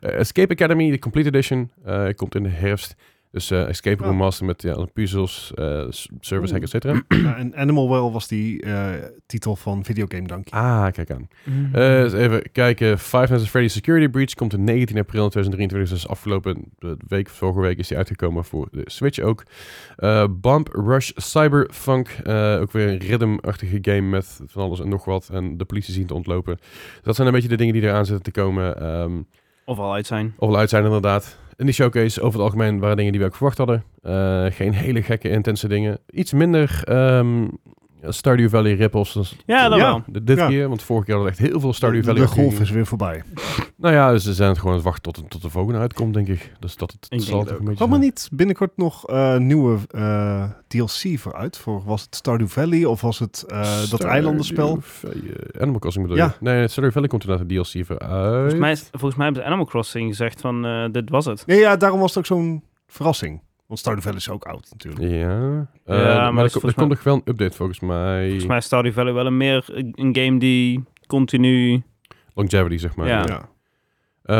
S2: Eh, Escape Academy, de Complete Edition, eh, komt in de herfst. Dus eh, Escape Room
S3: Oh. Mm.
S2: Master met ja, puzzels, eh, s- service hack, et cetera.
S3: [CLEARS THROAT] Ja, en Animal Well was die eh, titel van Videogame Donkey.
S2: Ah, kijk aan. Eh, eens even kijken. Five Nights at Freddy's Security Breach komt in 19 april 2023. Dus afgelopen eh, week, vorige week is die uitgekomen voor de Switch ook. Eh, Bump Rush Cyberfunk. eh, ook weer een rhythm-achtige game met van alles en nog wat. En de politie zien te ontlopen. Dus dat zijn een beetje de dingen die eraan zitten te komen. Ehm
S1: Of al uit zijn.
S2: of wel uit zijn inderdaad. In die showcase over het algemeen waren dingen die we ook verwacht hadden. Eh, geen hele gekke intense dingen. Iets minder ehm, Stardew Valley ripples. Dus
S1: Ja, dat
S3: Ja.
S1: wel.
S2: dit dit
S3: Ja.
S2: keer, want vorige keer hadden we echt heel veel Stardew
S3: de,
S2: Valley.
S3: de
S2: opgingen.
S3: golf is weer voorbij.
S2: Nou ja, ze zijn gewoon aan het wachten tot, tot de volgende uitkomt, denk ik. Dus dat het,
S1: denk
S2: zal
S1: het
S2: toch
S1: ook.
S2: een beetje
S3: Kwam er
S2: zijn.
S3: niet binnenkort nog eh, nieuwe eh, DLC voor uit? Voor, was het Stardew Valley of was het eh, dat
S2: Stardew
S3: eilandenspel?
S2: Valley, eh, Animal Crossing bedoel
S3: Ja.
S2: je? Nee, Stardew Valley komt inderdaad de DLC voor uit.
S1: Volgens mij, is- volgens mij hebben ze Animal Crossing gezegd van, eh, dit was het.
S3: Nee, ja, daarom was het ook zo'n verrassing. Want Stardew Valley is ook oud natuurlijk.
S2: Ja. Eh,
S1: Ja, maar
S2: maar
S1: dat
S2: er,
S1: is
S2: ko-
S1: volgens
S2: er komt nog wel een update volgens mij.
S1: Volgens mij is Stardew Valley wel een meer een game die continu...
S2: Longevity, zeg maar.
S1: Ja.
S3: Ja.
S2: Ehm,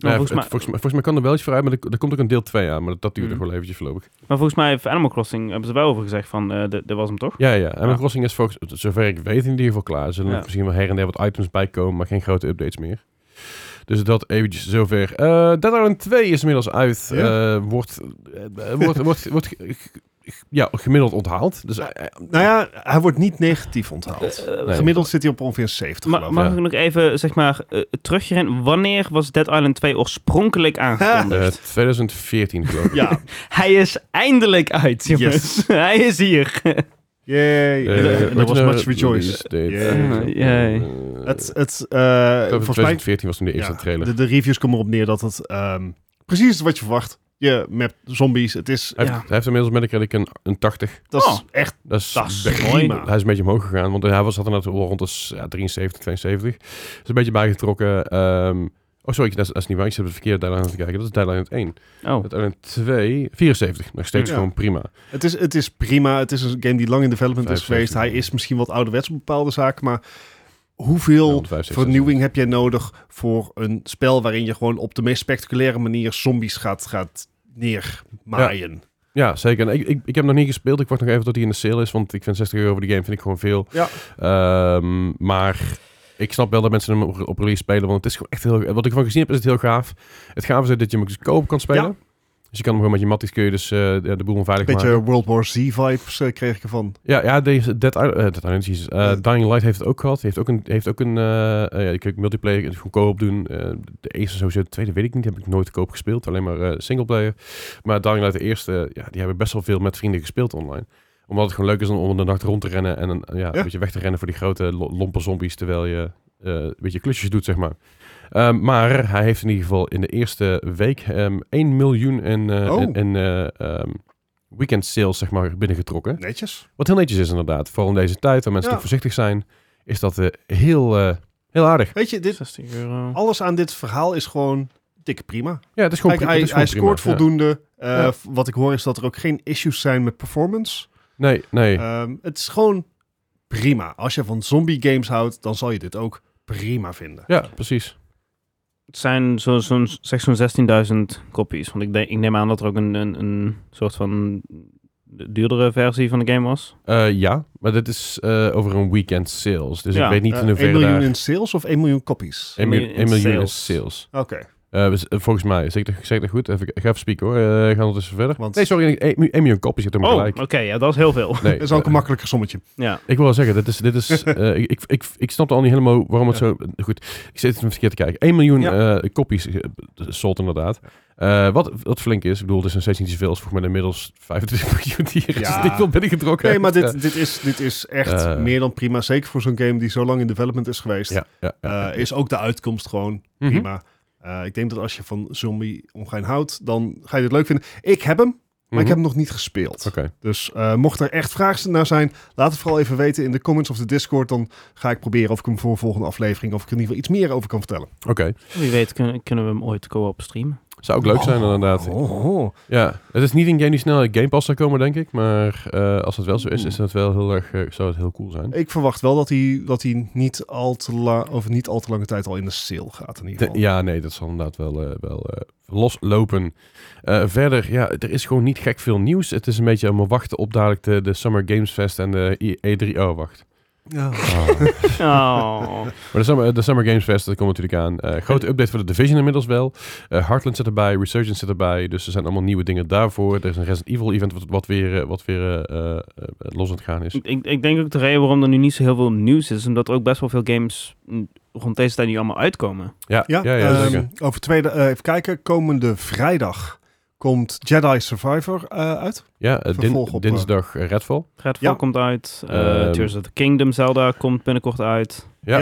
S2: nou ja,
S1: volgens
S2: het-
S1: mij-
S2: volgens, mij, volgens mij kan er wel iets voor uit, maar er, er komt ook een deel 2 aan. Maar dat, dat
S3: Mm.
S2: duurt nog
S1: Mhm.
S2: wel eventjes voorlopig.
S1: Maar volgens mij heeft Animal Crossing, hebben ze wel over gezegd van, eh, dit, dit was hem toch?
S2: Ja, ja. En
S1: Ja.
S2: mijn crossing is volgens, zover ik weet, in ieder geval klaar. Er zullen
S1: Ja.
S2: nog misschien wel her en der wat items bij komen, maar geen grote updates meer. Dus dat eventjes zover. Eh Dead Island 2 is inmiddels uit.
S3: Ja.
S2: Eh, wordt, eh, wordt,
S3: [LAUGHS]
S2: wordt, wordt ge- ge- ge- ja, gemiddeld onthaald. Dus, eh, eh,
S3: Nou ja, hij wordt niet negatief onthaald.
S1: Eh,
S2: Nee.
S3: Gemiddeld zit hij op ongeveer 70
S1: Ma-
S3: geloof ik.
S1: mag
S2: ja.
S1: ik nog even, zeg maar, eh, teruggaan? Wanneer was Dead Island 2 oorspronkelijk
S2: eh,
S1: aangekondigd?
S2: 2014 geloof ik.
S3: Ja,
S1: Hij is eindelijk uit, jongens. [LAUGHS]
S3: Yes.
S1: Hij is hier.
S3: yay.
S2: Eh,
S1: er
S3: There was
S2: original
S3: much rejoice.
S2: release date.
S3: Yeah.
S2: Eh,
S1: Yay.
S2: eh,
S3: Het, het, eh,
S2: ik geloof dat
S3: volgens mij
S2: 2014 was toen de eerste
S3: Ja,
S2: trailer.
S3: De, de reviews komen erop neer dat het ehm, precies is wat je verwacht. Je met zombies, het is,
S2: Hij heeft,
S1: Ja.
S2: hij heeft inmiddels met een, een, een 80.
S3: dat is
S1: Oh.
S3: echt
S2: Dat is,
S3: dat is
S2: best-
S1: mooi.
S3: prima.
S2: Ah. Hij is een beetje omhoog gegaan, want hij was had inderdaad wel rond de s- ja, 73, 72. Is een beetje bijgetrokken. ehm, oh, sorry, dat is, dat is niet waar. Ik zit op de verkeerde Deadline aan te kijken. Dat is Deadline 1.
S1: Oh,
S2: Deadline 2, 74. Nog steeds
S3: Ja.
S2: gewoon prima.
S3: Het is, het is prima. Het is een game die lang in development is
S2: 75.
S3: geweest. Hij is misschien wat ouderwets op bepaalde zaken, maar hoeveel
S2: 175.
S3: vernieuwing heb jij nodig voor een spel waarin je gewoon op de meest spectaculaire manier zombies gaat, gaat neermaaien?
S2: Ja, zeker. En ik, ik, ik heb hem nog niet gespeeld. Ik wacht nog even tot hij in de sale is, want ik vind 60 euro voor die game vind ik gewoon veel.
S3: Ja.
S2: Ehm, maar ik snap wel dat mensen hem op, op release spelen, want het is gewoon echt heel... Wat ik van gezien heb, is het heel gaaf. Het gaaf is dat je hem ook dus koop kan spelen. Dus je kan hem gewoon met je matties, kun je dus eh, de de boel onveilig
S3: Een
S2: maken.
S3: beetje World War Z-vibes eh, kreeg ik ervan.
S2: Ja, ja deze Dead Island, eh, Dead Island, jezus. Eh,
S3: Eh.
S2: Dying Light heeft het ook gehad. Heeft ook een, heeft ook een eh, eh, ja, je kunt multiplayer goedkoop doen. Eh, de eerste sowieso, de tweede weet ik niet. Heb ik nooit koop gespeeld, alleen maar single singleplayer. Maar Dying Light, de eerste, ja, die hebben best wel veel met vrienden gespeeld online. Omdat het gewoon leuk is om onder de nacht rond te rennen en een, ja, een
S3: Ja.
S2: beetje weg te rennen voor die grote lo- lompe zombies, terwijl je eh, een beetje klusjes doet, zeg maar. Ehm, maar hij heeft in ieder geval in de eerste week ehm 1 miljoen in, eh,
S3: Oh.
S2: in, in, eh, ehm, weekend sales, zeg maar, binnengetrokken.
S3: Netjes.
S2: Wat heel netjes is inderdaad. Vooral in deze tijd, waar mensen
S3: Ja.
S2: toch voorzichtig zijn, is dat eh, heel, eh, heel aardig.
S3: Weet je, dit,
S1: 60 euro.
S3: alles aan dit verhaal is gewoon... dikke prima.
S2: Ja, het is gewoon
S3: Kijk,
S2: pri-
S3: hij,
S2: het is
S3: hij
S2: gewoon prima,
S3: scoort
S2: ja.
S3: voldoende. Eh,
S2: Ja.
S3: f- Wat ik hoor is dat er ook geen issues zijn met performance.
S2: Nee, nee.
S3: Ehm, het is gewoon prima. Als je van zombie games houdt, dan zal je dit ook prima vinden.
S2: ja, precies.
S1: Het zijn zo- zo'n zeg zo'n 16.000 kopies. Want ik, denk, ik neem aan dat er ook een, een, een soort van duurdere versie van de game was.
S2: Eh, ja, maar dit is eh, over een weekend sales. Dus
S1: Ja,
S2: ik weet niet
S3: Eh,
S2: in hoeverre
S3: 1 miljoen
S2: daar-
S3: in sales of 1 miljoen copies?
S2: 1 miljoen,
S1: in
S2: 1 miljoen is
S1: sales.
S2: sales.
S3: Oké.
S2: Eh, dus, eh, volgens mij, zeg ik, dat- zeg ik dat goed? Even, ik ga even spieken hoor. Eh, gaan we ondertussen verder.
S3: Want-
S2: Nee, sorry, 1, miljoen kopjes zit er maar
S1: Oh,
S2: gelijk.
S1: oké, ja, dat is heel veel.
S2: Nee,
S3: [LAUGHS] Dat is ook een
S2: eh, [LAUGHS]
S3: makkelijker sommetje.
S1: [LAUGHS] Ja.
S2: Ik wil wel zeggen, dit is, dit is, [LAUGHS] eh, ik, ik, ik, ik snapte al niet helemaal waarom het
S3: Ja.
S2: zo... Goed, ik zit even verkeerd te kijken. 1 miljoen
S3: Ja.
S2: eh, kopies eh, sold inderdaad. Eh, wat, wat flink is, ik bedoel, het is nog steeds niet zoveel als volgens mij inmiddels 25 [LAUGHS] miljoen die er
S3: Ja.
S2: ja. veel binnengetrokken.
S3: Nee, maar
S2: heeft.
S3: dit, dit, is, dit is echt
S2: Eh.
S3: meer dan prima. Zeker voor zo'n game die zo lang in development is geweest.
S2: Eh, ja, ja, ja, ja.
S3: Eh, is ook de uitkomst gewoon
S2: Mhm.
S3: prima. Eh, ik denk dat als je van zombie omgein houdt, dan ga je dit leuk vinden. Ik heb hem, maar ik
S2: Mhm.
S3: heb hem nog niet gespeeld.
S2: Oké.
S3: Dus eh, mocht er echt vragen naar zijn, laat het vooral even weten in de comments of de Discord. Dan ga ik proberen of ik hem voor de volgende aflevering, of ik er in ieder geval iets meer over kan vertellen.
S2: Oké,
S1: Wie weet kunnen, kunnen we hem ooit co-op streamen.
S2: zou ook leuk zijn inderdaad.
S3: Oh, oh.
S2: Ja, het is niet een game die snel in Game Pass zou komen, denk ik. Maar eh, als dat wel zo is, is dat wel heel erg, eh, zou het heel cool zijn.
S3: Ik verwacht wel dat hij, dat hij niet, al te la- over niet al te lange tijd al in de sale gaat in ieder
S2: De-
S3: geval.
S2: ja, nee, dat zal inderdaad wel, eh, wel eh, loslopen. Eh, verder, ja, er is gewoon niet gek veel nieuws. Het is een beetje allemaal wachten op dadelijk de, de Summer Games Fest en de I- E3. Oh, wacht.
S3: Ah.
S1: Oh.
S2: [LAUGHS] Maar de Summer, de Summer Games Fest, dat komt natuurlijk aan. Eh, grote update voor de Division inmiddels wel. Eh Heartland zit erbij, Resurgence zit erbij. Dus er zijn allemaal nieuwe dingen daarvoor. Er is een Resident Evil event wat, wat weer, eh, wat weer eh, eh, eh, los aan het gaan is.
S1: ik, ik denk ook de reden waarom er nu niet zo heel veel nieuws is, omdat er ook best wel veel games mm, rond deze tijd nu allemaal uitkomen.
S2: Ja, ja,
S3: Ja,
S2: ja,
S3: ehm,
S2: zeker.
S3: over tweede, eh, even kijken. Komende vrijdag komt Jedi Survivor eh, uit.
S2: Ja, eh, din-
S3: vervolg op, eh,
S2: dinsdag eh, Redfall.
S1: Redfall
S3: Ja.
S1: komt uit, eh,
S2: Ehm.
S1: Tears of the Kingdom Zelda komt binnenkort uit.
S2: Ja.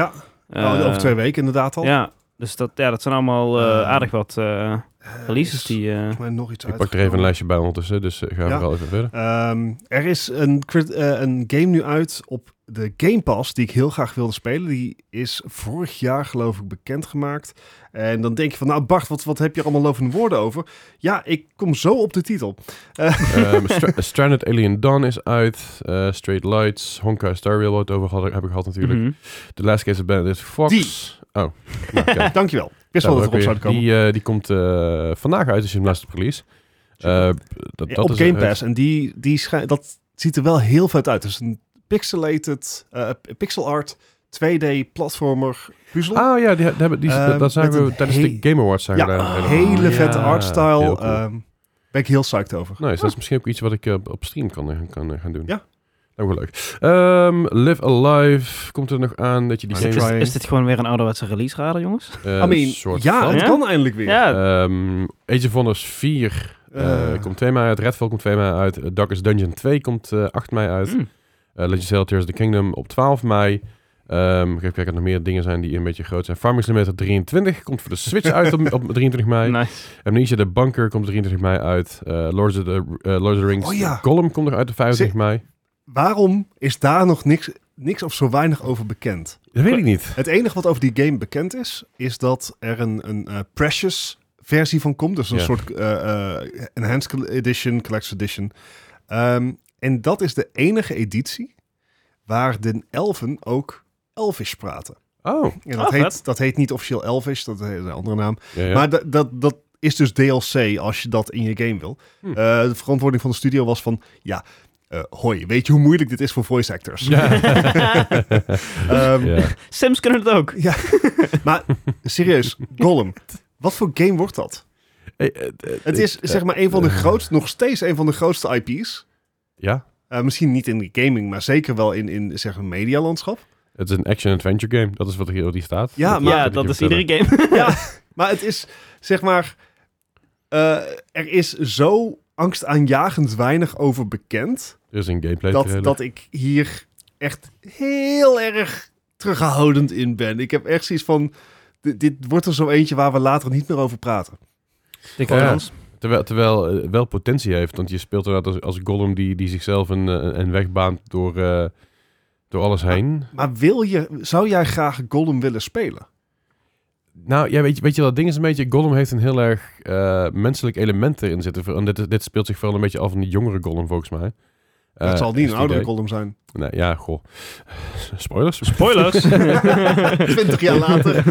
S3: nou,
S1: Eh,
S3: over twee weken inderdaad al.
S1: Ja, dus dat, ja, dat zijn allemaal eh,
S3: Ehm.
S1: aardig wat eh,
S3: Eh,
S1: releases
S3: is
S1: die... eh,
S3: volgens mij nog iets
S2: Ik pak er even een
S3: uitgekomen.
S2: lijstje bij ondertussen, dus eh, gaan we
S3: Ja.
S2: vooral even verder.
S3: Ehm, er is een, crit- eh, een game nu uit op de Game Pass die ik heel graag wilde spelen. Die is vorig jaar geloof ik bekendgemaakt. En dan denk je van, nou Bart, wat, wat heb je er allemaal lovende woorden over? Ja, ik kom zo op de titel.
S2: Ehm, Stra- [LAUGHS] Stranded Alien Dawn is uit. eh, Straight Lights, Honkai Star Rail, waar we het over hadden, heb ik gehad natuurlijk.
S1: mhm.
S2: The Last Case of Bandit Fox.
S3: Die.
S2: Oh,
S3: [LAUGHS]
S2: nou, kijk.
S3: Dankjewel. Ik wist
S2: Daar
S3: wel dat
S2: ook weer.
S3: erop zou komen.
S2: Die, eh, die komt eh, vandaag uit, dus je hem laatst op release. Eh, dat, dat
S3: op
S2: is
S3: Game
S2: het.
S3: Pass. En die, die schij- dat ziet er wel heel vet uit. Dus een pixelated, eh, pixel art, 2D platformer puzzel.
S2: Ah ja, die, die, hebben- die,
S3: Ehm,
S2: dat- dat zagen
S3: met
S2: we
S3: een
S2: tijdens
S3: he-
S2: de Game Awards. Zagen
S3: ja,
S2: we daar een trailer van.
S3: hele
S1: Ja,
S3: vette
S2: heel
S3: artstyle.
S2: cool.
S3: Ehm ben ik heel psyched over.
S2: Nice, dat is misschien ook iets wat ik eh, op stream kan, eh, kan eh, gaan doen.
S3: Ja.
S2: Dat is wel leuk. Ehm, Live Alive komt er nog aan dat je die
S3: Nice
S2: games...
S3: try.
S1: Is dit gewoon weer een ouderwetse release radar, jongens?
S2: eh,
S3: I mean,
S2: soort
S3: ja,
S2: van.
S3: het
S1: Ja?
S3: kan eindelijk weer.
S2: Ehm, Age of Wonders 4 eh,
S3: Eh,
S2: komt 2 mei uit. Redfall komt 2 mei uit. Eh, Darkest Dungeon 2 komt eh, 8 mei uit.
S1: Mm.
S2: Eh, Legend of Zelda Tears of the Kingdom op 12 mei. Ehm ik even kijken of er nog meer dingen zijn die een beetje groot zijn. Farming Simulator 23 komt voor de Switch uit
S3: [LAUGHS]
S2: op, op 23 mei.
S3: Nou.
S1: Nice.
S2: Amnesia The Bunker komt 23 mei uit. Eh Lords, of the, eh, Lords of the Rings
S3: Oh ja.
S2: Gollum komt er uit op 25 mei.
S3: Waarom is daar nog niks, niks of zo weinig over bekend?
S2: Dat weet ik niet.
S3: Het enige wat over die game bekend is, is dat er een, een eh, Precious versie van komt. Dus een
S2: Ja.
S3: soort eh, eh, Enhanced Col- Edition, Collector's Edition. Ehm, en dat is de enige editie waar de elfen ook Elvish praten.
S2: Oh.
S3: En dat,
S1: Ah,
S3: heet,
S1: vet.
S3: dat heet niet officieel Elvish, dat is een andere naam.
S2: Ja, ja.
S3: Maar da- dat, dat is dus DLC als je dat in je game wil.
S2: Hm.
S3: Eh, de verantwoording van de studio was van, ja, eh, hoi, weet je hoe moeilijk dit is voor voice actors? [LAUGHS] Ehm,
S2: Ja.
S1: Sims kunnen het ook.
S3: Serieus, Gollum, wat voor game wordt dat?
S2: Eh, eh, eh,
S3: Het is zeg maar een van de grootste, nog steeds een van de grootste IP's.
S2: ja.
S3: Eh, misschien niet in de gaming, maar zeker wel in, in zeg maar, medialandschap.
S2: Het is een action-adventure game. Dat is wat hier wat hier staat.
S3: Ja,
S2: Dat-
S3: maar-
S1: ja,
S2: ik
S1: dat
S2: je
S1: is
S2: vertellen.
S1: iedere game.
S3: Maar het is, zeg maar, eh, er is zo angstaanjagend weinig over bekend.
S2: Er is een gameplay
S3: dat,
S2: trailer.
S3: dat ik hier echt heel erg terughoudend in ben. Ik heb echt zoiets van. Dit, dit wordt er zo eentje waar we later niet meer over praten.
S1: Dikke
S2: Ja.
S1: kans.
S2: Terwijl, terwijl eh, wel potentie heeft. Want je speelt inderdaad als, als Gollum die, die zichzelf een, eh, een weg baant door, eh, door alles heen.
S3: Maar wil je, zou jij graag Gollum willen spelen?
S2: Nou, ja, weet, je, weet je dat ding is een beetje... Gollum heeft een heel erg eh, menselijk element erin zitten. Voor- En dit, dit speelt zich vooral een beetje af van die jongere Gollum, volgens mij.
S3: Dat
S2: Eh,
S3: zal niet
S2: is
S3: een
S2: het
S3: oudere
S2: idee.
S3: column
S2: [LAUGHS]
S3: zijn.
S2: Nee, ja, goh. Spoilers?
S1: [LAUGHS] Spoilers!
S3: Twintig jaar later.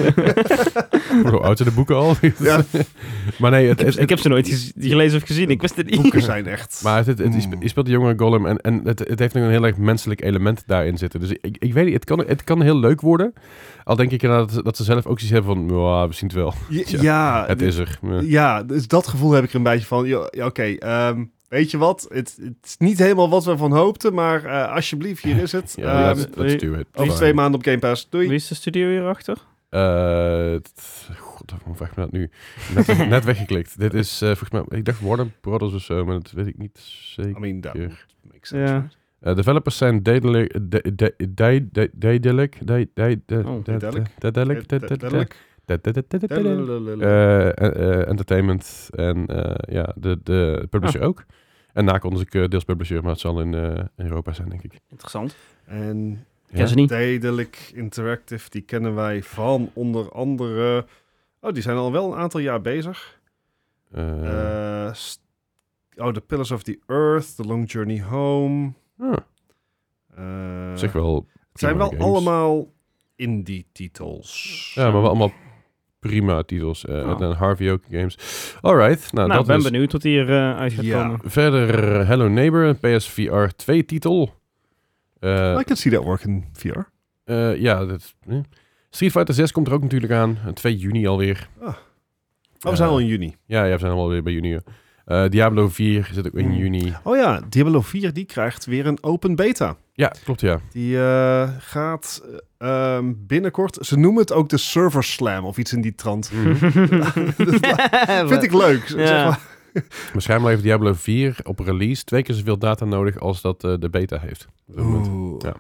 S2: Hoe oud zijn de boeken al?
S3: Ja.
S2: maar nee, het,
S1: ik, heb,
S2: het,
S1: ik heb ze nooit gez- gelezen of gezien, ik wist het niet.
S3: Boeken zijn echt...
S2: Maar het, het, het, is-
S3: Mm.
S2: je speelt de jongere Gollum en, en het, het heeft nog een heel erg menselijk element daarin zitten. Dus ik, ik weet niet, het kan, het kan heel leuk worden. Al denk ik inderdaad dat, ze- dat ze zelf ook iets hebben van, "Mwah, we zien het wel.
S3: Ja,
S2: Ja, het is er. Ja.
S3: Ja, dus dat gevoel heb ik er een beetje van. joh, Ja, Oké, ehm, weet je wat? Het, het is niet helemaal wat we van hoopten, maar eh, alsjeblieft, hier is het.
S2: [LAUGHS] Ja,
S3: Ehm,
S2: let's, let's do it.
S3: over
S2: Fine.
S3: twee maanden op Game Pass. Doei.
S1: Wie is de studio hierachter?
S2: Oh, Eh, t- God, waarom vraag ik me dat nu? Net, weg- net weggeklikt. Dit is eh, volgens mij, ik dacht Warner Brothers of zo, maar dat weet ik niet
S3: I
S2: zeker.
S3: mean, that
S2: Ja.
S3: would make sense.
S1: Ja.
S2: Eh, developers zijn Daedalic, Da- Da- Da- Da- Daedalic, Da- Da- Da-
S1: Oh,
S2: Da-
S3: Daedalic.
S2: Daedalic,
S3: Eh,
S2: Da- Da- Da- Da- Da- Da- Da- Da- Da- eh, eh, entertainment en eh, ja, de, de publisher
S1: Ah.
S2: ook. En nakonden ze eh, deels publisher, maar het zal in eh, Europa zijn, denk ik.
S1: Interessant.
S3: En
S1: Ken ze niet.
S3: Dedelijk Interactive, die kennen wij van onder andere... Oh, die zijn al wel een aantal jaar bezig.
S2: Eh,
S3: Eh, st- oh, The Pillars of the Earth, The Long Journey Home.
S2: ah,
S3: eh,
S2: zeg wel.
S3: Het zijn wel
S2: prima games.
S3: allemaal indie-titels.
S2: Ja, maar wel allemaal prima titels. eh,
S1: Oh.
S2: En Harvey ook games. Alright, nou,
S1: Nou,
S2: dat
S1: ik ben
S2: is
S1: benieuwd wat hier eh, uit gaat
S3: Ja.
S1: komen.
S2: verder Hello Neighbor, een PSVR 2 titel. Eh,
S3: I can see that work in VR.
S2: eh, ja, dat, eh. Street Fighter 6 komt er ook natuurlijk aan. eh, 2 juni alweer.
S3: Oh, we zijn
S2: Ja.
S3: al in juni.
S2: Ja, ja, we zijn allemaal weer bij juni. Eh, Diablo 4 zit ook in
S3: Hmm.
S2: juni.
S3: Oh ja, Diablo 4 die krijgt weer een open beta.
S2: Ja, klopt ja.
S3: Die eh, gaat eh, ehm, binnenkort... Ze noemen het ook de server slam of iets in die trant.
S1: Hm.
S2: Mhm.
S1: [LAUGHS]
S3: [LAUGHS] Vind ik leuk. Zeg
S1: Ja.
S3: maar.
S2: Maar schijnbaar heeft Diablo 4 op release twee keer zoveel data nodig als dat eh, de beta heeft. Op dit moment. Ja.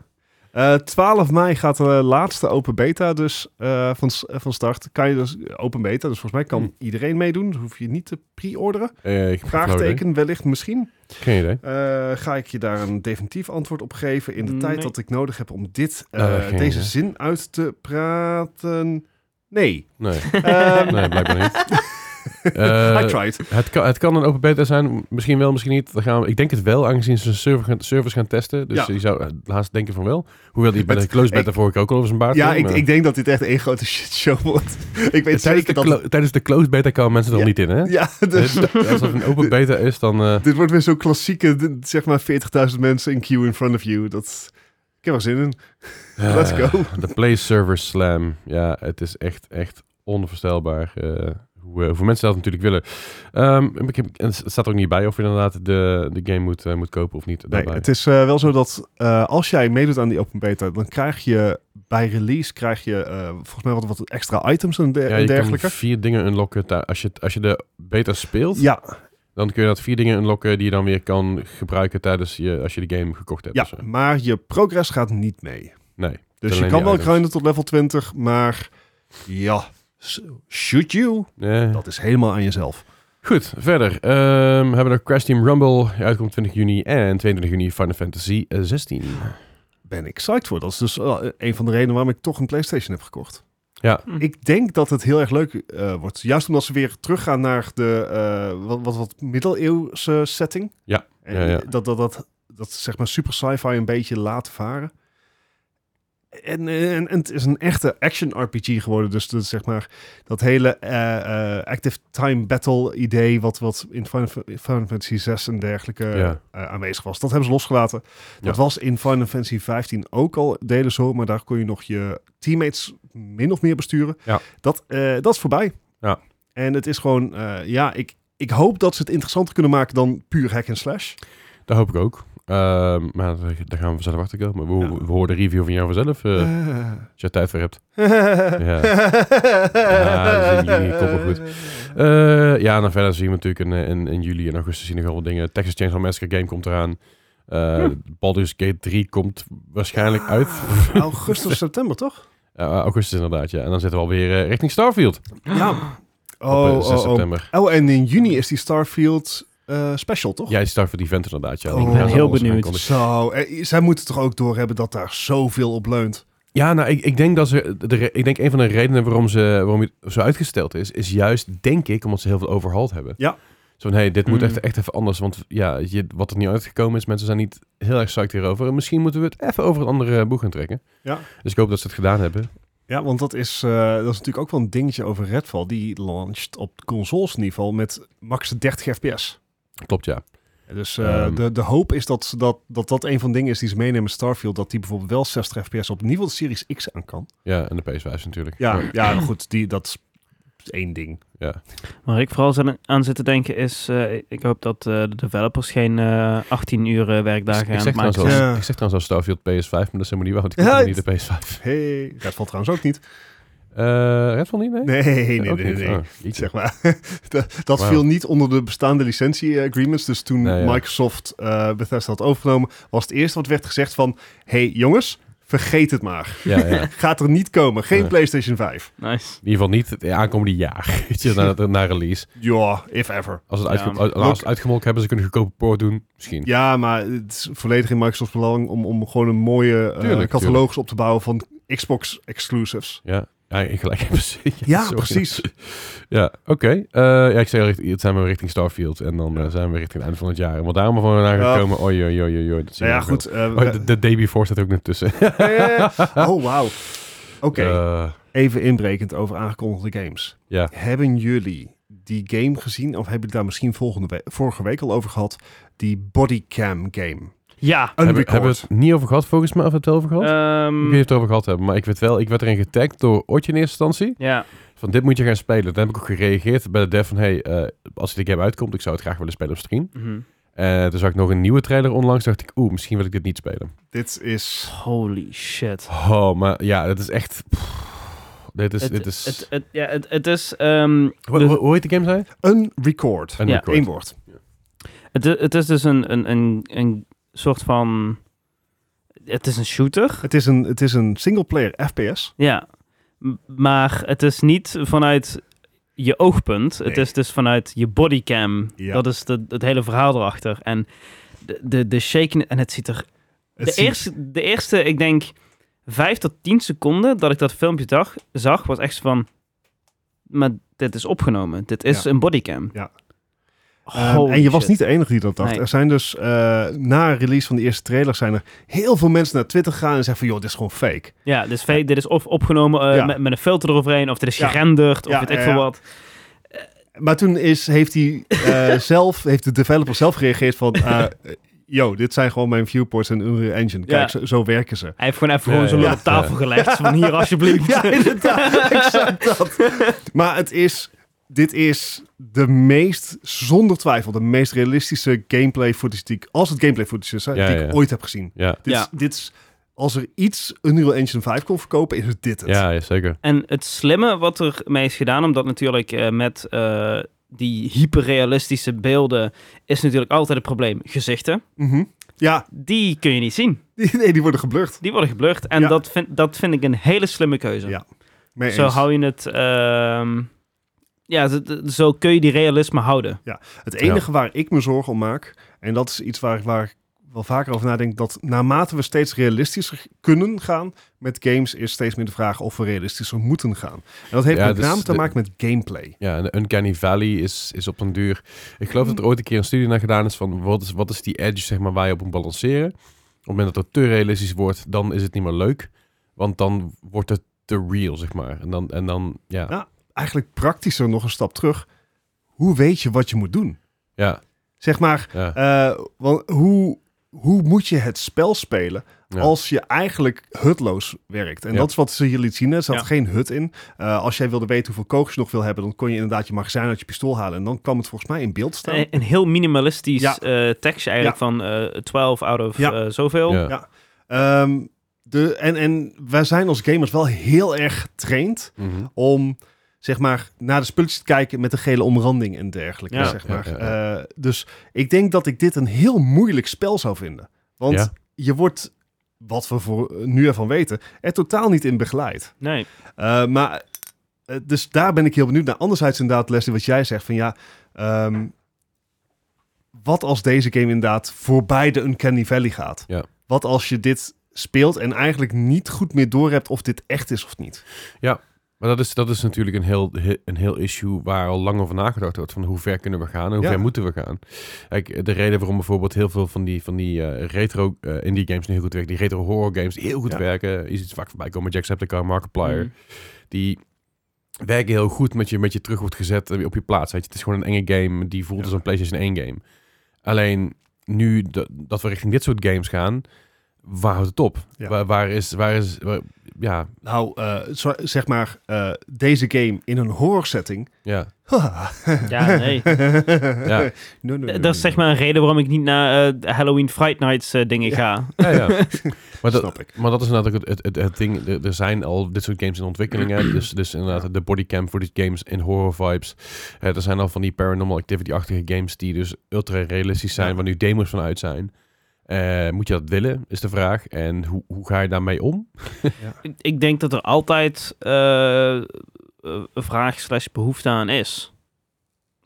S3: Eh, 12 mei gaat de laatste open beta dus eh, van, s- van start. Kan je dus open beta, dus volgens mij kan
S2: Hmm.
S3: iedereen meedoen. Dus hoef je niet te pre-orderen.
S2: Eh, ik heb geen flauw idee.
S3: Vraagteken wellicht misschien.
S2: Geen idee.
S3: Eh, ga ik je daar een definitief antwoord op geven in de
S1: Nee.
S3: tijd dat ik nodig heb om dit, eh,
S2: Nou, dat ging,
S3: deze
S2: hè?
S3: zin uit te praten?
S1: [LAUGHS]
S3: Nee.
S2: Nee,
S3: Ehm,
S2: nee blijkbaar
S3: [LAUGHS]
S2: niet. Eh,
S3: I tried.
S2: het, kan, het kan een open beta zijn, misschien wel, misschien niet. Dan gaan we, ik denk het wel, aangezien ze server gaan, servers gaan testen. Dus
S3: Ja.
S2: je zou eh, haast denken van wel. Hoewel die bij
S3: Het-
S2: de close beta
S3: ik-
S2: vorige keer ook al over zijn baard
S3: Ja,
S2: ging,
S3: ik,
S2: maar-
S3: ik denk dat dit echt één grote [LAUGHS] shitshow wordt. ik weet
S2: tijdens,
S3: zeker
S2: de
S3: dat...
S2: clo- tijdens de close beta komen mensen er
S3: Ja.
S2: al niet in, hè?
S3: Ja, dus...
S2: Dus als het een open beta is, dan... eh,
S3: Dit wordt weer zo'n klassieke, d- zeg maar 40.000 mensen in queue in front of you. Dat, ik heb er zin in. Let's
S2: Eh,
S3: go.
S2: De Play Server Slam. Ja, het is echt, echt onvoorstelbaar eh, hoe, eh, hoeveel mensen dat natuurlijk willen. Ehm, ik heb- en het staat er ook niet bij of je inderdaad de, de game moet, eh, moet kopen of niet.
S3: Nee,
S2: daarbij.
S3: het is eh, wel zo dat eh, als jij meedoet aan die open beta, dan krijg je bij release krijg je eh, volgens mij wat, wat extra items en, der-
S2: ja,
S3: en
S2: je
S3: eh, dergelijke.
S2: kan vier dingen unlocken. ta- Als je, als je de beta speelt,
S3: Ja,
S2: dan kun je dat vier dingen unlocken die je dan weer kan gebruiken tijdens je, als je de game gekocht hebt.
S3: ja,
S2: of zo.
S3: maar je progress gaat niet mee.
S2: Nee.
S3: Dus
S2: dus, eh. Alleen
S3: je
S2: die
S3: kan wel
S2: items.
S3: grinden tot level 20, maar ja, s- shoot you.
S2: Eh.
S3: Dat is helemaal aan jezelf.
S2: Goed, verder. Ehm, we hebben nog Crash Team Rumble. Die uitkomt 20 juni. En 22 juni Final Fantasy eh, 16.
S3: Ben ik psyched voor. Dat is dus eh, een van de redenen waarom ik toch een PlayStation heb gekocht.
S2: Ja.
S1: Hm.
S3: Ik denk dat het heel erg leuk eh, wordt. Juist omdat ze weer teruggaan naar de eh, wat, wat, wat middeleeuwse setting.
S2: Ja,
S3: En
S2: ja, ja.
S3: Dat, dat, dat, dat zeg maar super sci-fi een beetje laten varen. En, eh, en, en het is een echte action RPG geworden. Dus dat, zeg maar, dat hele eh, eh, active time battle idee... wat, wat in Final, Fa- Final Fantasy 6 en dergelijke
S2: Ja.
S3: eh, aanwezig was. Dat hebben ze losgelaten. Dat
S2: Ja.
S3: was in Final Fantasy 15 ook al delen zo. Maar daar kon je nog je teammates min of meer besturen.
S2: Ja.
S3: Dat, eh, dat is voorbij.
S2: Ja.
S3: En het is gewoon... eh, ja, ik, ik hoop dat ze het interessanter kunnen maken dan puur hack en slash.
S2: Dat hoop ik ook. Ehm, maar daar daar gaan we vanzelf achter komen. We, we horen de review van jou vanzelf. eh, als je er tijd voor hebt. Ja. [LAUGHS] Ja, dat is in juni, komt wel goed. Eh, ja, en dan verder zien we natuurlijk in, eh, in, in juli en augustus zien we nog wel wat dingen. Texas Chainsaw Massacre Game komt eraan. Eh, Baldur's Gate 3 komt waarschijnlijk Eh, uit.
S3: Ah, Augustus, september, toch?
S2: Eh, augustus inderdaad, ja. En dan zitten we alweer eh, richting Starfield.
S3: Ja.
S2: op
S3: Oh,
S2: eh, 6
S3: oh, oh.
S2: september.
S3: oh, en in juni is die Starfield eh, special, toch?
S2: Ja, die Starfield Event inderdaad, ja.
S3: Oh,
S2: Daar
S3: ik ben
S2: zal
S1: heel
S2: alles
S1: benieuwd.
S2: aankondigen.
S3: Zo, eh, zij moeten toch ook doorhebben dat daar zoveel op leunt.
S2: Ja, nou, ik, ik denk dat ze. De, re- ik denk een van de redenen waarom, ze, waarom het zo uitgesteld is, is juist, denk ik, omdat ze heel veel overhaald hebben.
S3: Ja.
S2: Zo van, hey, dit moet
S1: Mm.
S2: echt, echt even anders, want ja, je, wat er niet uitgekomen is, mensen zijn niet heel erg psyched hierover. Misschien moeten we het even over een andere boeg gaan trekken.
S3: Ja.
S2: Dus ik hoop dat ze het gedaan hebben.
S3: Ja, want dat is, eh, dat is natuurlijk ook wel een dingetje over Redfall. Die launcht op consolesniveau met max 30 fps.
S2: Klopt, ja.
S3: Dus eh,
S2: Ehm.
S3: de, de hoop is dat, ze dat, dat dat een van de dingen is die ze meenemen met Starfield. Dat die bijvoorbeeld wel 60 fps op in ieder geval de Series X aan kan.
S2: Ja, en de PS5 natuurlijk.
S3: Ja, ja maar goed, die, dat is één ding.
S2: ja.
S1: Waar ik vooral zin- aan zit te denken is, eh, ik hoop dat eh, de developers geen eh, 18 uur eh, werkdagen
S2: ik,
S1: aan
S2: zeg
S1: het
S2: nou
S1: maken
S2: trouwens
S1: zijn.
S2: al,
S3: zijn.
S2: ik zeg trouwens al Starfield PS5, maar dat is helemaal niet waar, want ik
S3: Ja,
S2: heb helemaal niet
S3: het-
S2: de PS5.
S3: Hey, Redfall trouwens ook niet.
S2: Eh Redfall niet, nee?
S3: Nee, nee, nee,
S2: Ook
S3: nee.
S2: niet.
S3: nee.
S2: Oh, jeetje.
S3: Zeg maar. [LAUGHS] dat dat
S2: Wauw.
S3: viel niet onder de bestaande licentie-agreements. Dus toen
S2: Nee, ja.
S3: Microsoft eh, Bethesda had overgenomen, was het eerste wat werd gezegd van... hey, jongens, vergeet het maar.
S2: Ja, ja.
S3: Gaat er niet komen. Geen
S2: Nee.
S3: PlayStation 5.
S1: Nice.
S2: In ieder geval niet het aankomende jaar, [LAUGHS] weet je, na, na release.
S3: Ja, if ever.
S2: Als het
S1: Ja.
S2: uitge- als- als het uitgemolken hebben, ze kunnen goedkope poort doen, misschien.
S3: Ja, maar het is volledig in Microsofts belang om, om gewoon een mooie eh,
S2: Tuurlijk,
S3: catalogus op te bouwen van Xbox-exclusives.
S2: Ja, ja ik gelijk hebben ze.
S3: Ja,
S2: [LAUGHS] sorry.
S3: precies.
S2: Ja, oké. Eh, ja, ik zei al, richt- het zijn we richting Starfield en dan eh, zijn we richting het einde van het jaar. Want daarom van naar
S3: Ja.
S2: gekomen, oei, oei, oei, oei, oei. dat zien
S3: Nou ja,
S2: we wel.
S3: goed. eh,
S2: Oh, de, de day before staat ook net tussen. [LAUGHS]
S3: eh, oh, wauw. Oké,
S2: Eh,
S3: even inbrekend over aangekondigde games.
S2: ja.
S3: Hebben jullie die game gezien? Of hebben jullie daar misschien volgende we- vorige week al over gehad? Die bodycam game.
S1: Ja.
S2: Hebben,
S3: Unrecord.
S2: hebben we het niet over gehad volgens mij, of hebben we het wel over gehad? ik weet
S1: Ehm,
S2: niet of we het over gehad hebben, maar ik weet wel, ik werd erin getagd door Otje in eerste instantie.
S1: ja.
S2: Van dit moet je gaan spelen. Daar heb ik ook gereageerd bij de dev van, hey, eh, als die game uitkomt, ik zou het graag willen spelen op stream.
S1: Mhm.
S2: Eh, toen zag ik nog een nieuwe trailer onlangs, dacht ik, oeh, misschien wil ik dit niet spelen.
S3: Dit is...
S1: Holy shit.
S2: Oh, maar ja, dat is echt. pff, dit is.
S1: Het-
S2: dit Dus is
S1: Het, het, ja, het, het is... ehm,
S2: hoe, hoe- hoe heet de game, zei? je?
S3: Unrecord.
S2: Een
S1: Ja.
S2: record.
S3: Eén woord.
S1: Het, het is dus een, een, een, een soort van. Het is een shooter.
S3: Het is een, het is een single-player FPS.
S1: Ja. M- Maar het is niet vanuit je oogpunt. Het
S3: Nee.
S1: is dus vanuit je bodycam.
S3: Ja.
S1: Dat is de, het hele verhaal erachter. En de, de, de shaken. En het ziet er.
S3: Het
S1: de,
S3: ziet-
S1: eerste, de eerste, ik denk, vijf tot tien seconden dat ik dat filmpje dag, zag, was echt van. Maar dit is opgenomen. Dit is
S3: Ja.
S1: een bodycam.
S3: Ja. Ehm,
S1: Holy
S3: en je was
S1: shit.
S3: niet de enige die dat dacht.
S1: Nee.
S3: Er zijn dus eh, na release van de eerste trailer zijn er heel veel mensen naar Twitter gegaan en zeggen van joh, dit is gewoon fake.
S1: Ja, dit is, fake, dit is of opgenomen eh,
S3: Ja.
S1: met, met een filter eroverheen, of dit is
S3: Ja.
S1: gerenderd, of
S3: Ja,
S1: weet ik
S3: ja,
S1: veel
S3: ja.
S1: wat.
S3: Maar toen is, heeft, hij, eh, zelf, heeft de developer zelf gereageerd van eh, yo, dit zijn gewoon mijn viewports en Unreal Engine. Kijk,
S1: Ja.
S3: zo, zo werken ze.
S1: Hij heeft gewoon even
S2: Ja,
S1: gewoon zo'n
S2: ja.
S1: lul op tafel gelegd, van
S3: [LAUGHS]
S1: hier alsjeblieft.
S3: Ja, inderdaad. exact dat. Maar het is... Dit is de meest, zonder twijfel, de meest realistische gameplay footage die ik, als het gameplay footage is, hè,
S2: Ja,
S3: die
S2: ja,
S3: ik
S2: ja.
S3: ooit heb gezien.
S2: Ja.
S3: Dit,
S1: Ja.
S3: is- dit is, als er iets Unreal Engine 5 kon verkopen, is het dit het.
S2: Ja, ja, zeker.
S1: En het slimme wat er mee is gedaan, omdat natuurlijk eh, met eh, die hyperrealistische beelden is natuurlijk altijd het probleem gezichten.
S3: Mhm. ja [LAUGHS]
S1: Die kun je niet zien.
S3: die, nee, die worden geblurred.
S1: Die worden geblurred. En
S3: Ja.
S1: dat, vind, dat vind ik een hele slimme keuze.
S3: Ja, Mee
S1: zo
S3: eens.
S1: hou je het... ehm, ja, zo- zo kun je die realisme houden.
S3: Het enige waar ik me zorgen om maak, en dat is iets waar, waar ik wel vaker over nadenk, dat naarmate we steeds realistischer kunnen gaan met games, is steeds meer de vraag of we realistischer moeten gaan. En dat heeft
S2: Ja,
S3: met
S2: dus
S3: name te
S2: de-
S3: maken met gameplay.
S2: Ja, en de Uncanny Valley is, is op een duur. Ik geloof dat er ooit een keer een studie naar gedaan is van wat is, wat is die edge zeg maar, waar je op moet balanceren. Op het moment dat het te realistisch wordt, dan is het niet meer leuk. Want dan wordt het te real, zeg maar. En dan, en dan ja.
S3: Ja. Eigenlijk praktischer nog een stap terug. Hoe weet je wat je moet doen?
S2: Ja,
S3: Zeg maar,
S2: ja.
S3: eh, wa- hoe, hoe moet je het spel spelen
S2: Ja.
S3: als je eigenlijk hutloos werkt? En
S2: Ja.
S3: dat is wat ze hier liet zien. hè. Er zat
S1: Ja.
S3: geen hut in. Eh, als jij wilde weten hoeveel kogels je nog wil hebben, dan kon je inderdaad je magazijn uit je pistool halen. En dan kwam het volgens mij in beeld staan.
S1: Een, een heel minimalistisch
S3: Ja.
S1: eh, tekstje eigenlijk van eh 12 out of
S3: Ja.
S1: eh, zoveel.
S2: ja.
S3: Ehm, de, en, en wij zijn als gamers wel heel erg getraind
S2: Mhm.
S3: om zeg maar naar de spulletjes te kijken met de gele omranding en dergelijke.
S1: Ja.
S3: zeg
S2: Ja,
S3: maar.
S2: ja,
S3: Eh, dus ik denk dat ik dit een heel moeilijk spel zou vinden. Want
S2: Ja.
S3: je wordt, wat we voor nu ervan weten, er totaal niet in begeleid.
S1: Nee.
S3: Eh, maar, eh, dus daar ben ik heel benieuwd naar. Anderzijds inderdaad, Leslie, wat jij zegt van ja, ehm, wat als deze game inderdaad voorbij de Uncanny Valley gaat?
S2: Ja.
S3: Wat als je dit speelt en eigenlijk niet goed meer doorhebt of dit echt is of niet.
S2: Maar dat is, dat is natuurlijk een heel, he- een heel issue waar al lang over nagedacht wordt. Van hoe ver kunnen we gaan en hoe
S3: Ja.
S2: ver moeten we gaan. Kijk, de reden waarom bijvoorbeeld heel veel van die, van die eh, retro eh, indie games niet heel goed werken. Die retro horror games die heel goed
S3: Ja. Mhm.
S2: werken. Is iets vaak voorbij komen. Jacksepticeye, Markiplier.
S1: Mm.
S2: Die werken heel goed met je, met je terug wordt gezet eh, op je plaats. Weet je. Het is gewoon een enge game. Die voelt
S3: Ja.
S2: als een PlayStation 1 game. Alleen nu dat- dat we richting dit soort games gaan. Waar houdt het op?
S3: Ja.
S2: Waar, waar is... Waar is waar- ja,
S3: Nou, eh, zo- zeg maar, eh, deze game in een horror setting. [LAUGHS]
S2: ja.
S1: Ja, nee.
S3: ja. No, no, no,
S1: Dat is zeg maar een reden waarom ik niet naar eh, Halloween Fright Nights eh, dingen ga.
S2: ja, ja. maar dat,
S3: Snap ik.
S2: Maar dat is inderdaad ook het, het, het, het ding. Er, er zijn al dit soort games in ontwikkeling. Hè? Dus, dus inderdaad de bodycam voor die games in horror vibes. Eh, er zijn al van die paranormal activity-achtige games die dus ultra realistisch zijn,
S3: Ja.
S2: waar nu demos van uit zijn. Eh, moet je dat willen, is de vraag. En hoe, hoe ga je daarmee om?
S1: Ik- Ik denk dat er altijd eh, eh, een vraag slash behoefte aan is.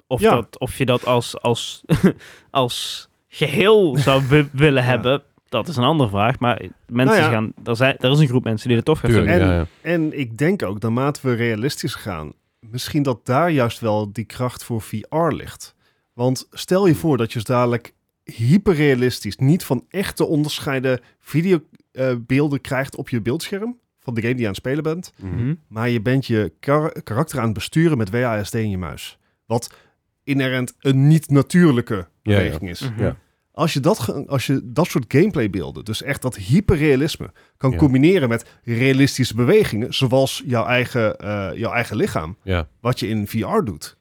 S1: Of,
S3: Ja.
S1: dat, of je dat als, als, [LAUGHS] als geheel zou wi- willen
S3: [LAUGHS] Ja.
S1: hebben, dat is een andere vraag. Maar mensen
S3: Nou ja.
S1: gaan, er, zijn, er is een groep mensen die dat toch gaat
S2: Tuurlijk,
S1: doen.
S3: En-
S2: ja, ja.
S3: En ik denk ook, naarmate we realistisch gaan, misschien dat daar juist wel die kracht voor VR ligt. Want stel je voor dat je dus dadelijk hyperrealistisch, niet van echt te onderscheiden videobeelden krijgt op je beeldscherm van de game die je aan het spelen bent.
S2: Mhm.
S3: Maar je bent je kar- karakter aan het besturen met WASD in je muis. Wat inherent een niet-natuurlijke
S2: Ja,
S3: beweging is.
S1: Mhm.
S2: Ja.
S3: Als je, dat, ge- als je dat soort gameplaybeelden, dus echt dat hyperrealisme, kan
S2: Ja.
S3: combineren met realistische bewegingen, zoals jouw eigen, eh, jouw eigen lichaam,
S2: Ja.
S3: wat je in VR doet.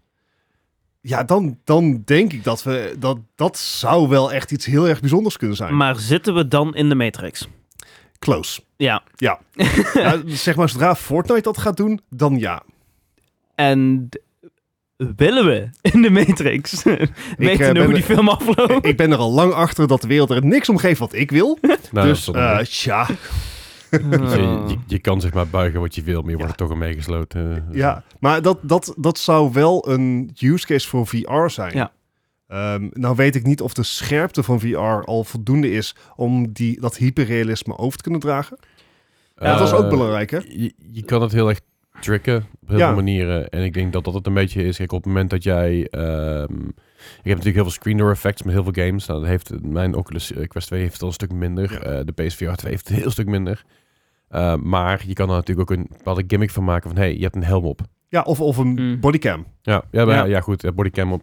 S3: Ja, dan, dan denk ik dat we dat, dat zou wel echt iets heel erg bijzonders kunnen zijn.
S1: Maar zitten we dan in de Matrix?
S3: Close.
S1: Ja.
S2: [LAUGHS]
S3: Ja, Nou, zeg maar, zodra Fortnite dat gaat doen, dan ja.
S1: En d- willen we in de Matrix? [LAUGHS]
S3: eh,
S1: Weten we
S3: ben
S1: hoe
S3: er-
S1: die film
S2: Oh.
S1: afloopt?
S3: Ik ben er al lang achter dat de wereld er niks om geeft wat ik wil.
S2: Nou,
S3: dus
S2: dat is wel
S3: eh
S2: een-
S3: tja,
S2: Dus [LAUGHS] je, je, je kan zeg maar buigen wat je wil, maar je wordt er toch in meegesloten. eh.
S3: Ja, maar dat, dat, dat zou wel een use case voor VR zijn.
S1: Ja.
S3: Ehm, nou weet ik niet of de scherpte van VR al voldoende is om die, dat hyperrealisme over te kunnen dragen.
S1: Ja,
S3: dat is ook
S2: Eh,
S3: belangrijk, hè?
S2: je, je kan het heel erg tricken op heel
S3: Ja.
S2: veel manieren. En ik denk dat dat het een beetje is. Kijk, op het moment dat jij... ehm ik heb natuurlijk heel veel screen door effects met heel veel games. Nou, dat heeft, mijn Oculus eh, Quest 2 heeft het al een stuk minder.
S3: Ja.
S2: Eh, de PSVR 2 heeft het een heel stuk minder. Eh, maar je kan er natuurlijk ook een bepaalde gimmick van maken van... hey, je hebt een helm op.
S3: Ja, of, of een
S1: Mm.
S3: bodycam.
S2: Ja, ja, maar,
S1: Ja.
S2: ja. goed. eh, Bodycam op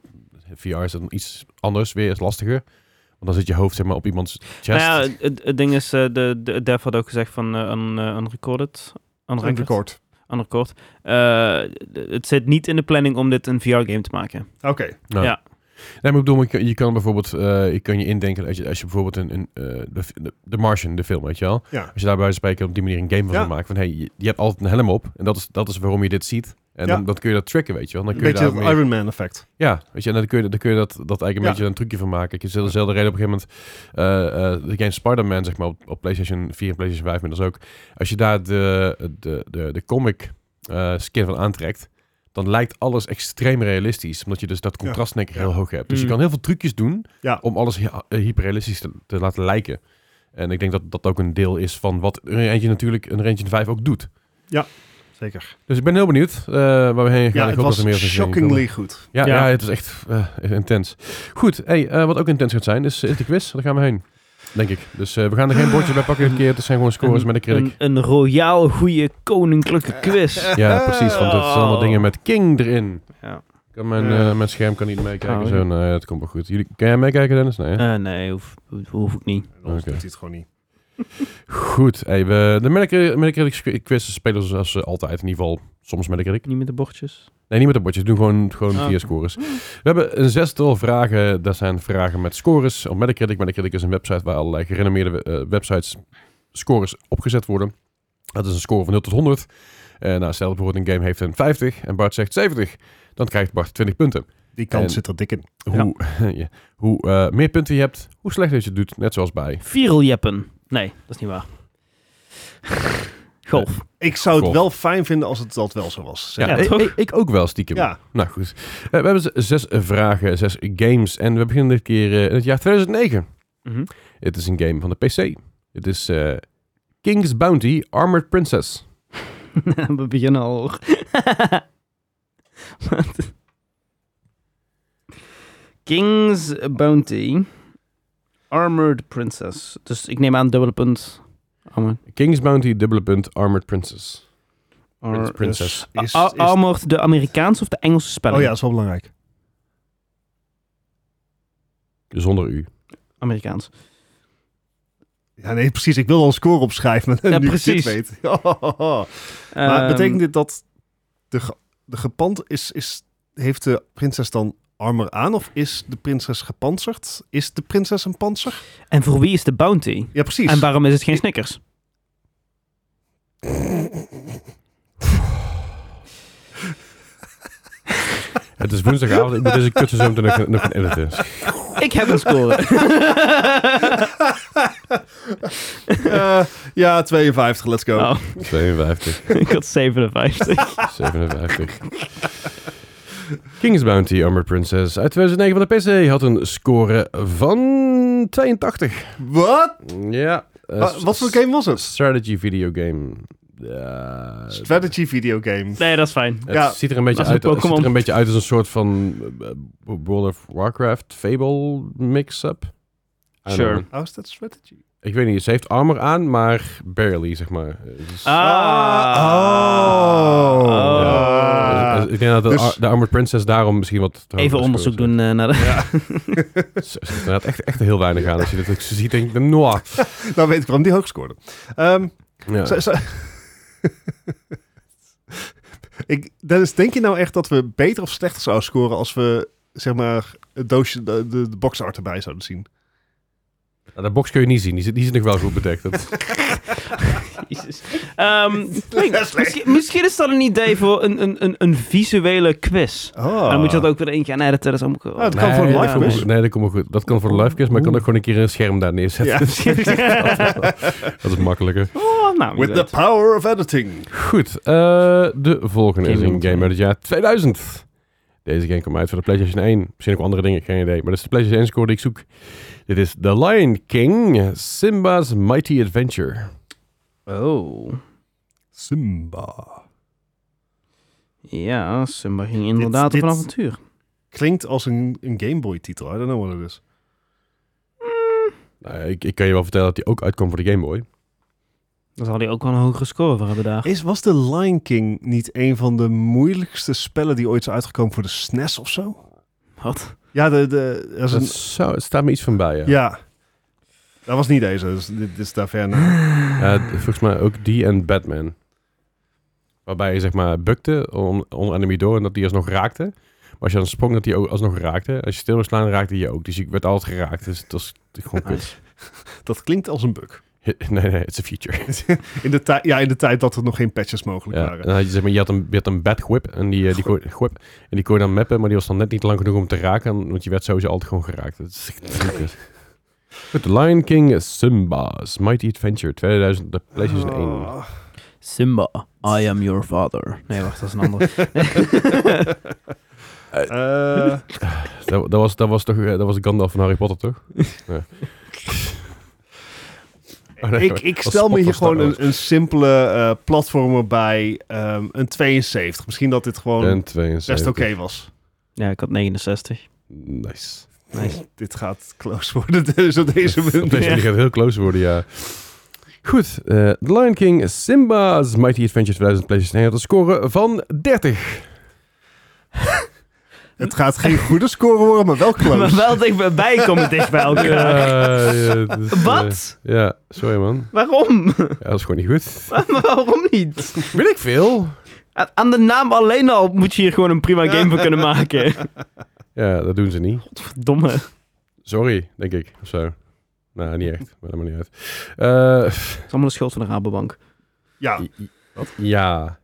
S2: VR is dan iets anders. Weer is lastiger. Want dan zit je hoofd zeg maar, op iemands chest.
S1: Nou ja, het, het ding is, eh, de, de Dev had ook gezegd van eh un, eh, unrecorded.
S3: Een
S1: Unrecord.
S3: record.
S1: Unrecord. Eh, d- het zit niet in de planning om dit een VR-game te maken.
S3: Oké.
S2: Nee, maar ik bedoel, je kan, je kan bijvoorbeeld, eh, je kan je indenken als je, als je bijvoorbeeld een, een eh, de, de- de Martian, de film, weet je wel.
S3: Ja.
S2: Als je daarbij spreken op die manier een game van
S3: Ja.
S2: zou maken. Van, hey, je, je hebt altijd een helm op. En dat is, dat is waarom je dit ziet. En
S3: Ja.
S2: dan, dan kun je dat tricken, weet je wel. Dan
S3: Een
S2: kun je
S3: beetje
S2: daar
S3: het
S2: meer,
S3: Iron Man effect.
S2: ja, weet je, en dan kun je, dan kun je dat, dat eigenlijk een
S3: Ja.
S2: beetje een trucje van maken. Ik heb dezelfde reden op een gegeven moment, eh, eh, de game Spider-Man, zeg maar, op, op PlayStation 4 en PlayStation 5 inmiddels ook. Als je daar de, de, de, de comic eh, skin van aantrekt, dan lijkt alles extreem realistisch. Omdat je dus dat
S3: Ja.
S2: contrast denk ik
S3: Ja. Mhm.
S2: heel hoog hebt. Dus je
S1: Mm.
S2: kan heel veel trucjes doen
S3: Ja.
S2: om alles hy- eh, hyperrealistisch te, te laten lijken. En ik denk dat dat ook een deel is van wat een Engine natuurlijk, een Engine 5 ook doet.
S3: Zeker.
S2: Dus ik ben heel benieuwd eh, waar we heen gaan.
S3: Ja,
S2: ik
S3: het
S2: hoop dat
S3: was
S2: er meer van zullen komen.
S3: shockingly goed.
S2: Ja,
S1: Ja.
S2: ja. het is echt eh, intens. Goed, hey, eh, wat ook intens gaat zijn, is, is de quiz. Daar gaan we heen, denk ik. Dus eh, we gaan er geen bordje bij pakken dit keer. Het zijn gewoon scores met een
S1: Een,
S2: krik.
S1: een royaal goede koninklijke quiz. Oh.
S2: Ja, precies, want het zijn allemaal dingen met King erin.
S1: Ja.
S2: Kan mijn,
S3: Ja.
S2: eh, mijn scherm kan niet meekijken.
S1: Oh,
S2: zo,
S1: ja.
S2: nee, dat komt wel goed. Jullie, kan jij meekijken, Dennis? Nee, hè?
S1: Eh, nee, hoef, hoef- hoef ik niet.
S3: En anders
S2: Oké.
S3: doet hij het gewoon niet.
S2: Goed, hey, we, de Metacritic Metacritic quiz spelen we zoals eh, altijd. In ieder geval soms Metacritic.
S1: Niet met de bordjes.
S2: Nee, niet met de bordjes. We doen gewoon, gewoon
S1: Ah.
S2: vier scores. We hebben een zestal vragen. Dat zijn vragen met scores op Metacritic. Metacritic is een website waar allerlei gerenommeerde eh, websites scores opgezet worden. Dat is een score van 0 tot 100. Eh nou, stel bijvoorbeeld een game heeft een 50 en Bart zegt 70. Dan krijgt Bart 20 punten.
S3: Die kans
S2: En-
S3: zit er dik in.
S2: Hoe, [LAUGHS] ja, hoe eh, meer punten je hebt, hoe slechter je het doet. Net zoals bij.
S1: Viraljeppen. Nee, dat is niet
S2: [LAUGHS]
S1: waar. Golf.
S3: Ik zou het
S2: Goh.
S3: wel fijn vinden als het dat wel zo was. zeg.
S1: Ja,
S2: ik,
S1: toch?
S2: ik, ik ook wel stiekem.
S3: Ja.
S2: Nou goed. Eh, we hebben z- zes eh, vragen, zes games. En we beginnen dit keer eh, in het jaar 2009.
S1: Mhm.
S2: Het is een game van de PC. Het is eh, King's Bounty Armored Princess.
S1: [LAUGHS] We beginnen al hoor. [LAUGHS] Wat? King's Bounty. Armored Princess. Dus ik neem aan dubbele punt. Armored.
S2: King's Bounty, dubbele punt, Armored Princess. Prince- Princess.
S1: Ar-
S3: Is-
S1: Ar-
S3: is-
S1: Armored, de Amerikaanse of de Engelse spelling?
S3: Oh ja, dat is wel belangrijk.
S2: Zonder u.
S1: Amerikaans.
S3: Ja, nee, precies. Ik wil al een score opschrijven, maar [LAUGHS]
S1: Ja,
S3: nu
S1: precies.
S3: precies. dit weet. maar
S1: Ehm,
S3: betekent dit dat de, ge- de gepand is, is... Heeft de prinses dan armor aan of is de prinses gepantserd? Is de prinses een panzer?
S1: En voor wie is de bounty?
S3: Ja, precies.
S1: [LAUGHS] En waarom is het geen Snickers?
S2: Het is woensdagavond, ik moet deze kutse zo meteen nog, nog gaan
S3: [LAUGHS]
S2: editen.
S1: Ik heb een score.
S3: [LAUGHS] Eh, ja, 52. Let's go.
S1: [LAUGHS] Oh,
S2: 52,
S1: ik had
S3: [LAUGHS]
S1: 57.
S2: 57. King's Bounty Armored Princess uit 2009 van de PC had een score van 82.
S3: Wat?
S2: Ja. eh,
S3: Wa- wat voor game was het?
S2: Strategy videogame. Ja,
S3: Strategy videogame.
S1: Nee, dat is fijn.
S2: Het
S3: Ja,
S2: ziet er een beetje
S1: dat is
S2: uit.
S1: een
S2: Het ziet er
S1: Pokémon.
S2: een beetje uit als een soort van eh, eh, World of Warcraft Fable mix-up. I don't
S1: Sure.
S2: know.
S3: How Oh, is that strategy? [LAUGHS]
S2: Ik weet niet. Ze heeft armor aan, maar barely zeg maar. Dus-
S1: Ah.
S3: Ah, oh.
S1: Oh.
S3: Ja.
S2: dus- dus ik denk dat de,
S3: Dus-
S2: ar- de Armored Princess daarom misschien wat. te hoog
S1: Even
S2: is
S1: onderzoek
S2: geworden.
S1: doen eh, naar de...
S2: Ze ze heeft inderdaad echt, echt heel weinig aan. Als je dit ook ziet, denk ik, noah.
S3: Nou weet ik waarom die hoog scoorde. Ehm,
S2: Ja.
S3: zo- zo- [LAUGHS] ik, Dennis, denk je nou echt dat we beter of slechter zouden scoren als we zeg maar het doosje, de, de, de box art erbij zouden zien?
S2: Nou, De box kun je niet zien. Die zit, die zit nog wel goed bedekt. Dat-
S1: [LAUGHS] [LAUGHS] Jezus. Ehm,
S3: [LAUGHS]
S1: Link,
S3: Leslie.
S1: misschien, misschien is dat een idee voor een, een, een, een visuele quiz.
S3: Oh.
S1: Dan Nou, moet je dat ook weer eentje aan editen. Dat is allemaal cool.
S3: Ah, dat kan voor een
S2: dat
S3: live
S2: komt-
S3: quiz.
S2: Nee, dat komt wel goed. Dat kan voor een live quiz, maar ik kan ook gewoon een keer een scherm daar
S1: [LAUGHS]
S2: neerzetten.
S3: [LAUGHS]
S2: Dat is makkelijker.
S1: oh, nou, wie
S3: With the
S1: weet.
S3: power of editing.
S2: Goed, eh, de volgende is
S1: Game
S2: een
S1: World
S2: game uit het jaar 2000. Deze game kwam uit voor de PlayStation 1. Misschien ook andere dingen, geen idee. Maar dat is de PlayStation 1 score die ik zoek. Dit is The Lion King, Simba's Mighty Adventure.
S1: Oh.
S3: Simba.
S1: Ja, Simba ging inderdaad
S3: dit-
S1: op een avontuur.
S3: Klinkt als een, een Game Boy titel. I don't know what it is. Hmm.
S2: Nou, ik, ik kan je wel vertellen dat die ook uitkwam voor de Game Boy.
S1: Dan zal hij ook wel een hogere score voor hebben daar.
S3: Is, was The Lion King niet een van de moeilijkste spellen die ooit zijn uitgekomen voor de SNES of zo?
S1: Wat?
S3: Ja, de, de, er is
S2: Dat
S3: een,
S2: zou- het staat me iets van bij, ja.
S3: ja. Dat was niet deze, dus dit, dit is daar ver na.
S2: Eh, volgens mij ook die en Batman. Waarbij je zeg maar bukte on- onder enemy door en dat die alsnog raakte. Maar als je dan sprong, dat die ook alsnog raakte. Als je stil was slaan, raakte je ook. Dus ik werd altijd geraakt. Dus dat is gewoon kut.
S3: Dat klinkt als een
S2: [LAUGHS]
S3: bug.
S2: Nee, nee, it's a feature.
S3: [LAUGHS] In de, tij- ja, in de tijd dat er nog geen patches mogelijk
S2: Ja, en
S3: waren.
S2: dan had je, zeg maar, je had een, je had een bad whip en die, eh, die, kon, whip, en die kon je dan mappen, maar die was dan net niet lang genoeg om te raken, want je werd sowieso altijd gewoon geraakt. Dat is echt heel kut. Goed, The Lion King Simba's Mighty Adventure 2000, de PlayStation 1.
S3: Oh.
S1: Simba, [LAUGHS] I am your father. Nee, wacht, dat is een ander.
S3: [LAUGHS] Eh,
S2: Dat, dat, was, dat was toch eh, dat was Gandalf van Harry Potter,
S3: [LAUGHS]
S2: toch? Nee. Oh, nee, [LAUGHS]
S3: ik,
S2: dat
S3: ik
S2: was
S3: stel me
S2: Spot
S3: hier
S2: van
S3: gewoon
S2: Star
S3: een, een simpele eh, platformer bij ehm, een 72. Misschien dat dit
S2: Wars.
S3: gewoon
S2: En 72.
S3: best oké was.
S1: ja, ik had 69.
S2: Nice.
S1: Nice.
S3: Dit gaat close worden, dus op deze
S2: Op deze
S3: manier.
S2: manier gaat het heel close worden, ja. Goed, eh, The Lion King Simba's Mighty Adventure 2000 PlayStation 1 had een score van 30.
S3: Het gaat geen goede score worden, maar wel [LAUGHS] close.
S1: Maar wel dichtbij komen dicht bij elkaar.
S2: [LAUGHS]
S3: [LAUGHS]
S2: Ja, ja, dat is, eh,
S1: Wat?
S2: ja, sorry man.
S1: Waarom? [LAUGHS]
S2: Ja, dat is gewoon niet goed.
S1: Maar waarom niet?
S2: Wil ik veel?
S1: Aan- Aan de naam alleen al moet je hier gewoon een prima game van kunnen [LAUGHS] maken.
S2: Ja, dat doen ze niet.
S1: Domme.
S2: Sorry, denk ik. Of zo. Nou, niet echt. Maar dat maakt niet uit. Eh,
S1: Het is allemaal de schuld van de Rabobank.
S3: Ja,
S2: ja.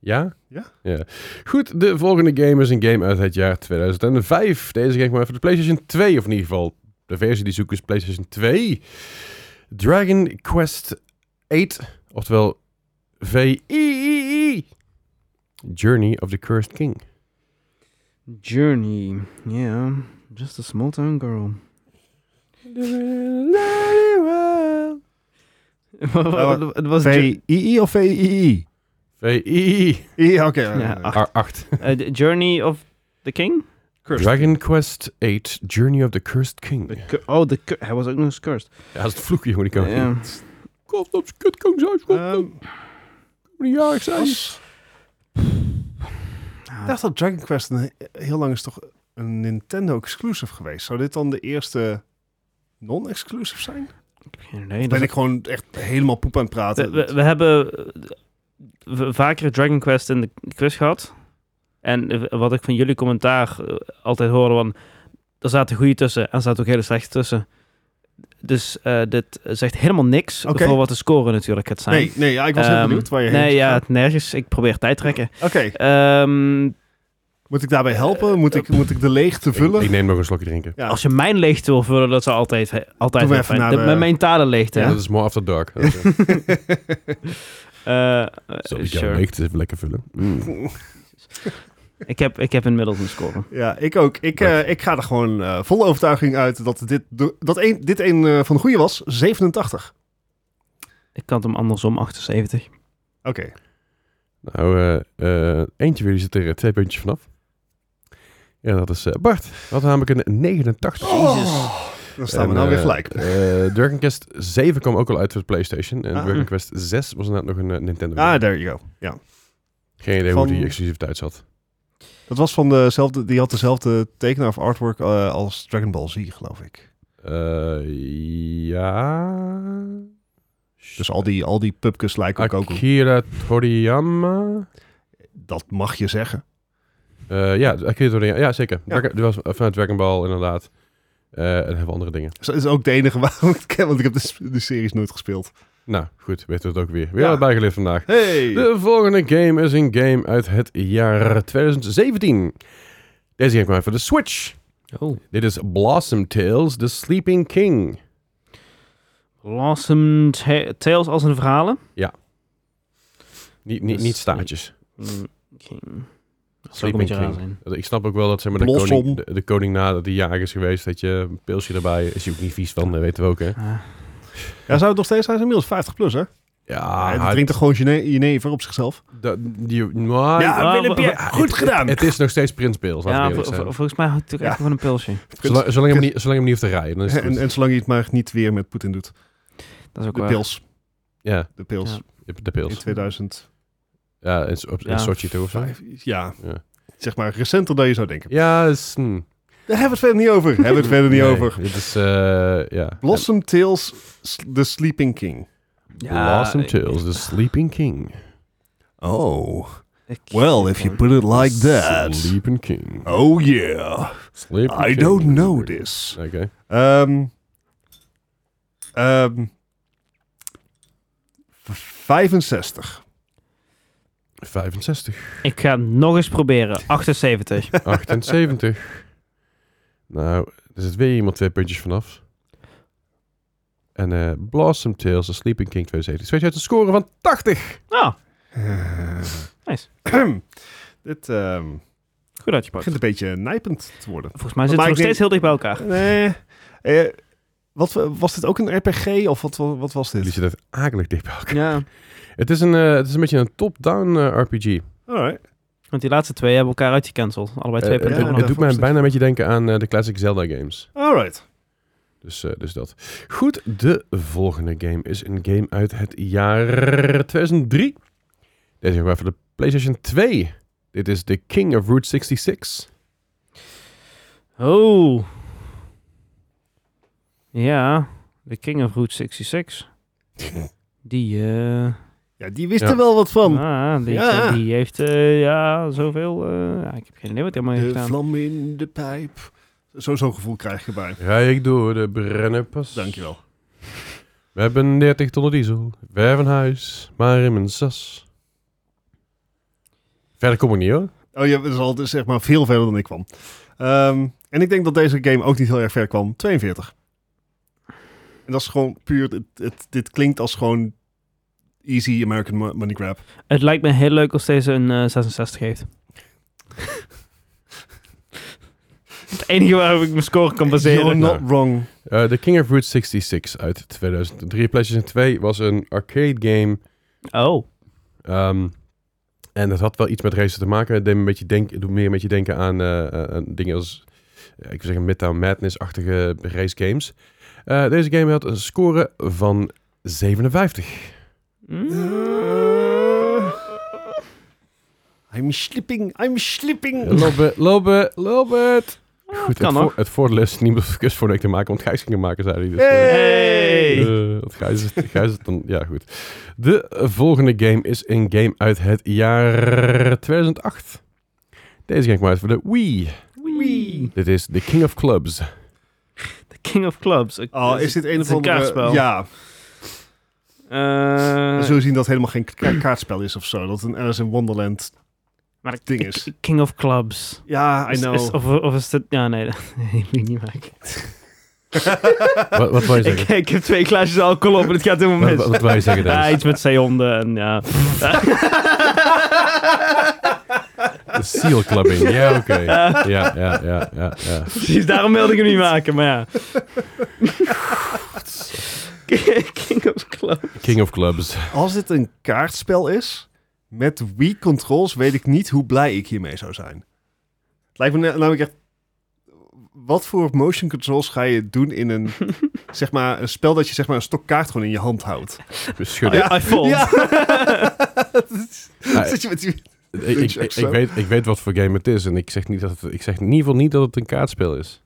S2: Ja?
S3: Ja.
S2: Goed, de volgende game is een game uit het jaar 2005. Deze game kwam even de PlayStation 2, of in ieder geval de versie die zoek is PlayStation 2. Dragon Quest 8, oftewel VIII. Journey of the Cursed King.
S1: Journey. Yeah. Just a [LAUGHS] small town girl. Het was
S3: VII of VII?
S2: VI.
S3: Ja, oké. ja,
S1: Ja,
S3: ja.
S1: ach.
S2: R8.
S1: Eh, The Journey of the King?
S3: Cursed.
S2: Dragon Quest 8, Journey of the Cursed King.
S1: The cu- oh, the cu- hij was ook nog eens cursed.
S2: Ja, dat is het vloekje, jongen. Die kan
S1: Ja.
S2: Komt op zijn kutkong zijn, komt
S3: Ehm,
S2: op een jarig zijn.
S3: was- Ik
S1: Ah,
S3: dacht dat Dragon Quest een, he- heel lang is toch een Nintendo-exclusive geweest. Zou dit dan de eerste non-exclusive zijn?
S1: Ik heb geen idee. Dat
S3: ben
S1: is-
S3: ik gewoon echt helemaal poep aan het
S1: we,
S3: praten.
S1: we- we hebben eh, v- vaker Dragon Quest in de quiz gehad. En eh, wat ik van jullie commentaar eh, altijd hoorde, van, er zaten goede tussen en er zaten ook hele slechte tussen. Dus eh, dit zegt helemaal niks
S3: Oké.
S1: voor wat de score natuurlijk gaat zijn.
S3: nee, nee ja, ik was heel
S1: Ehm,
S3: benieuwd waar je heen
S1: Nee,
S3: zou
S1: ja,
S3: gaan.
S1: nergens. Ik probeer tijd trekken.
S3: Oké,
S1: Ehm,
S3: moet ik daarbij helpen? Moet ik, moet ik de leegte vullen?
S2: Ik, ik neem nog een slokje drinken.
S3: ja.
S1: Als je mijn leegte wil vullen, dat is altijd, he- altijd
S3: Doe
S1: heel
S3: even
S1: fijn.
S3: naar
S1: De,
S3: de-
S1: Mijn mentale leegte.
S2: Ja,
S1: hè.
S2: Dat is more after
S1: [LAUGHS]
S2: dark. Dat is, eh,
S1: Eh, eh,
S2: Zal ik jouw
S1: sure.
S2: leegte even lekker vullen? Mm.
S1: ik, heb, ik heb inmiddels een score.
S3: [LAUGHS] Ja, ik ook. Ik, eh, ik ga er gewoon eh vol overtuiging uit dat dit, do- dat een, dit een eh, van de goede was. 87.
S1: Ik kan hem andersom 78.
S3: Oké.
S2: Nou, eh, eh, eentje weer, die zit er eh, twee puntjes vanaf. Ja, dat is eh, Bart. Dat had namelijk een 89.
S3: Oh, dan staan we
S2: En,
S3: nou weer
S2: eh,
S3: gelijk.
S2: eh, Dragon Quest 7 kwam ook al uit voor de PlayStation. En
S3: Ah.
S2: Dragon Quest 6 was inderdaad nog een eh, Nintendo.
S3: Ah, there you go. Ja.
S2: Geen idee
S3: van-
S2: hoe die exclusiviteit zat.
S3: Dat was van dezelfde, die had dezelfde tekenaar of artwork eh, als Dragon Ball Z, geloof ik.
S2: Eh, ja.
S3: Dus al die, al die pupkes lijken ook ook.
S2: Akira Toriyama.
S3: Dat mag je zeggen. [LAUGHS]
S2: Eh, ja, Akira Toriyama. Ja, zeker.
S3: Ja.
S2: Dragon- die was vanuit Dragon Ball inderdaad. Eh, en hebben andere dingen.
S3: Dus Dat is ook de enige waarom ik het ken, [LAUGHS] want ik heb de, s- de series nooit gespeeld.
S2: Nou, goed. Weten we het ook weer. Weer
S3: Ja.
S2: allebei geleerd vandaag.
S3: Hey!
S2: De volgende game is een game uit het jaar 2017. Deze game kwam uit voor de Switch.
S1: Oh.
S2: Dit is Blossom Tales, The Sleeping King.
S1: Blossom Ta- Tales als een verhalen.
S2: Niet, niet,
S1: Dus-
S2: niet staartjes.
S1: Mm, King. Dat zou ook een
S2: Sleeping
S1: beetje raar
S2: King.
S1: zijn.
S2: Ik snap ook wel dat zeg maar, de,
S3: Blossom.
S2: koning, de, de koning nadat hij jager is geweest, dat je een pilsje erbij is. je ook niet vies van, dat weten we ook, hè?
S1: Ah.
S3: Ja, zou het nog steeds zijn? Hij is inmiddels 50 plus, hè?
S2: Ja,
S3: Ah, Hij
S2: hij-
S3: drinkt toch gewoon Gene- jenever op zichzelf?
S2: dat- die, maar-
S1: Ja, Ah, Willempje, wa-
S2: het-
S3: goed gedaan!
S2: Het is nog steeds Prins Pils, laten we
S1: ja,
S2: eerlijk
S1: vol-
S2: zijn.
S1: vol- volgens mij had ik toch
S3: Ja.
S1: echt gewoon een pilsje.
S2: Zolang, zolang, hem niet, zolang hem niet hoeft te rijden, dan is
S3: [LAUGHS]
S2: het
S3: en,
S2: goed.
S3: en zolang je het maar niet weer met Poetin doet.
S1: Dat is ook
S3: De
S1: waar.
S3: pils.
S2: Ja,
S3: De pils.
S1: Ja.
S2: de
S3: In
S2: Pils.
S3: 2000.
S2: Ja, in, op, in
S1: Ja.
S2: Sochi toe of zo.
S3: Ja.
S2: Ja.
S3: Zeg maar recenter dan je zou denken.
S2: Ja, dat is... hm.
S3: Daar hebben we het verder niet over. hebben we het verder niet
S2: Nee,
S3: over.
S2: Dit is, eh ja.
S3: Blossom Tales, S- The Sleeping King.
S2: Blossom
S1: ik-
S2: Tales, dus The Sleeping King.
S3: Oh.
S1: ik-
S3: Well, if you put it like that.
S2: Sleeping King.
S3: Oh yeah.
S2: Sleeping
S3: I
S2: King.
S3: don't know this.
S2: Oké.
S3: Ehm ehm, v- 65.
S2: 65.
S1: Ik ga het nog eens
S3: [LAUGHS]
S1: proberen. 78.
S2: 78. [LAUGHS] nou, er zit weer iemand twee puntjes vanaf. En eh, Blossom Tales, The Sleeping King 72. Zweet uit een score van 80.
S1: Nou,
S3: Eh,
S1: Nice.
S3: [CLEARS THROAT] Dit ehm,
S1: goed uitgepakt.
S3: begint een beetje nijpend
S1: [LAUGHS]
S3: te worden.
S1: Volgens mij zitten
S3: Maar
S1: we
S3: ik
S1: nog
S3: denk-
S1: steeds heel dicht bij elkaar.
S3: Nee. Eh, wat, was dit ook een RPG of wat, wat was
S2: Jullie
S3: dit?
S2: zitten echt akelig dicht bij elkaar.
S1: Ja.
S2: Het is een, eh, het is een beetje een top-down eh, RPG.
S3: Alright.
S1: Want die laatste twee hebben elkaar uitgecanceld. Allebei twee
S2: Eh, het-
S1: punten.
S2: het
S1: vanaf.
S2: doet mij bijna een beetje denken aan eh, de classic Zelda games.
S3: Alright.
S2: Dus, eh, dus dat. Goed, de volgende game is een game uit het jaar 2003. Deze hebben we voor de PlayStation 2. Dit is The King of Route 66.
S3: eh,
S1: Oh. Ja. The King of Route
S3: [LAUGHS]
S1: 66. Die, eh...
S3: Ja, die wist
S2: Ja.
S3: er wel wat van.
S1: Ah, die,
S3: Ja.
S1: die heeft eh, ja, zoveel. eh, ja, ik heb geen idee wat hij allemaal heeft
S3: De
S1: gedaan.
S3: vlam in de pijp. Zo- Zo'n gevoel krijg je bij.
S2: Rij ik door de Brennerpas.
S3: Dankjewel.
S2: We hebben 30 ton diesel. We hebben een huis, maar in mijn sas. Verder kom ik niet hoor.
S3: Oh ja, dat is al dus zeg maar veel verder dan ik kwam. Ehm, en ik denk dat deze game ook niet heel erg ver kwam. 42. En dat is gewoon puur... Het, het- dit klinkt als gewoon easy American mo- money grab.
S1: Het lijkt me
S2: [LAUGHS]
S1: heel leuk als deze een eh, 66 heeft. Het enige waarop ik mijn score kan
S3: You're
S1: baseren.
S3: not wrong.
S2: Eh, The King of Route 66 uit 2003. PlayStation 2 was een arcade game.
S1: Oh,
S2: ehm, en dat had wel iets met racen te maken. Het deed me een beetje denk, het doet meer een beetje denken aan, eh, aan dingen als... eh, ik wil zeggen Midtown Madness-achtige race games. Eh, deze game had een score van 57.
S1: Mm.
S3: Ah. I'm slipping, I'm slipping.
S2: Lobbet, Lobbet, Lobbet. Goed,
S1: kan
S2: het,
S1: nog.
S2: voor, het voordeel is niet om de kus voor te maken, want Gijs ging hem maken, zei hij. Dus, eh,
S1: Hey!
S2: Eh, want Gijs is, Gijs is dan... Ja, goed. De volgende game is een game uit het jaar 2008. Deze game kwam uit voor de Wii.
S1: Wee.
S2: Dit is The King of Clubs.
S1: The King of Clubs. Ik-
S3: Oh, is dit een
S1: het
S3: of andere...
S1: kaartspel.
S3: Ja,
S1: Eh,
S3: we zullen zien dat het helemaal geen ka- kaartspel is of zo. Dat het een Alice in Wonderland...
S1: maar ik-
S3: ding
S1: ik-
S3: is.
S1: King of Clubs.
S3: Ja, I
S1: Is-
S3: know.
S1: is- of, of is het... Ja, nee, [LAUGHS] dat nee, die moet ik niet maken.
S2: Wat, wat wil je
S1: [LAUGHS] Ik,
S2: zeggen?
S1: ik heb twee glaasjes alcohol op en het gaat helemaal
S2: Wat,
S1: mis.
S2: wat, wat wil je
S1: [LAUGHS]
S2: zeggen,
S1: Ja,
S2: Dennis?
S1: iets met zeehonden en [LAUGHS] ja.
S2: De Seal Clubbing. Ja, oké.
S1: [LAUGHS]
S2: Ja, ja, ja, ja, ja.
S1: Precies, daarom wilde ik hem niet maken, maar ja. King of Club.
S2: King of Clubs.
S3: Als dit een kaartspel is, met Wii-controls, weet ik niet hoe blij ik hiermee zou zijn. Het lijkt me na- namelijk echt... Wat voor motion controls ga je doen in [LAUGHS] een, zeg maar, een spel dat je zeg maar, een stok kaart gewoon in je hand houdt?
S2: Schudden.
S1: I fold. [LAUGHS]
S3: Ja. [LAUGHS]
S2: Ah,
S3: Zit je met die...
S2: Ik, ik, ik, ik weet, ik weet wat voor game het is en ik zeg, niet dat het, ik zeg in ieder geval niet dat het een kaartspel is.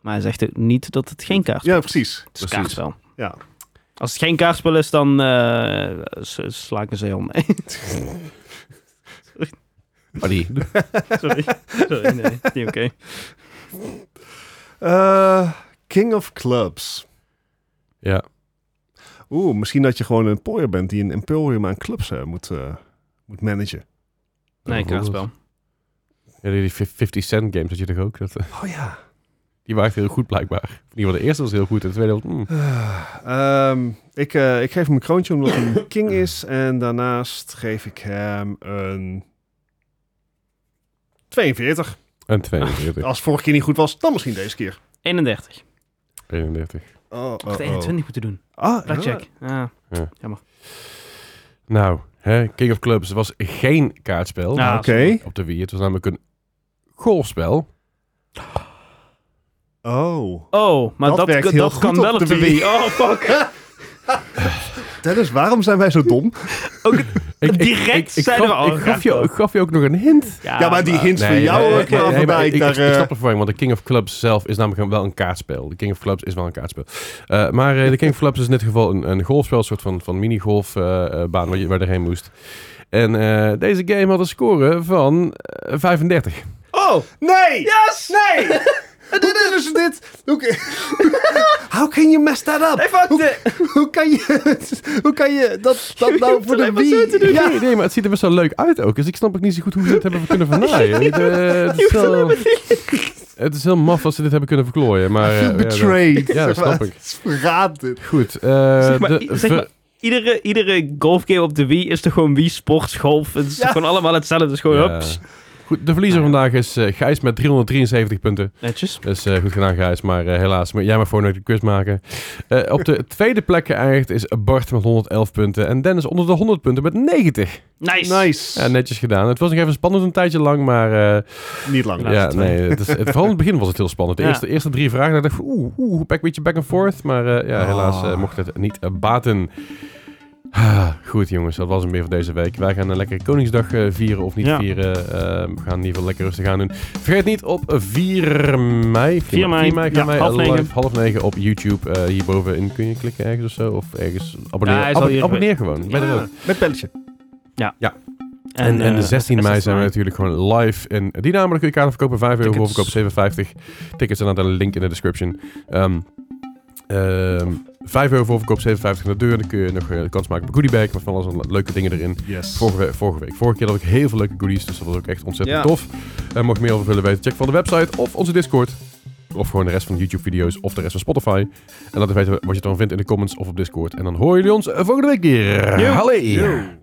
S1: Maar hij zegt ook niet dat het geen kaartspel
S3: Ja, precies.
S1: is. Het is
S2: precies.
S1: kaartspel.
S3: Ja.
S1: Als het geen kaartspel is, dan eh, s- sla ik een zeehond mee.
S2: Buddy.
S1: [LAUGHS] Sorry. Sorry, nee. Niet oké.
S3: Eh, King of Clubs.
S2: Ja.
S3: Oeh, misschien dat je gewoon een pooier bent die een emporium aan clubs eh, moet, eh, moet managen. Oh,
S1: Nee, kaartspel.
S2: Ja, die die 50 Cent games had je toch ook? Dat, eh,
S3: Oh ja.
S2: die waren echt heel goed blijkbaar. In ieder geval de eerste was heel goed en de tweede was... mm.
S3: Ehm, ik, eh, ik geef hem een kroontje omdat hij een king is. En daarnaast geef ik hem een 42.
S2: En
S1: Ah.
S2: 42,
S3: Als vorige keer niet goed was, dan misschien deze keer.
S1: 31.
S2: 31.
S3: Oh,
S1: Ik had 21 moeten doen.
S3: Ah,
S1: Blackjack. Ah.
S2: Nou, hè, King of Clubs was geen kaartspel
S1: Nou,
S3: ah, Oké.
S2: op de Wii. Het was namelijk een golfspel.
S3: Oh.
S1: Oh, maar
S3: Dat
S1: dat,
S3: werkt
S1: dat,
S3: heel goed
S1: kan
S3: op
S1: wel
S3: de
S1: op de
S3: Wii.
S1: Wii. Oh, fuck.
S3: [LAUGHS] Dennis, waarom zijn wij zo dom? [LAUGHS]
S1: Direct zeiden we
S2: gaf,
S1: al,
S2: ik, gaf je,
S1: gaat
S2: ik gaf je ook nog een hint.
S3: ja, maar die hints van jou
S2: nee,
S3: ook
S2: nee,
S3: kwamen
S2: nee, maar
S3: voorbij.
S2: ik,
S3: daar,
S2: ik, ik
S3: eh,
S2: snap het verwarring, want de King of Clubs zelf is namelijk wel een kaartspel. De King of Clubs is wel een kaartspel. Eh, maar eh, de King of Clubs is in dit geval een, een golfspel, een soort van, van minigolfbaan baan waar je waar je erheen moest. En eh, deze game had een score van eh, 35.
S3: Oh! Nee! Yes! Nee! Dit is dus dit. Hoe, kan- [LAUGHS] How can you mess that up?
S1: Hey, fuck dit.
S3: Hoe kan je, hoe kan je dat, dat nou
S1: hoeft
S3: voor de
S1: alleen maar zo te
S3: Wii?
S2: Ja. Nee, nee, maar het ziet er best wel leuk uit ook. Dus ik snap ook niet zo goed hoe ze dit hebben kunnen vernaaien. Het, eh, het, is wel- het is heel maf als ze dit hebben kunnen verklooien. Maar, eh, ja,
S3: Feel
S2: dat-
S3: betrayed.
S2: Ja, dat
S3: Zeg maar,
S2: snap ik.
S3: het is Verraad dit.
S2: Goed. eh,
S1: Zeg maar,
S2: de
S1: i- zeg
S2: ver-
S1: maar, iedere, iedere golfgame op de Wii is toch gewoon Wii Sports Golf. Het is
S3: Ja.
S1: gewoon allemaal hetzelfde. Het is gewoon
S2: Ja.
S1: hups.
S2: Goed, de verliezer vandaag is eh, Gijs met 373 punten.
S1: Netjes.
S2: Dus eh, goed gedaan, Gijs. Maar eh, helaas, maar jij mag voor nooit de quiz maken. Eh, op de tweede plek geëindigd is Bart met 111 punten. En Dennis onder de 100 punten met 90.
S1: Nice.
S3: Nice.
S2: Ja, netjes gedaan. Het was nog even spannend een tijdje lang, maar... eh,
S3: Niet lang.
S2: ja, nee. Het is, het, vooral in het begin was het heel spannend. De
S1: Ja.
S2: eerste, eerste drie vragen, daar dacht ik, oeh, oeh, een beetje back and forth. Maar eh, ja, helaas
S3: Ah.
S2: eh, mocht het niet eh, baten. Ah, Goed jongens, dat was hem weer voor deze week. Wij gaan een lekkere Koningsdag eh, vieren of niet
S1: Ja.
S2: vieren. Eh, we gaan in ieder geval lekker rustig aan doen. Vergeet niet op 4 mei.
S1: 4 mei,
S2: gaan
S1: ja,
S2: wij
S1: half
S2: live
S1: negen.
S2: half negen op YouTube. eh, hierbovenin kun je klikken ergens of zo. Of ergens abonneer.
S1: hij is al
S2: Abonne-
S1: hier
S2: abonneer gewoon. Ben er ook.
S3: Met pelletje.
S2: En, en, de
S1: eh,
S2: 16 mei zijn we
S1: 16
S2: natuurlijk gewoon live. En die namelijk kun je kaarten verkopen. 5 euro
S1: Tickets.
S2: voorverkoop 57. Tickets zijn aan de link in de description. Ehm ehm 5 euro voorverkoop 57 naar de deur. Dan kun je nog eh, kans maken op een goodie bag. Met van alles aan leuke dingen erin.
S3: Yes.
S2: Vorige, we- vorige week. Vorige keer had ik heel veel leuke goodies. Dus dat was ook echt ontzettend
S3: Ja.
S2: tof. En mocht je meer over willen weten, check van de website of onze Discord. Of gewoon de rest van de YouTube-video's of de rest van Spotify. En laat even weten wat je ervan vindt in de comments of op Discord. En dan horen jullie ons eh, volgende week weer. Hallo.
S3: Yo.